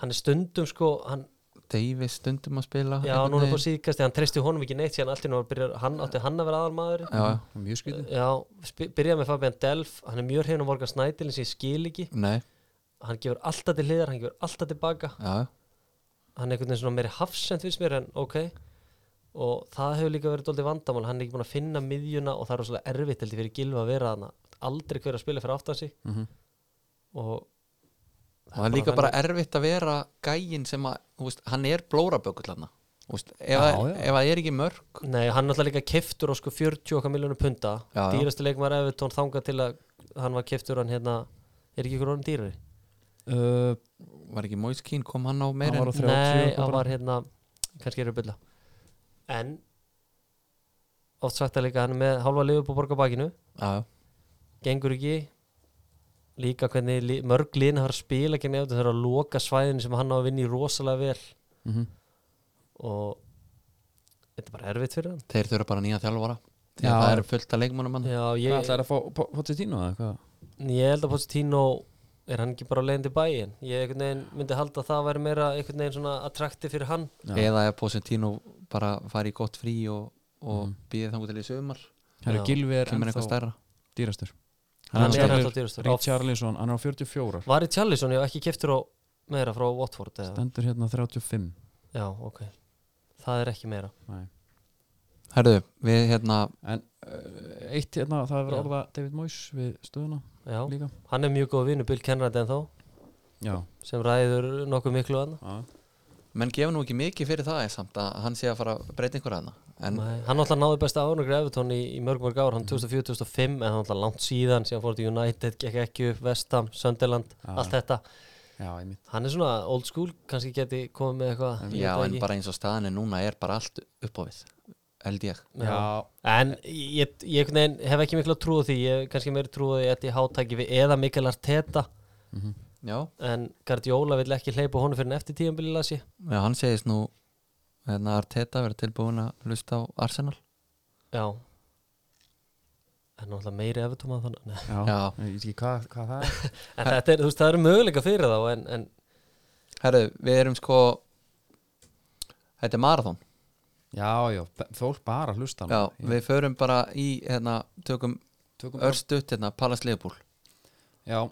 B: hann er stundum sko hann,
C: Davis stundum að spila
B: já
C: einhvern
B: núna
C: veginn.
B: bara síðkast hann treysti honum ekki neitt síðan allt í nú byrjar hann átti hann að vera aðalmaður
C: já, já.
A: mjög skrítið
B: já sp- byrjaði með Fabian Delf hann er mjög hrein og morgan snædilin sem ég skil ekki
C: nei,
B: hann gefur alltaf til hliðar hann gefur alltaf tilbaka
C: já, já.
B: hann er einhvern veginn svona meiri hafsend finnst mér en ok og það hefur líka verið doldið vandamál hann er ekki búin að finna miðjuna og það er rosalega erfitt heldur fyrir gilfa að vera hana aldrei hver að spila fyrir aftan sig
A: Mhm.
B: og
C: og það er líka bara erfitt að vera gægin sem að, þú veist, hann er blórabökull hann ef
A: Já, já.
C: ef það er ekki mörg
B: nei, hann er alltaf líka keftur á sko 40 okkar miljónu punta
C: Já, já.
B: dýrasti leikmar Evertón þangað til að hann var keftur hann hérna er ekki ykkur orðin dýrari
A: uh,
C: var ekki Moise Keane, kom hann á meira
A: Hann var á
C: en,
A: 30
B: nei,
A: eitthvað
B: hann
A: bara.
B: var hérna kannski eru að bylla en oft sagt að líka hann er með hálfa liðu på borgarbakinu
C: já, já.
B: gengur ekki líka hvernig li- mörg liðin har spila gegn eftir þeirra að loka svæðinu sem hann á að vinna í rosalega vel
A: mhm.
B: og þetta er bara erfitt fyrir hann
C: þeir þurfa bara nýja þjálfara því
A: Já.
C: að það eru fullt af leikmannum hann
B: Já,
A: Hvað
B: ég,
A: ætlaði að fá Pochettino eða hvað?
B: ég held að Pochettino er hann ekki bara á leiðin til bæin ég einhvern veginn myndi halda að það væri meira einhvern veginn svona attrakti fyrir hann
C: eða ef Posentino bara fari í gott frí og, og mm. býði þangu til í sömar
A: Herru
B: Já,
A: Gilvi er
C: kemur
A: ennþá
C: eitthvað stærra
A: dýrastur
B: hann er
C: stærri.
B: alltaf dýrastur
A: Richarlison, hann er á 44
B: Vari Tjallisson, ég hef ekki keftur á meira frá Watford eða?
A: Stendur hérna 35
B: Já, ok Það er ekki meira
A: Nei.
C: Herðu, við hérna
A: En uh, eitt hérna, það hefur
B: Já.
A: orða David Moyes við stöðuna
B: Já,
A: líka
B: hann er mjög góð vinnu Bill Kenrad en þá
A: Já,
B: sem ræður nokkuð miklu annað
A: já.
C: menn gefa nú ekki mikið fyrir það er samt að hann sé að fara að breyta einhverja hana en
B: Nei, hann alltaf náði besta ánugri Evertón í, í mörg mörg ár, hann 2004-2005 en hann alltaf langt síðan, síðan fór til United gekk ekki upp, Vestam, Sunderland
A: Já.
B: allt þetta,
A: já einmitt
B: hann er svona old school kannski geti komið með eitthvað ég
C: já,
B: veit það
C: en
B: ekki.
C: bara eins og staðan er núna er bara allt upp á við held ég
B: Já. en ég, ég, ég negin, hef ekki mikla trúið því, ég hef kannski meiri trúið því að ég hátæki við eða Mikael Arteta Mhm.
C: já,
B: en Guardiola vill ekki hleypa honum fyrir en eftir tíðanbili lasi
C: já hann segist nú hérna Arteta verið tilbúin að lusta á Arsenal
B: já en alltaf meiri Evertón að þannig Nei.
A: Já,
C: Já.
A: ég veit ekki hvað, hvað það er
B: en þetta er, þú veist, það eru möguleika fyrir þá en, en
C: herðu, við erum sko þetta er marathon
A: Já, já, b- fólk bara hlusta
C: já,
A: núna.
C: við förum bara í hérna, tökum
A: Tökum bara-
C: örstutt hérna, Palace Leopold
A: Já,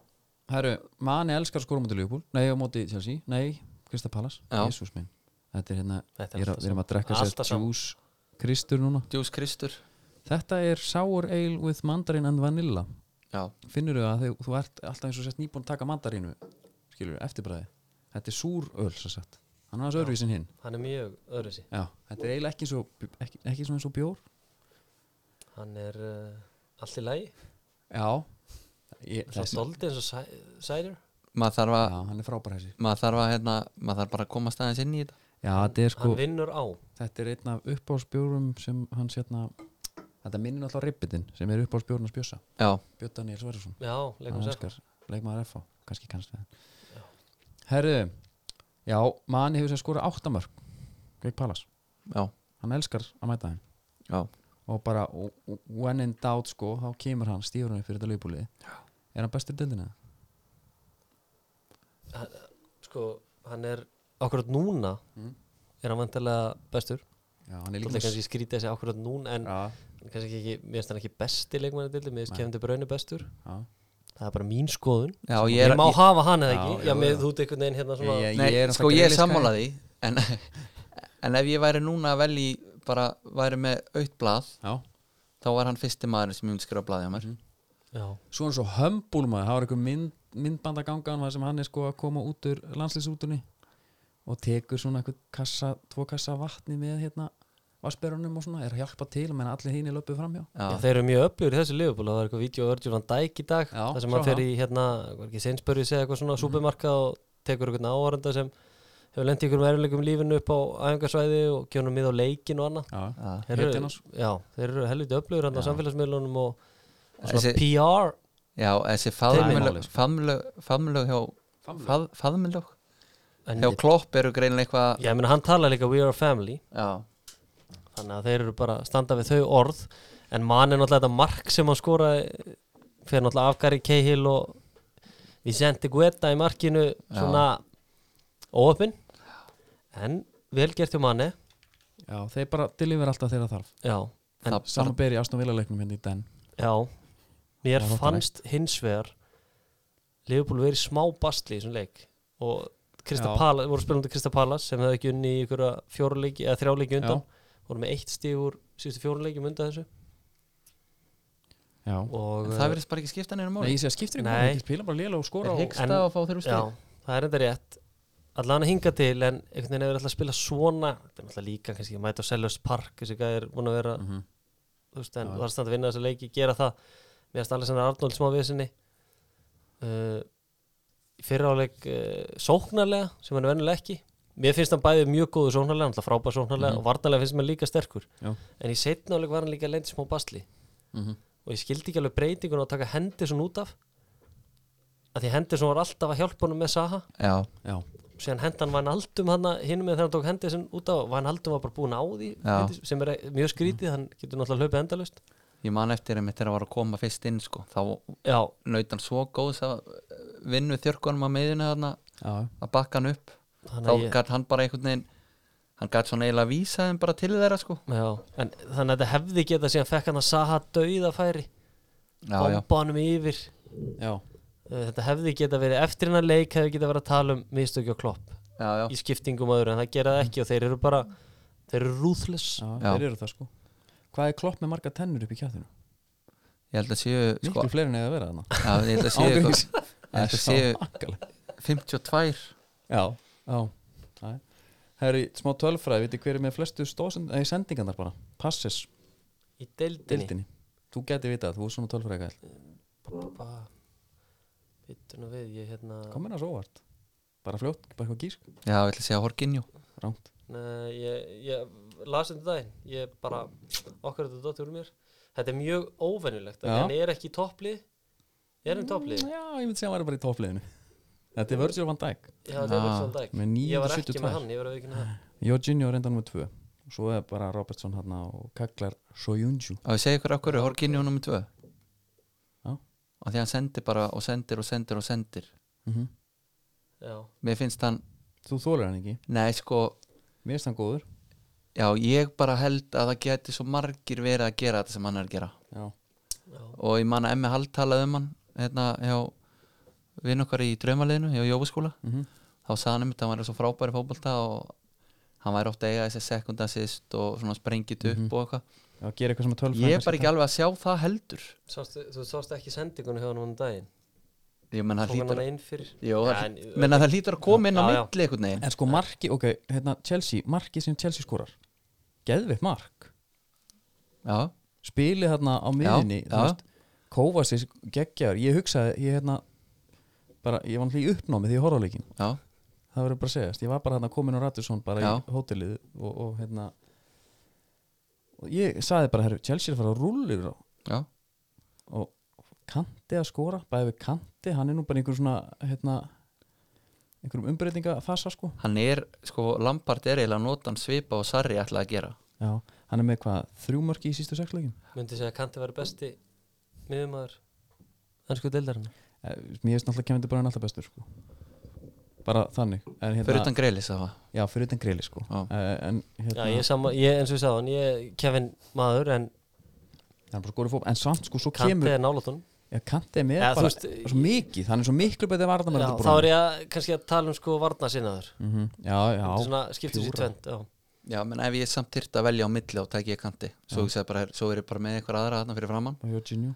A: herru, manni elskar að skora á móti Leopold Nei, á móti Chelsea, nei, Krista Pallas
C: Já.
A: Jésús minn, þetta er hérna
B: Þetta er
A: ég er
B: alltaf
A: að, Við erum að
B: sama.
A: drekka sér
B: Alltaf sama.
A: Jús Kristur núna
C: Djús Kristur
A: Þetta er sour ale with mandarin and vanilla
C: já,
A: Finnurðu að þau, þú ert alltaf eins og sett nýbúin að taka mandarínu Skilurðu, eftirbræði Þetta er súr öl, svo sett Hann er aðeins öðruvísin hinn
B: hann er mjög öðru sér
A: Já, þetta er eiginlega ekki, svo, ekki, ekki svona eins og bjór
B: Hann er uh, allt í lagi
A: Já ég,
B: Það er
A: þessi,
B: doldið eins og sæ- Cider
C: maður þarf
A: Já,
C: að
A: hann er frábær þessi
C: maður þarf að hérna, maður þarf bara að komast aðeins inn í þetta
A: Já, þetta er sko,
B: Hann vinnur á
A: þetta er einn af uppáhalsbjórum sem hann sérna Þetta minnir alltaf ribbitin sem er uppáhalsbjórun að spjösa
C: já,
A: Björn Daniel Sverjarsson
B: Já, leikum
A: hann
B: sér
A: elskar leikmaður FH, kannski kannski það Herðu, já, manni hefur sér skora áttamörk Greg Pallas,
C: já,
A: hann elskar að mæta þeim
C: já,
A: og bara, og- og- when in doubt sko þá kemur hann, stífur hann upp fyrir þetta lögbúlið Er hann bestur í deildina?
B: Sko, hann er Akkurat núna
A: Mm.
B: er hann vantilega bestur
A: Já, hann er
B: Það er
A: líka
B: kannski skrítið þessi akkurat núna En
A: Já,
B: kannski ekki, mér finnst hann ekki besti leikmanni dildi Mér finnst
A: Nei.
B: Kevin De Bruyne bestur
A: já
B: Það er bara mín skoðun
C: já
A: Sko,
B: Ég,
C: ég er,
B: má
C: ég,
B: hafa hann eða
A: Já,
B: ekki
A: já,
B: Já, með
A: já.
B: þú tekur neginn hérna svona
A: Ég-
C: nei,
A: er
C: sko
A: náttúrulega
C: ég er
A: grilliskæ.
C: sammála því en, en ef ég væri núna að velji bara væri með aukt blað
A: Já,
C: þá var hann fyrsti maður sem ég myndi skrifa blaði á mér
B: Já,
A: Svo hann svo hömbúl maður, það var einhver mynd, myndbandagangan þar sem hann er sko að koma út úr landslýsútunni og tekur svona einhver kassa, tvo kassa af vatni með hérna vassberunum og svona, er að hjálpa til menn allir hinn er löpuð framhjá
B: Já,
C: já,
B: þeir eru mjög öflugur í þessu liðbúla Það var eitthvað vídeo Örgjur van Dæk í dag
A: Já,
B: Það sem
A: sá Mhm.
B: hann fer
A: það.
B: í hérna, var ekki Sainsbury segja eitthvað svona supermarkað og tekur eitthvað áhörenda sem hefur lent í ykkur erfileikum í lífinu upp á æfingarsvæði og gjónum mið á leikin og annað
A: Já,
C: já.
B: Þeir eru-
A: Hettinás.
B: Já, þeir eru helviti öflugur hann á
A: Já.
B: samfélagsmiðlunum og og svona
C: Þessi-
B: PR
C: já þessi
A: máli,
C: faðmlög
A: sko.
C: faðmlög hjá fað, faðmlög
B: en,
C: hjá Klopp eru greinilega eitthvað
B: Já, ég meina hann tala líka We are a family
C: já,
B: þannig að þeir eru bara að standa við þau orð en mann er náttúrulega þetta mark sem hann skoraði fyrir náttúrulega Afgari Cahill og Vicente Guetta í markinu svona óöppin en vel gert hjá manni
A: Já, þeir bara deliver alltaf þeirra þarf
B: já, En
C: það,
A: Saman ber í Aston Villa leiknum hérna í den
B: já mér
A: Það er
B: fannst hins vegar Liverpool verið smá bastli í þessum leik og Krista
A: Já.
B: Pala, voru spilandi Krista Palas sem hefði ekki unni í ykkur fjóruleiki eða þrjáleiki undan, voru með eitt stig úr síðustu fjóruleiki undan þessu
A: Já,
B: og
C: það verðist bara ekki skipta neina
A: nei,
C: máli
A: ég sé að skiptir ykkur,
B: Nei.
A: ekki spila bara lélega og skora
C: er
A: og...
B: en-
C: hyggsta að fá þeirra úr
B: Já, það er enda rétt allan að hinga til en einhvern veginn hefur alltaf að spila svona þetta er alltaf líka kannski að mæta á Sellers Park þessi gæði er búin að vera
A: Mhm.
B: þú veist, en
A: Já.
B: þú varst þannig að vinna þessa leiki gera það mér að stala sem er Arnold smá vissinni uh, fyrra áleik uh, sóknarlega sem hann er venjulega ekki mér finnst hann bæðið mjög góðu sóknarlega alltaf frábær sóknarlega og varnarlega finnst mér líka sterkur
A: Mhm. Já.
B: en í setna áleik var hann líka lendi smá basli
A: Mhm.
B: og ég skildi ekki alveg breytingun að taka Henderson út af að því Henderson var alltaf að hjálpa honum með Saha
C: já,
A: Já,
B: og síðan hendan Van Aldum hann hinn með þegar hann tók hendið sinn út af Van Aldum var bara búin á því
C: Já.
B: Henderson, sem er e- mjög skrítið, hann getur náttúrulega hlaupið endalust
C: ég man eftir einmitt þegar að var að koma fyrst inn sko, þá
B: Já,
C: naut hann svo góðs að vinnu þjörkunum á miðinu þarna
A: já,
C: að bakka hann upp
B: þannig
C: þá
B: að ég
C: gætt hann bara einhvern veginn hann gætt svona eiginlega að vísa þeim bara til þeirra sko
B: Já, en þannig að þetta hefði geta síðan fekk hann að Saha dauða færi
C: já, já,
B: bomba honum yfir
A: já
B: uh, þetta hefði geta verið eftir hennar leik hefði geta verið að tala um mistökja og klopp
C: já, já,
B: í skiptingum og öðru en það gera það ekki og þeir eru bara þeir eru ruthless
A: Já,
C: Já.
A: þeir eru það sko Hvað er klopp með marga tennur upp í kjættinu?
C: ég held að séu
A: Miklu
C: sko,
A: fleiri en eða vera þarna
C: já, ég held að séu
A: Ángríns.
C: eitthvað- ég held að séu
A: Akkalega
C: 52
A: Já, já Það er- Það eru í smá tölfræði, viti hver er með flestu stóðsend, nei, sendingarnar bara, passes,
B: í deildinni
A: dildinni Þú geti vitað, þú er svona tölfræði gæl
B: Bittu nú við, ég hérna
A: Komur það svo óvart, bara fljótt, bara eitthvað gísk
C: já, ég ætla að segja Horkinjó
A: Rámt,
B: Nei, ég, ég las um daginn ég bara, okkar þetta dottir úr mér þetta er mjög óvenjulegt
A: Já.
B: hann er ekki í topplið er hann í topplið?
A: Mm, já, ég myndi segja að hann væri bara í toppliðinu Þetta er Virgil van Dijk
B: Já, það er
C: Já.
B: verið svona dag
A: Með
B: ég var ekki
A: 972.
B: með hann, ég var ekki með hann
A: Jorginho er enda nummer 2 og svo er bara Robertson hann og kaklar Soyunju
C: og ég segi ykkur af hverju Horkinjó nummer 2
A: Já.
C: og því hann sendir bara og sendir og sendir og sendir Mhm.
B: Já,
C: mér finnst hann,
A: Þú þólar hann ekki,
C: nei sko
A: mér finnst hann góður
C: já, ég bara held að það geti svo margir verið að gera þetta sem hann er að gera
A: Já,
B: já,
C: og ég man að emmi Hall talaði um hann hérna hjá vinn okkar í draumaliðinu hjá Jófaskóla
A: Mhm.
C: þá sagði hann um þetta, hann væri svo frábæri fótbolta og hann væri ofta að eiga þessi sekund assist og svona sprengit upp og eitthvað
A: já gera eitthvað sem að tölfræði
C: ég er bara ekki alveg að sjá það heldur
B: Sástu, þú sást ekki sendingunni hjá hann um daginn
C: ég menn það
B: Tók hann
C: hlýtur
B: hana inn fyrir
C: Jó,
B: Já,
C: það
B: en-
C: hlý- menn að það hlýtur að koma inn á
B: Já, já.
C: milli einhvern veginn
A: En sko marki, ok, hérna Chelsea, marki sem Chelsea skorar Geðvitt mark
C: já,
A: Spilið hérna á miðinni
C: já.
A: Kovacis geggjar, ég hugsaði Ég hérna bara, ég var náttúrulega í uppnámi því ég horfa á leikinn
C: já,
A: Það verður bara að segjast, ég var bara hérna komin á Radisson bara
C: Já.
A: í hótelið og, og hérna og ég sagði bara, herru, Chelsea er að fara að rúlu og
C: já,
A: og kanti að skora bæði við kanti, hann er nú bara einhver svona hérna einhverjum umbreytinga fasa sko
C: hann er sko, Lampard er eiginlega að nota hann svipa og Sarri ætlaði að gera
A: já, hann er með hvað, þrjú mörki í sístu sexleikin
B: Myndi segja að Kanti var besti miðumæður ennsku deildarinn
A: Eh, mér finnst náttúrulega kemur bara hann alltaf bestur sko bara þannig en, hérna,
C: fyrir utan greilis það var
A: já, fyrir utan greili sko
C: Já.
A: Eh, en
B: Já,
A: hérna,
B: ég, sama, ég eins og ég sá hann, ég Kevin maður en
A: hann er bara skorið fóp en samt sko, svo
B: Kanti
A: kemur
B: er nálatun
A: já, kanti er með
B: Já, þú
A: bara
B: veist,
A: svo mikið, hann er svo miklu betið varðan
B: Já, þá er ég að, kannski að tala um sko varna sinnaður
A: Mhm. já, já,
B: Svona skiptur sér
A: pjúra.
B: tvend Já,
C: Já, menn ef ég samt þyrta að velja á milli og tæki ég kanti svo, ég sagði bara, svo er ég bara með einhver aðra þarna fyrir framann
A: og Jorginho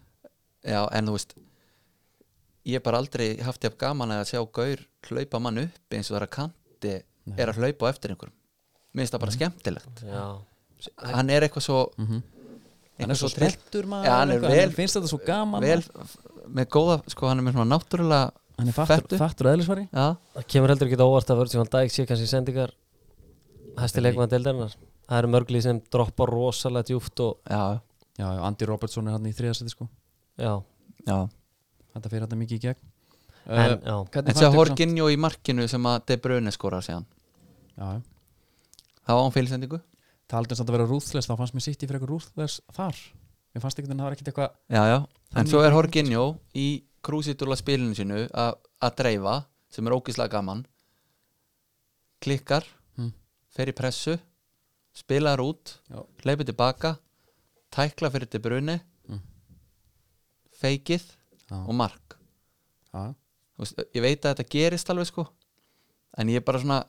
C: Já, en þú veist ég hef bara aldrei haft ég gaman að sjá gaur hlaupa mann upp eins og það er að kanti er að hlaupa á eftir einhverjum Mér finnst það bara skemmtilegt
B: já
C: Hann er eitthvað svo
A: Mhm. hann er
C: eitthvað
A: svo
C: svo trill
A: streltur maður
C: Já, hann er
A: eitthvað,
C: vel-
A: finnst þetta svo gaman
C: vel, með góða, sko hann er með svona náttúrulega
A: hann er fattur,
C: fettu.
A: fattur og eðlisvari
C: Já,
B: Það kemur heldur ekki óvart að Virgil van Dijk sé kannski sendingar hæsti leikmann deildarinnar Það eru mörglið sem droppa rosalega djúft og
C: já,
A: Já, já, Andy Robertson er hann í þriðasæti sko
B: já,
C: já
A: Þetta fyrir þetta mikið í gegn
C: Eh.
B: en
A: uh,
B: já
A: Hvernig
C: En sér
A: fannst ykkur samt-
C: Horkinjó í markinu sem að De Bruyne skorar séðan
A: Já, já.
C: Það var án félsendingu
A: Taldi um samt að vera rúðles Þá fannst mér sitt í fyrir eitthvað rúðles þar Mér fannst ekkert en það var ekkert eitthvað
C: Já, já, en
A: Þannig
C: svo er Horkinjó í krúsitúla spilinu sínu a- að dreifa, sem er ógislega gaman klikkar
A: Hmm.
C: fer í pressu spilar út,
A: Já.
C: hleypir tilbaka tækla fyrir til bruni
A: Hmm.
C: feikið
A: Já.
C: og mark
A: Já,
C: Þú veist, ég veit að þetta gerist alveg sko en ég er bara svona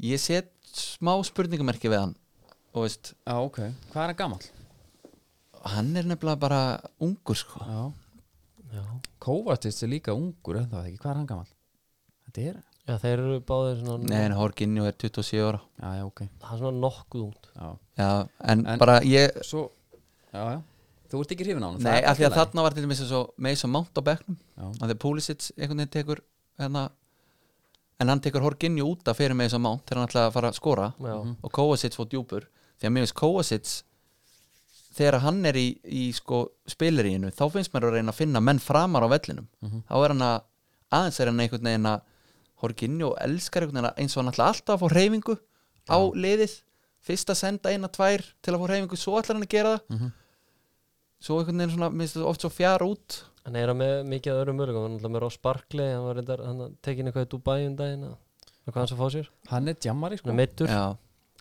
C: ég set smá spurningamerki við hann og veist,
A: já ok Hvað er hann gamall?
C: hann er nefnilega bara ungur sko
A: Já
B: Já,
A: Kovacic er líka ungur en það ekki Hvað er hann gamall? Þetta er
B: já þeir eru báðir svona
C: Nei, en Horkinjó er 27 ára
A: Já, já, ok
B: Það er svona nokkuð ungt
A: Já
C: Já, en,
A: En-
C: bara ég
A: Svo Já, já Þú ert ekki hrifin á hann
C: Nei, af því að þarna var til dæmis svo meis og mánt á bekknum
A: Já.
C: að því að Pulisic einhvern veginn tekur hérna, en hann tekur Horginju út að fyrir meis og mánt þegar hann ætlaði að fara að skora
B: Já. Mhm.
C: og Kovacic fór djúpur því að mér finnst Kovacic þegar hann er í, í sko, spilaríinu þá finnst mér að reyna að finna menn framar á vellinum þá er hann að aðeins er hann einhvern veginn að Horginju elskar einhvern veginn að- eins og hann ætla alltaf að fá reyfingu á liðið fyrst að senda eina tvær til að fá reyfingu svo ætlar hann að gera það
A: Mhm.
C: svo einhvern veginn svona, minnst það oft svo fjara út
B: Hann er að með mikið af öðrum mörgum Hann er alltaf með Ross Barkley Hann var reyndar, hann tekin eitthvað í Dubai um daginn að- og hvað hann svo fá sér
A: Hann er jammari
B: Hann
A: sko
B: er meittur
C: já,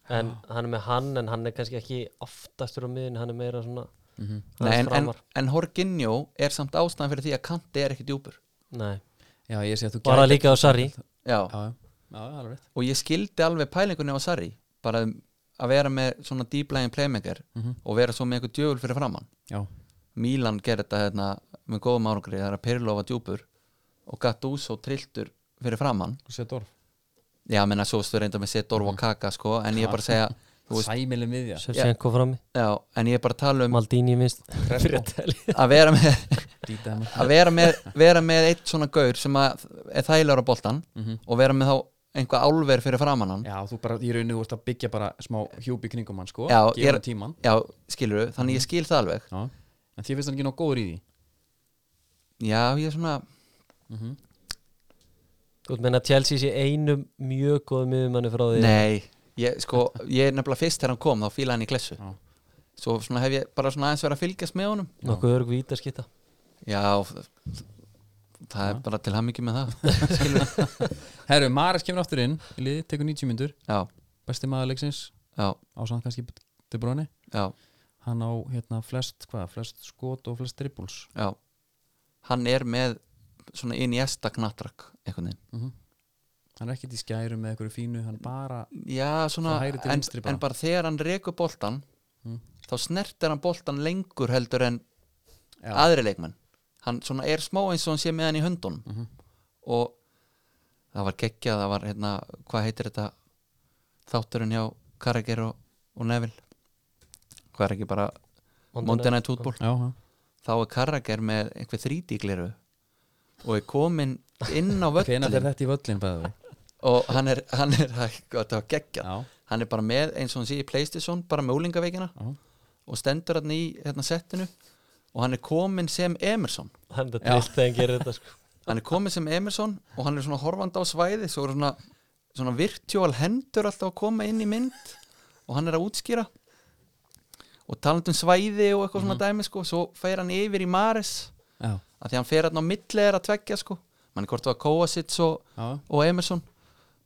B: En hann er með hann En hann er kannski ekki aftastur á miðin Hann er meira svona
C: Nei,
A: Mhm.
B: aðeins
C: en, en,
B: framar.
C: en Horginjó er samt ástæðan fyrir því að Kanti er ekki djúpur
B: Nei
A: Já, ég sé að þú
B: Bara
A: gætir-
B: líka á Sarri
C: já,
A: Já, já, já, það er alveg rétt
C: og ég skildi alveg pælingunni á Sarri bara um að vera með svona deep line playmaker og vera svo með eitthvað djöful fyrir framann
A: Já,
C: Milan gerði þetta hérna, með góðum árangri það er að Pirlo var djúpur og Gattuso trilltur fyrir framann
A: þú sé dorf
C: já, menna svo stu reynda með Setor og Kaka sko, en ég er bara að segja þú veist,
A: Sæmili miðja
B: Sjöfsenko frammi
C: já, en ég er bara að tala um
B: Maldini minnst
A: Crespo.
C: að vera með,
A: Dítið hennar
C: að vera með, vera með eitt svona gaur sem að, er þægilegur á boltan og vera með þá einhvað álver fyrir framann hann
A: Já, þú bara, ég rauninu úr að byggja bara smá hjúpi kringum hann sko
C: Já,
A: Gefa
C: ég er-
A: honum tímann.
C: já, skilur þannig ég skil það alveg
A: Já, en þér finnst hann ekki nóg góður í því
C: já, ég er svona,
A: Mhm.
B: Þú veit meina að Chelsea sé einum mjög góðum miðumannu frá því
C: nei ég, sko, ég er nefnilega fyrst þegar hann kom þá fíla hann í klessu
A: Já.
C: svo svona hef ég bara svona aðeins verið að fylgjast með honum
B: Nokkuð örg vítaskitta
C: já, það er bara til hammingi með það
A: Herru, Mares kemur aftur inn í liði, tekur 90 myndur
C: já,
A: Besti maður leiksins,
C: já,
A: ásamt kannski De Bruyne
C: já
A: Hann á hérna flest, hvað, flest skot og flest dribbles
C: Já, hann er með svona inn í esta knatrak einhvern veginn
A: Mhm. Hann er ekkert í skæru með einhverju fínu, hann bara
C: Já, svona,
A: Frá hægri til
C: en,
A: vinstri bara. Mm.
C: en bara þegar hann rekur boltan þá snertir hann boltan lengur heldur en
A: Já.
C: aðri leikmenn hann svona er smá eins og hann sé með hann í höndunum
A: Mhm.
C: og það var geggjað, það var hérna hvað heitir þetta þátturinn hjá Karagir og, og Neville hvað er ekki bara Monday Night Football
A: Já, já,
C: þá er Karagir með einhver þrítíkleru og er komin inn á
A: hvenær
C: völlin
A: fer þetta í völlin bæði við
C: og hann er, hann er gott, það var geggjað
A: Já,
C: hann er bara með eins og hann sé í Playstation bara með úlingaveikina
A: já,
C: og stendur hann í hérna settinu og hann er komin sem Emerson
B: Hann er
A: Já.
B: dritt þegar hann gerir þetta sko
C: hann er komin sem Emerson og hann er svona horfandi á svæði svo er svona, svona virtual hendur alltaf að koma inn í mynd og hann er að útskýra og talandi um svæði og eitthvað svona dæmi sko, svo fer hann yfir í Maris
A: já,
C: að því hann fer hann á milli er að tveggja sko mann er hvort það var Kovacic og,
A: já,
C: og Emerson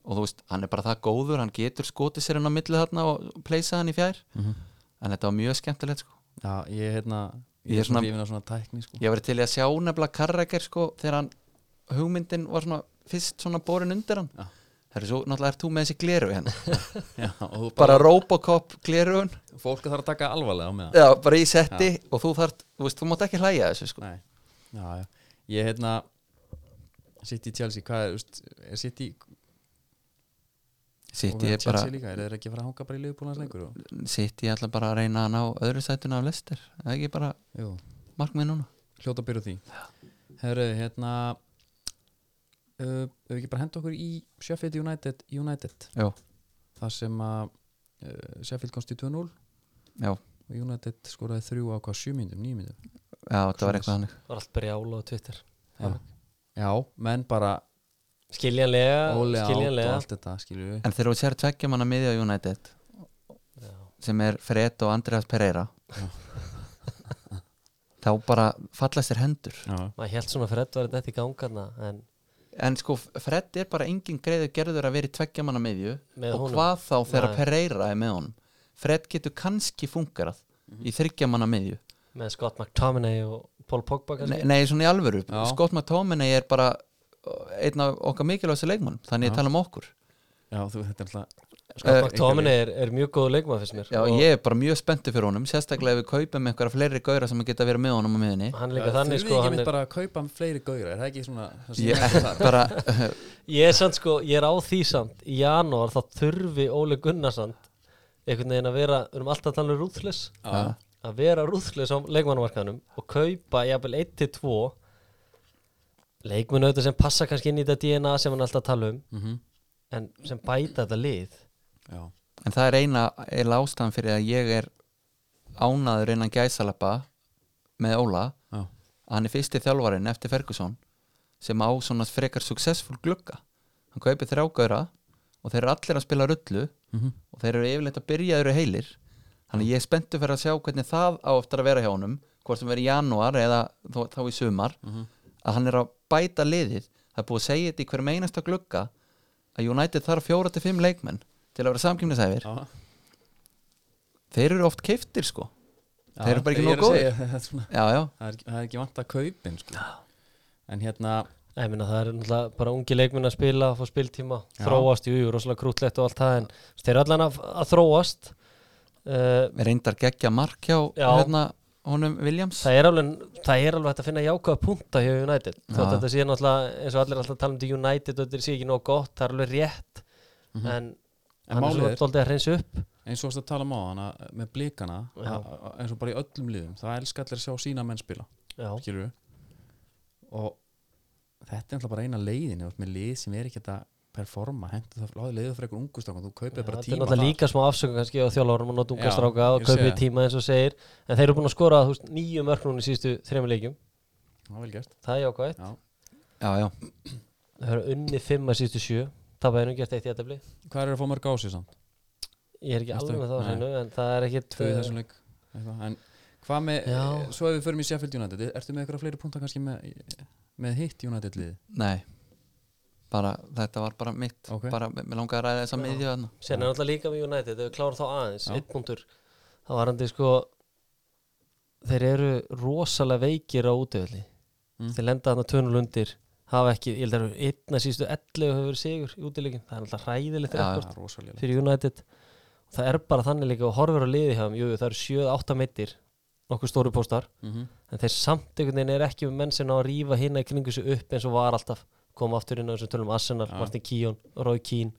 C: og þú veist, hann er bara það góður hann getur skotið sér hann á milli þarna og pleysað hann í fjær
A: Mhm.
C: en þetta var mjög skemmtilegt sko
A: já Ég hérna,
C: Ég
A: ég
C: er
A: er svona
C: svona-
A: lífin á svona tækni sko
C: ég var til í að sjá nefnilega Karraker sko þegar hann, hugmyndin var svona fyrst svona borin undir hann
A: Já.
C: það er svo, náttúrulega er þú með þessi gleru hérna
A: Já, og þú bara,
C: bara Robocop gleruun
A: fólk þarf að taka alvarlega á með það
C: já, bara í setti og þú þart, þú veist, þú mátt ekki hlæja að þessu sko
A: Nei, já, já Ég hérna Sitt í Chelsea, hvað er, veist, er sitt í
C: sitt ég bara
A: Chelsea líka, er þeir ekki að fara að hanga bara í liðbúlans lengur og,
C: sitt ég alltaf bara að reyna að ná öðru sætuna af lestir, það er ekki bara
A: Jú,
C: markmið núna
A: hljóta að byrja á því Herru, hérna uh, Ef við ekki bara henda okkur í Sheffield United, United
C: já,
A: þar sem að uh, Sheffield komst í 2-0
C: já,
A: og United skoraði þrjú á hvað, 7 myndum, 9 myndum
C: já, þetta var eitthvað hannig
B: Var allt brjála á Twitter
A: já. já, menn bara
B: Skiljanlega,
A: óli átt og
B: skiljanlega
A: allt þetta, skilju við
C: En þegar þú sér tveggjum hann að miðja United
B: Já.
C: sem er Fred og Andreas Pereira þá bara fallast þér hendur
A: Já,
B: Maður held svona fyrir var þetta í gangarna en
C: En sko Fred er bara engin greiður gerður að vera í tveggjum hann að miðju
B: Með
C: og
B: honum.
C: hvað þá þegar
B: Nei.
C: Pereira er með honum Fred getur kannski fungerað í þryggjum hann að miðju
B: með Scott McTominay og Paul Pogba
C: Nei,
B: kannski
C: nei, svona í alvöru
A: Já.
C: Scott McTominay er bara uh, einn af okkar mikilvægstu leikmann þannig ég tala um okkur
A: já þú, þetta er alltaf
B: Scott
C: eh,
B: McTominay er, er mjög góð leikmað fyrst mér
C: Já,
B: og
C: ég er bara mjög spenntu fyrir honum sérstaklega ef við kaupum einhverja fleiri gauðra sem geta verið með honum á miðunni
B: hann er líka þannig
A: Þurfið
B: sko
A: ekki
B: hann
A: mitt
B: er,
A: bara að kaupa fleiri gauðra, er það ekki svona það sem
C: Ég
A: ég ætla þar?
C: bara,
B: ég er samt sko, ég er á því samt í janúar þá þurfi Óli Gunnarsand einhvern veginn að vera, við erum alltaf að tala um rúðlis
A: Já.
B: að vera rúðlis á leikmannumarkaðanum og kaupa jafnvel 1-2 leikmennu auðvitað sem passa kannski inn í þetta DNA sem hann er alltaf að tala um
A: Mhm.
B: en sem bæta þetta lið
A: Já,
C: en það er eina eila ástæðan fyrir að ég er ánaður innan gæsalappa með Óla
A: já,
C: að hann er fyrsti þjálfarin eftir Ferguson sem á svona frekar successful glugga hann kaupir þrjá gauðra og þeir eru allir að spila rullu
A: Mhm.
C: og þeir eru yfirleitt að byrja þeir eru heilir þannig ég er spenntu fyrir að sjá hvernig það á eftir að vera hjá honum hvort sem verið í janúar eða þó, þá í sumar að hann er að bæta liðið það er búið að segja þetta í hverjum einasta glugga að United þarf fjóra til fimm leikmenn til að vera samkjöfnisæfir
A: já
C: þeir eru oft keiftir sko
A: Já,
C: Þeir eru bara ekki
A: ég er
C: nógu
A: að segja, það er svona-
C: já já,
A: það er ekki- það er ekki vant að kaupin sko. en hérna
B: Nei, minna, það er náttúrulega bara ungi leikmenn að spila, að fá spiltíma,
C: Já.
B: þróast, jú, jú, rosalega krútlegt og allt það, en þú veist, þeir eru allan að, að þróast. Uh,
C: Við reyndar geggja mark hjá
B: Já.
C: hérna, honum Williams
B: það, er alveg, það er alveg hægt að finna jákvæða punta hjá United.
C: Já.
B: Þótt að þetta sé náttúrulega, eins og allir er alltaf tala um þetta United og þetta sé ekki nóg gott, það er alveg rétt,
A: En
B: en, hann er
A: málið
B: svo
A: er-
B: doldið að hreinsa upp.
A: eins og það tala um á hana með blikana að- að- eins og bara í öllum liðum það elskar allir að sjá sína menn spila
B: Já,
A: skilur og þetta er alltaf bara eina leiðin eða með lið sem er ekki að performa hendur það láði leiðu fyrir einhver ungustakon þú kaupir
B: Já,
A: bara
B: þetta er
A: tíma
B: náttúrulega
A: þar.
B: líka smá afsökun kannski á þjálfórum og notum
A: Já,
B: gastráka og
A: ég segi
B: kaupið
A: það.
B: tíma eins og segir en þeir eru búin að skora þú veist, nýju mörk núna í síðustu þrejum leikjum
A: Já, vel gert
B: það er jákvægt
A: Já.
C: Já, já,
B: þeir eru unnið fimm að síðustu sjö það var einum gert eitt í aðtefli
A: hvað er að fá mörg á sig samt?
B: ég er ekki
A: Næstu,
B: alveg með það á
A: nei.
B: hreinu en það er ekki
A: tvö í þessum leik eitthvað. en hvað með
B: Já.
A: svo ef við förum í Sheffield United ertu með eitthvað fleiri punktar kannski með, með hitt United lið
C: nei bara, þetta var bara mitt
A: Ok.
C: bara, mér langaði að ræða þessa miðju þarna.
B: sen er náttúrulega líka með United ef við klárum þá aðeins
A: Já.
B: eitt punktur það var hann sko þeir eru rosalega veikir á útöðli
A: Mm.
B: þeir lenda hann að tönul undir hafa ekki, ég held að þeir eru einna síðustu 11 hefur verið sigur í útileikin það er náttúrulega hræðilegt
C: Já,
B: rekord.
A: það er rosalega
B: fyrir United það er bara þannig líka og horfir á liði hjá þeim jú, jú, það eru 7-8 meittir nokkuð stóru póstar
A: mm
B: en þeir samt einhvern veginn er ekki með menn sem ná að rífa hérna í kringu sig upp eins og var alltaf koma aftur inn á þessum tölum Arsenal,
A: Já. Mhm.
B: Martin Keown, Roy Keane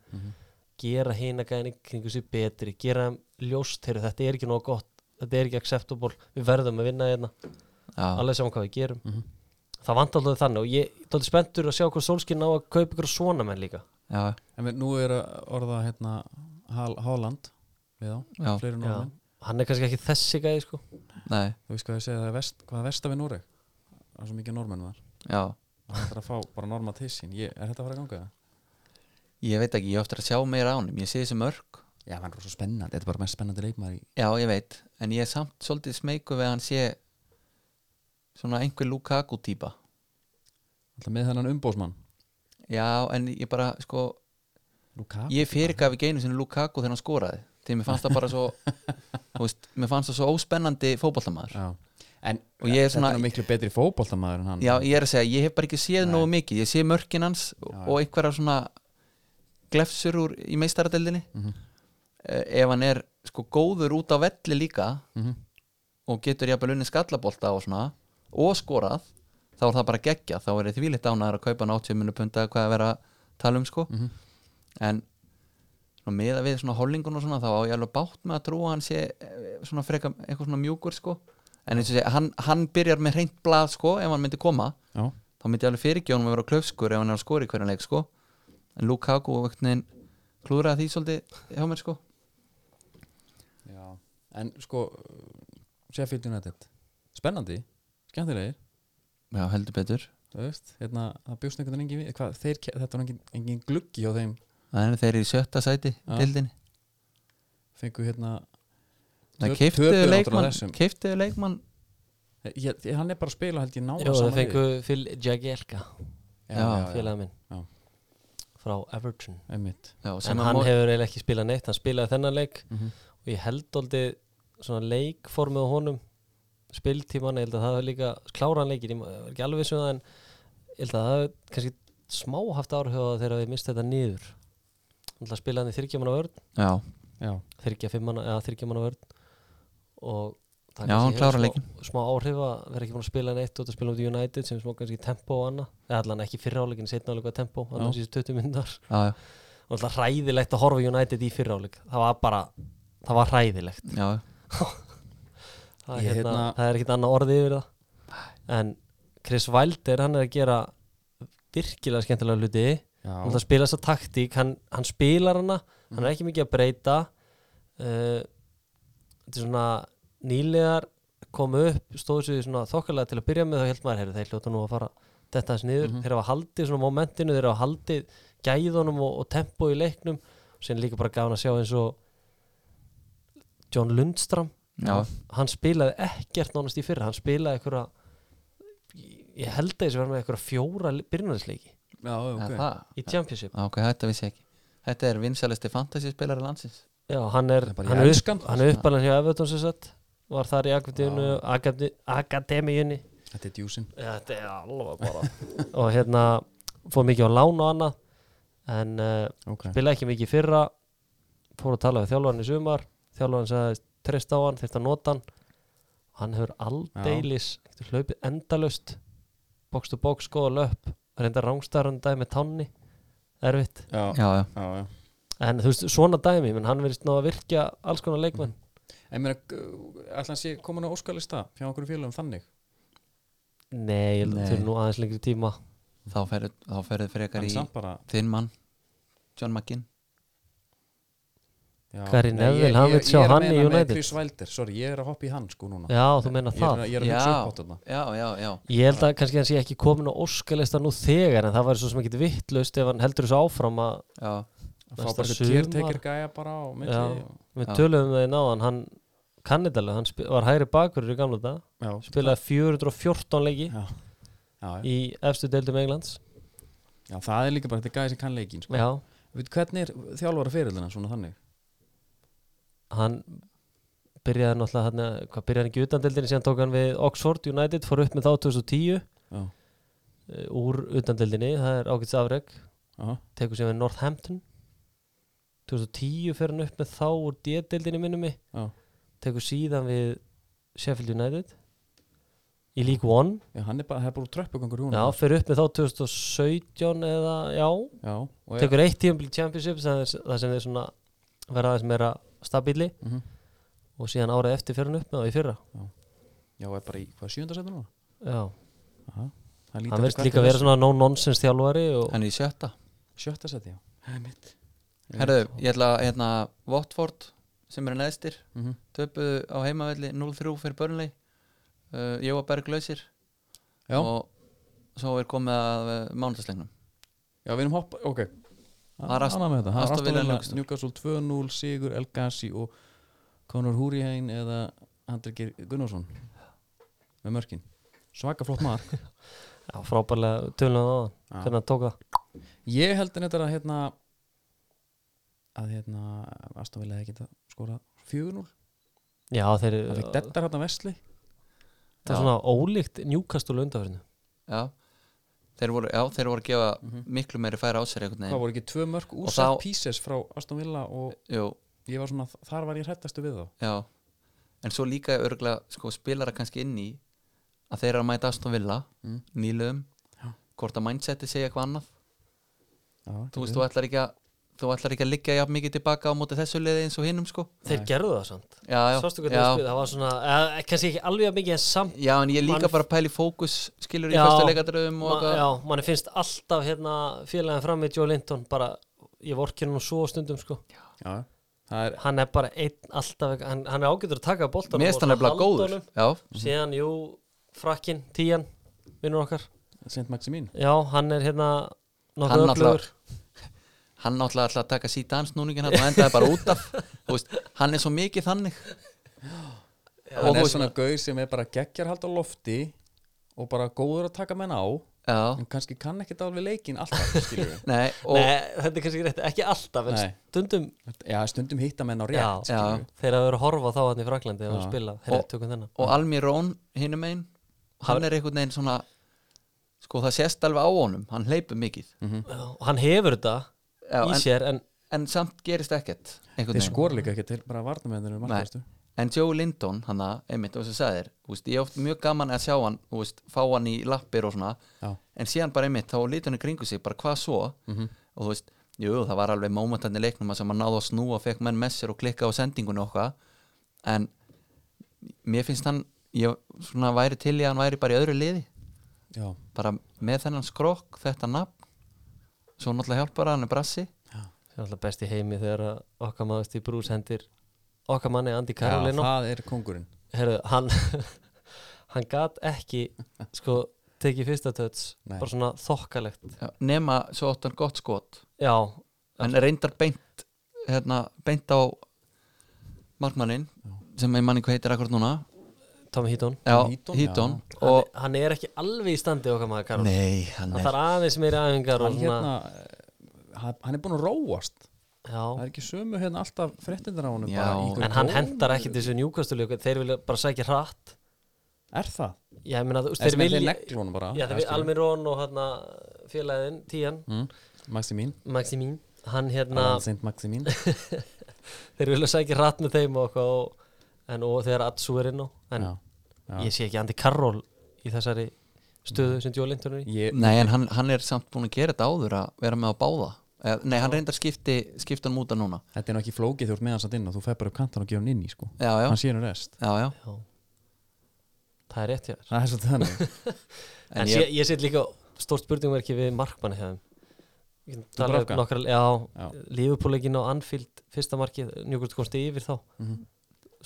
B: gera hérna gæðin í kringu sig betri gera þeim ljóst, heyrðu, þetta er ekki nóg gott þetta er ekki acceptable, við verðum að vinna hérna
C: Já,
B: alveg saman hvað við gerum
A: mhm.
B: það vant alltaf þannig og ég er tóttir spenntur að sjá hvað Solskinn ná að kaupa ykkur svona menn líka
C: já,
A: en við, nú er að orða hérna Hal- Haaland við á
C: já,
A: fleiri
B: Já.
A: norðmenn
B: hann er kannski ekki þessi gæði sko
C: nei
A: þú veist hvað ég segja það er vest, hvað er versta við Noreg það er svo mikið normenn þar
C: Já,
A: það er að fá bara norma til sín ég, er þetta að fara að ganga það?
C: ég veit ekki, ég á eftir að sjá meira á honum ég sé þessi mörg,
A: já, það er svo spennandi, þetta er bara mest spennandi leikmaður í
C: já, ég veit en ég er samt svolítið smeyku við að hann sé svona einhver Lukaku típa
A: alltaf með þennan umbósmann
C: Já, en ég bara, sko
A: Lukaku
C: ég fyrirgaf ekki einu sinni Lukaku þegar hann skoraði því mér fannst það bara svo þú veist, mér fannst það svo óspennandi fótballamæður
A: já. en
C: Og ég er
A: þetta
C: svona-
A: er nú miklu betri fótboltamaður en hann
C: Já, ég er að segja, ég hef bara ekki séð
A: Nei.
C: nógu mikið ég sé mörkin hans og einhverja svona glefsur úr í meistaradeldinni mm ef hann er sko góður út á velli líka
A: Mhm.
C: og getur jafnvel unni skallabolta og svona og skorað, þá er það bara geggja þá er því litt ánæður að kaupa hann 80 minu punta hvað að vera að tala um sko
A: Mhm.
C: en svona, meða við svona hollingun og svona þá á ég alveg bátt með að trúa að hann sé eh, svona freka eitthvað svona mjúkur sko en eins og segja, hann, hann byrjar með reynt blað sko ef hann myndi koma
A: já.
C: þá myndi ég alveg fyrirgjónum að vera klöfskur ef hann er að skora í hverjan leik sko en Lukaku og einhvern veginn klúðraði því svolítið hjá mér sko
A: Já. en sko uh, Sheffield United spennandi, skemmtilegir
C: já heldur betur
A: þú veist, hérna, það bjóst einhvern veginn engin við hvað, þeir, ke- þetta var engin, engin gluggi hjá þeim
C: þannig þeir eru í sjötta sæti
A: Já.
C: dildinni
A: fengu hérna
C: það
A: Töp-
C: keiftuðu
A: töpuðu náttúrulega
C: leikmann
A: þessum.
C: keiftuðu leikmann
A: ég, ég, hann er bara að spila held ég nála
B: Jó, það
A: saman
B: fengu Phil Jagielka
A: já,
C: Já,
A: já, já,
B: félaga minn
A: Já.
B: frá Everton
A: einmitt
C: já,
B: en
C: sem að
B: hann
C: mor-
B: hefur eiginlega ekki spilað neitt hann spilaði þennan leik
A: Mhm.
B: og ég held aldrei svona leikformið á honum spiltíman, ég held að það hefur líka kláran leikir, ég ma- er ekki alveg viss um það en ég held að það hefur kannski smá haft árhjóða þegar við mistið þetta niður hann ætla að spila hann í þyrkjamanna vörn
C: já,
A: já,
B: þyrkja fimmanna, eða þyrkjamanna vörn og það
C: Já,
B: kannski
C: hann
B: hefur
C: klárar
B: smá-
C: leikinn.
B: smá áhrif að vera ekki búin að spila neitt og að spila út í United sem er smá kannski tempo og annað eða allan ekki fyrráleikin, setna áleika tempo
A: Já.
B: annars í 20 minnundar
C: já, já,
B: og alltaf hræðilegt að horfa á United í fyrráleik það var bara, það var hræðilegt
C: já,
B: það,
A: Ég
B: er hérna,
A: hérna-
B: það er ekkit annað orðið yfir það en Chris Wilder, hann er að gera virkilega skemmtilega hluti
A: já.
B: hann spila þessa taktík hann, hann spilar hana, hann er ekki mikið að breyta uh, þetta er svona nýlegar komu upp, stóðu sig svona þokkalega til að byrja með þá held maður, heyrðu, þeir hljóta nú að fara þetta hans niður, þeir hafa haldið svona momentinu þeir hafa haldið gæðunum og, og tempo í leiknum, sem líka bara gafan að sjá eins og John Lundstram
C: já,
B: hann spilaði ekkert nánast í fyrra hann spilaði einhverja ég held að þessi var með einhverja fjóra byrjunarleiki
A: já, ok
C: okay. það,
B: í Championship
C: já, Ah, ok, þetta vissi ég ekki þetta er vinsælisti fantasyspilari landsins
B: Já, hann er,
A: Það er bara í
B: hann er, upp,
A: enskan.
B: hann er uppalinn hjá Everton sem sagt var þar í akademíunni, akademíunni
A: Þetta er djúsin
B: Já, þetta er alveg bara og hérna fór mikið á lán og annað en uh,
A: Ok,
B: spilaði ekki mikið í fyrra fór að tala við þjálfarinn í sumar þjálfarinn sagði treyst á hann, þyrst að nota hann hann hefur aldeilis getur hlaupið endalaust box to box, sko, góða löp reynda rángstarun dæmi með tánni erfitt,
A: já, já,
C: já, já.
A: já, já.
B: en þú veist, svona dæmi menn hann verðist ná að virkja alls konar leikmenn
A: En mér að, ætla að sé komin á óskalista Fjá okkur félagum þannig
B: nei, ég held
C: Nei.
B: að þurfa nú aðeins lengri tíma
C: þá ferðu þá ferðu frekar
A: En
C: í
A: samt bara
C: þinn mann John McGinn
A: já.
B: Gary
A: Nei,
B: Neville,
A: ég-
B: hann
A: ég-
B: vill sjá
A: ég er að
B: hann í
A: meina með
B: United.
A: Chris Wilder, sorry, ég er að hoppa í hann sko núna
B: já, þú meina
A: Ég er,
B: það
A: að- ég er að hugsa upp á þetta
C: já, já, já,
B: Ég held að kannski hann sé ekki komin á óskalista nú þegar en það væri svo sem ekki vittlust ef hann heldur þessu áfram að
C: já,
A: Að Fá
B: Næsta
A: bara
B: sumar.
A: kértekir gæja bara á milli
B: Já.
A: og-
B: við
C: Já.
B: töluðum um það í náðan hann kannitalega, hann spi- var hægri bakurur í gamla dag,
A: Já,
B: spilaði 414 leiki
A: já. Já, já.
B: í efstu deildum Englands
A: já, það er líka bara þetta gæði sem kann leikinn sko.
B: Já,
A: Veit, Hvernig er þjálfara fyrirlina svona þannig?
B: hann byrjaði náttúrulega hann, hvað byrjaði hann ekki utan deildinni síðan tók hann við Oxford United, fór upp með þá 2010
A: Já,
B: eh, úr utan deildinni, það er ágæts afreg
A: já,
B: tekur síðan við Northampton 2010 fer hann upp með þá úr D-deildinni minnum mig
A: já.
B: tekur síðan við Sheffield United í League One
A: já hann er bara, það er bara tröppugangur í honum.
B: já, fyrir upp með þá 2017 eða, já,
A: já, og
B: tekur eitt tíðanbíl Championship sem er, það sem er svona verða aðeins meira stabíli
A: Mhm.
B: og síðan árið eftir fyrir hann upp með það í fyrra
A: Já, er bara í hvað sjöndarsættu núna?
B: já,
A: Aha. Það
B: hann verðist líka vera svona no-nonsense þjálfari og
C: hann er í sjötta
A: Sjötta sætti, já Það er mitt
C: herðu, ég ætla að hérna, Watford sem eru neðstir
A: mm -hmm.
C: töpuðu á heimavelli 0-3 fyrir Burnley uh, Jóa Berg lausir
A: Já.
C: og svo er komið að uh, mánudagslegnum
A: Já, við erum hoppa, ok
C: Það er Ast-
A: Annað með þetta. Það er
C: Aston
A: Aston
C: Villa
A: Villa,
C: Newcastle.
A: Newcastle 2-0 Sigur El Gassi og Conor Húrihein eða Andri Geir Gunnarsson með mörkin svaka flott mark
B: já, frábærlega
A: Já.
B: tölunum á það hvernig hann tók það
A: ég held en þetta að hérna að hérna Aston Villa hefði geta skora 4-0
B: já, þeir,
A: það fikk dettar hérna Vesli
B: það er svona ólíkt Newcastle undanfyrinu
C: já. Þeir voru, já, þeir voru að gefa miklu meiri færa á sér einhvern
A: Mhm. hvað
C: veginn
A: voru ekki tvö mörk úr
C: Og
A: set
C: þá-
A: pieces frá Aston Villa og
C: Jú,
A: ég var svona þar var ég hrættastu við þá
C: já. en svo líka örgulega sko, spilara kannski inn í að þeir eru að mæta Aston Villa
A: Mm.
C: nýlöfum,
A: Já.
C: hvort að mindseti segja eitthvað annað
A: Já,
C: þú
B: Mm.
C: veist, þú ætlar ekki að þú ætlar ekki að liggja jafn mikið tilbaka á móti þessu liði eins og hinnum sko
B: þeir gerðu það samt
C: já, já,
B: Sástu hvernig
C: já,
B: þeir spiluðu? það var svona, eh, kannski ekki alveg jafn mikið en samt
C: Já, en ég er líka
B: Mann-
C: bara að pæla í fókus skilur í
B: Já.
C: fyrsta leikadröfum
B: Ma,
C: og eitthvað
B: já, manni finnst alltaf hérna félagin fram með Joe Linton bara, ég vorkir nú svo stundum sko
A: já, það er
B: hann er bara einn alltaf hann, hann er ágætur að taka boltan
C: Mér finnst hann nefnilega góður Já,
B: síðan, jú, frakkin, tíjan vinnur okkar,
A: Saint Maximin
B: já, hann er hérna
C: Hann
B: nokkuð
C: náttúrulega-
B: öflugur
C: hann náttúrulega ætlaði að taka síta hans núningin hann og endaði bara út af Þú veist, Hann er svo mikið þannig Og
A: hann
C: þú
A: er
C: veist-
A: svona gauð sem er bara geggjarhald á lofti og bara góður að taka menn á
C: Já,
A: en kannski kann ekkert alveg leikinn alltaf skilur við
C: nei, og
B: Nei, þetta er kannski rétt, ekki alltaf en
A: Nei.
B: stundum
A: já, stundum hitta menn á
B: Já.
A: rétt skilur við
B: þegar það eru að horfa á þá hann í Fraklandi og
A: Já.
B: spila, herri,
C: Og-
B: tökum þennan
C: og Almi Rón hinum einn hann er einhvern veginn svona sko það sést alveg á honum, hann hleypur mikið
B: Já, og hann hefur þetta
C: Já,
B: í
C: en, sko-
B: sér en
C: en samt gerist ekkert einhvern
A: þeir
C: veginn.
A: skora líka ekki til bara varnamennir um alltaf
C: en Joe Lindon, hann að, einmitt, þú veist að sagðir þú veist, ég er oft mjög gaman að sjá hann þú veist, fá hann í lappir og svona
A: já,
C: en síðan bara einmitt, þá lítur hann í kringu sig bara hvað svo og þú veist, jú, það var alveg mómentarni leiknum að sem hann náði að snúa, fekk menn með sér og klikka á sendingunni og okkar en mér finnst hann ég svona væri til í að hann væri bara í öðru liði
A: já,
C: bara með þennan skrokk, þetta nafn svo náttúrulega hjálpar hann er brassi
B: Það er alltaf best í heimi þegar að okkar maður stíð brús hendir okkar manni Andi
A: já
B: Karolino
A: það er kongurinn
B: Herru, hann hann gat ekki sko tekið fyrsta töts
A: Nei.
B: bara svona þokkalegt
C: Já, nema svo átt hann gott skot
B: já,
C: en reyndar beint hérna, beint á markmannin sem ég manni hvað heitir akkur núna
B: Tommy Heaton
C: já,
A: Heaton,
C: Hítón
B: og
C: og
B: hann er ekki alveg í standi okkar maður Karol
C: nei, hann
B: hann
C: er
B: þarf aðeins meiri aðingar og
A: hann
B: svona
A: hérna eh, hann hann er búin að róast það
B: já,
A: er ekki sömu hérna alltaf fréttindar á honum
C: Já.
A: bara í einhverjum
B: en hann
A: gólum.
B: hendar ekki þessu njúkastuleik þeir vilja bara sækja hratt
A: Er það?
B: Já, ég meina, þú veist,
A: Þeir
B: þeir
A: vilja
B: vilja
A: negli honum bara
B: Já, þeir vilja Almirón og hérna félagin, Tían,
A: mm. Maximín
B: Maximín hann hérna,
A: Alvansint Maximín
B: þeir vilja sækja hratt með þeim og eitthvað og, en, og þegar Atsu er inn á en
A: Já, já.
B: ég sé ekki Andy Carroll í þessari stöðu sem Joe Linton er í
A: Ég,
C: Nei, en hann, hann er samt búin að gera þetta áður að vera með á báða Eh, Nei, hann reyndar skipti, skipti hann múta núna
A: Þetta er nú ekki flókið þú ert með hans að inn og þú fer bara upp kantan og gefur hann inn í sko
C: Já, já,
A: Hann sér nú rest
C: já, já
B: Já. það er rétt hjá þér
A: Það er svolítið þannig
B: en, ég, ég set líka stórt spurningverki við markmanni hefðum Ég get talað um
A: Dubravka?
B: nokkra, já,
A: Já.
B: lífupúlegin á Anfield fyrsta markið, njúkvæmt komst yfir þá mm
A: Mhm.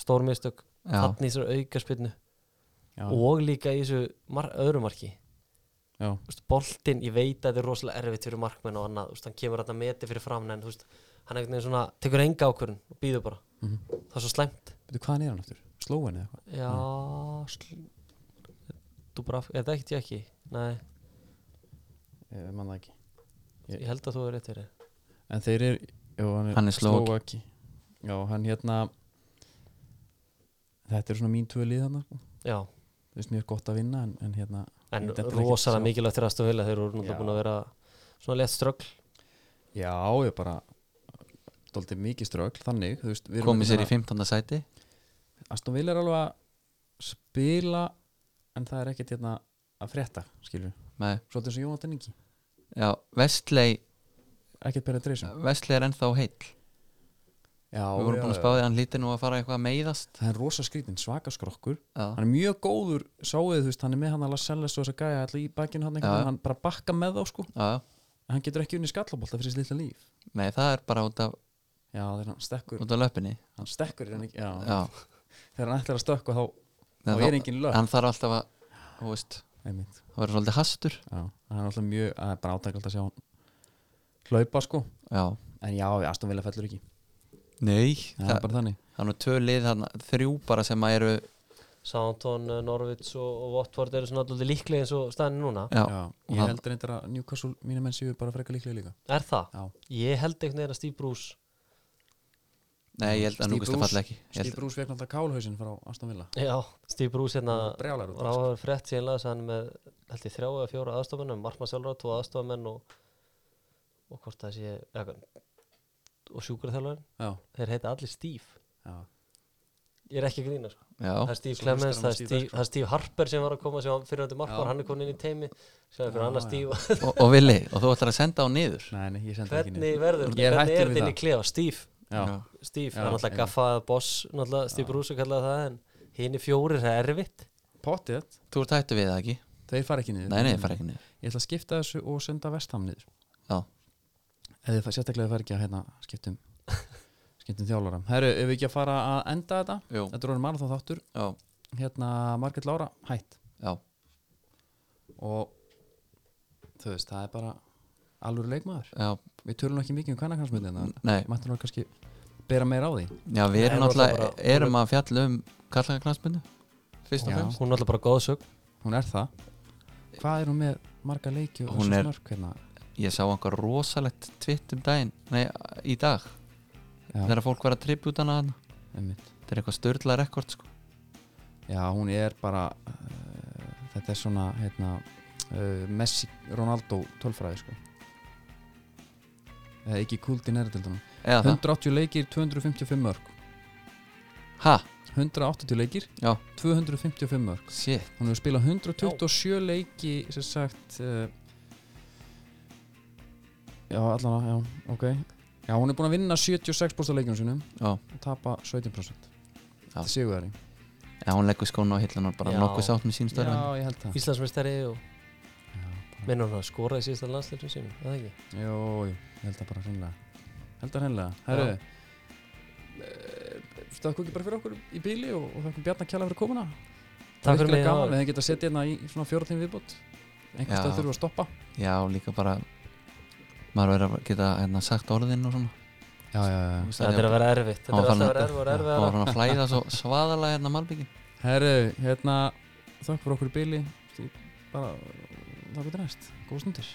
B: stór mistök
C: Já.
B: hann í þessar aukarspinnu
A: Já,
B: og líka í þessu mar öðru marki
A: já,
B: Þú veist, boltinn, ég veit að þetta er rosalega erfitt fyrir markmenn og annað, þú veist, hann kemur að meti fyrir fram en þú veist, hann einhvern veginn svona tekur enga ákvörun og býður bara
A: Mhm.
B: það er svo slæmt
A: betur hvaðan er hann aftur? Slóen eða eitthvað?
B: já,
A: Mm.
B: sl... þú bara, er það ekkert ég ekki nei,
A: Ég man það ekki
B: ég held að þú er rétt fyrir
A: En þeir eru, já, hann er,
C: Hann er Slóvaki.
A: Slóvaki. Já, hann hérna Þetta eru svona mín tvö lið hann Þú
B: já,
A: veist, mér er gott að vinna en, en hérna
B: en
A: Ég dettur ekki
B: rosalega
A: sjá.
B: mikilvægt fyrir Aston Villa, þeir eru
A: Já.
B: náttúrulega búin að vera svona lett ströggl
A: Já, ég bara Dóldi mikið strögl, þannig þú veist, við erum
C: komið sér
A: hérna-
C: í 15. sæti
A: Aston Villa er alveg að spila en það er ekkert hérna að frétta skilur,
C: með,
A: svolítið sem Jónatan Ingi
C: Já, Vestley
A: ekkert penetration
C: Vestley er ennþá heill
A: já,
C: Við vorum búin að spáði, hann líti nú að fara eitthvað að meiðast
A: það er rosa skrítin, svaka skrokkur
C: Já,
A: hann er mjög góður, sáuðu þú veist hann er með hann að laselles og þess að gæja allir í bakkinu hann, ja.
C: Já.
A: hann bara bakka með þá sko
C: já, já.
A: en hann getur ekki unni skallabólta fyrir þessi lilla líf
C: nei, það er bara út af,
A: já, þegar hann stekkur,
C: út af löpinni
A: hann stekkur hann ekki, já,
C: Já,
A: þegar hann ætlar að stökka þá, þá
C: Nei,
A: er
C: þá-
A: engin lög
C: hann þarf alltaf að, þú veist
A: einmitt,
C: það verður svolítið hastur
A: já, hann er alltaf mjög það er bara átakald að sjá hann hlaupa sko,
C: Já,
A: en já, Aston Villa fellur ekki,
C: nei
A: það er
C: Það,
A: bara þannig
C: það er nú tvö lið, þarna, þrjú bara sem að eru
B: Southampton, eh, Norwich og, og Watford eru svona alltaf líklega eins og staðin núna
C: Já,
A: Já,
C: og
A: ég
C: það-
A: held reyndar að Newcastle mínu menn séu bara frekar líklega líka
B: er það?
A: Já,
B: ég held einhvern veginn að Steve Bruce
C: nei, ég held að
A: Steve
C: núkast að
A: Bruce-
C: falla ekki Ég
A: Steve
C: held,
A: Bruce vegna alltaf kálhausin frá Aston Villa
B: Já, Steve Bruce hérna
A: Brjálæður út af
B: ráður frett síðan laðis hann með held ég þrjá eða fjóra aðstofamenn með markmann sjálfra, tvo aðstofamenn og, og hvort það sé eða, og sjúkraþjálfarinn
A: Já,
B: þeir heita allir Steve
A: já,
B: ég er ekki að grína sko. það
C: já,
B: er Steve
A: Svo
B: Clemens,
A: hlustar hann á
B: það er
A: Steve
B: Steve,
A: Bergström.
B: það er Steve Harper sem var að koma sem fyrirhandi
A: Já.
B: markmann, hann er komin inn í teimi sem er fyrir
A: Já,
B: annar
A: já.
B: Steve
C: og, og Vili og þú ætlar að senda á niður
A: nei, nei, ég sendi það ekki niður
B: hvernig verður,
A: Ég er
B: hvernig
A: hættur við
B: er þetta inn
A: það.
B: í klefa Steve,
A: Já,
B: Steve,
A: Já,
B: hann alltaf
A: einmitt.
B: gaffaði boss, náttúrulega Steve Bruce kallaði það en hinn í fjórir það er erfitt
A: pottið,
C: Þú ert hættu við það ekki?
A: þeir fara ekki niður
C: Nei, nei, fara ekki niður
A: Ég ætla að skipta þessu og senda vestam niður
C: Já,
A: Eða það sérstaklega fara ekki að hérna skiptum skiptum þjálfara Herru, ef við ekki að fara að enda þetta
C: jú,
A: Þetta er orðin marathon þáttur
C: já,
A: Hérna, Margrét Lára, hætt
C: já,
A: Og þú veist, það er bara alvöru leikmaður
C: já
A: Við tölum ekki mikið um kannakansmyndina
C: Nei,
A: Mættum við kannski bera meira á því
C: já, við erum
B: Nei, náttúrulega
C: náttúrulega,
B: bara-
C: erum að fjalla um kallaknarsmyndu Fyrst og
A: Já.
C: fremst
B: hún er alltaf bara góðsög
A: Hún er það Hvað er hún með marga leiki og
C: Hún
A: þessi
C: er-
A: mörg hérna?
C: Ég sá einhver rosalegt tvitt um daginn Nei, í dag
A: Já,
C: Þegar fólk var að tribute hana þarna.
A: einmitt.
C: Þetta er eitthvað störla rekord sko
A: Já, hún er bara uh, þetta er svona hérna, uh, Messi, Ronaldo tölfræði sko eða ekki kult í nærtildunum
C: Eða það
A: 180 leikir, 255 mörg
C: Ha,
A: 180 leikir,
C: Já.
A: 255 mörg
C: shit
A: hún hefur spilað 127 leiki sem sagt uh, já, allan já, ok já, hún er búin að vinna 76% af leikinu sinum
C: Já.
A: og tapa 17%
C: Já.
A: þetta séu þærri
C: Já, hún leggur skónu á hillunar bara
B: Já.
C: nokkuð sátt með sín störla
A: já, ég held það
B: Íslandsmeistari og
A: já, bara,
B: minnur hann að skora í síðasta landsleiknum sínum eða ekki?
A: jó, jú, ég held það bara hreinlega held það hreinlega, herru stöðku ekki bara fyrir okkur í bíli og, og þakkum Bjarnar Kjalla fyrir komuna Það
B: Takk
A: er
B: fyrir
A: virkilega
B: mig,
A: gaman,
B: já.
A: við hefum getað að setja hérna í svona fjóratími viðbútt einhvers
C: Já.
A: stöð þurfum við að stoppa
C: Já, líka bara Maður verður að geta hérna, sagt orðin og svona
A: já, já, já
B: Þetta er að vera erfitt Þetta
C: Hann
B: er alltaf að
C: var
B: vera
C: farinn
B: erfitt og erfitt
C: Já, hann var hann að flæða svo svaðalega hérna malbyggin
A: Herru, hérna þökk fyrir okkur í bíli bara þakku til næst, góð stundir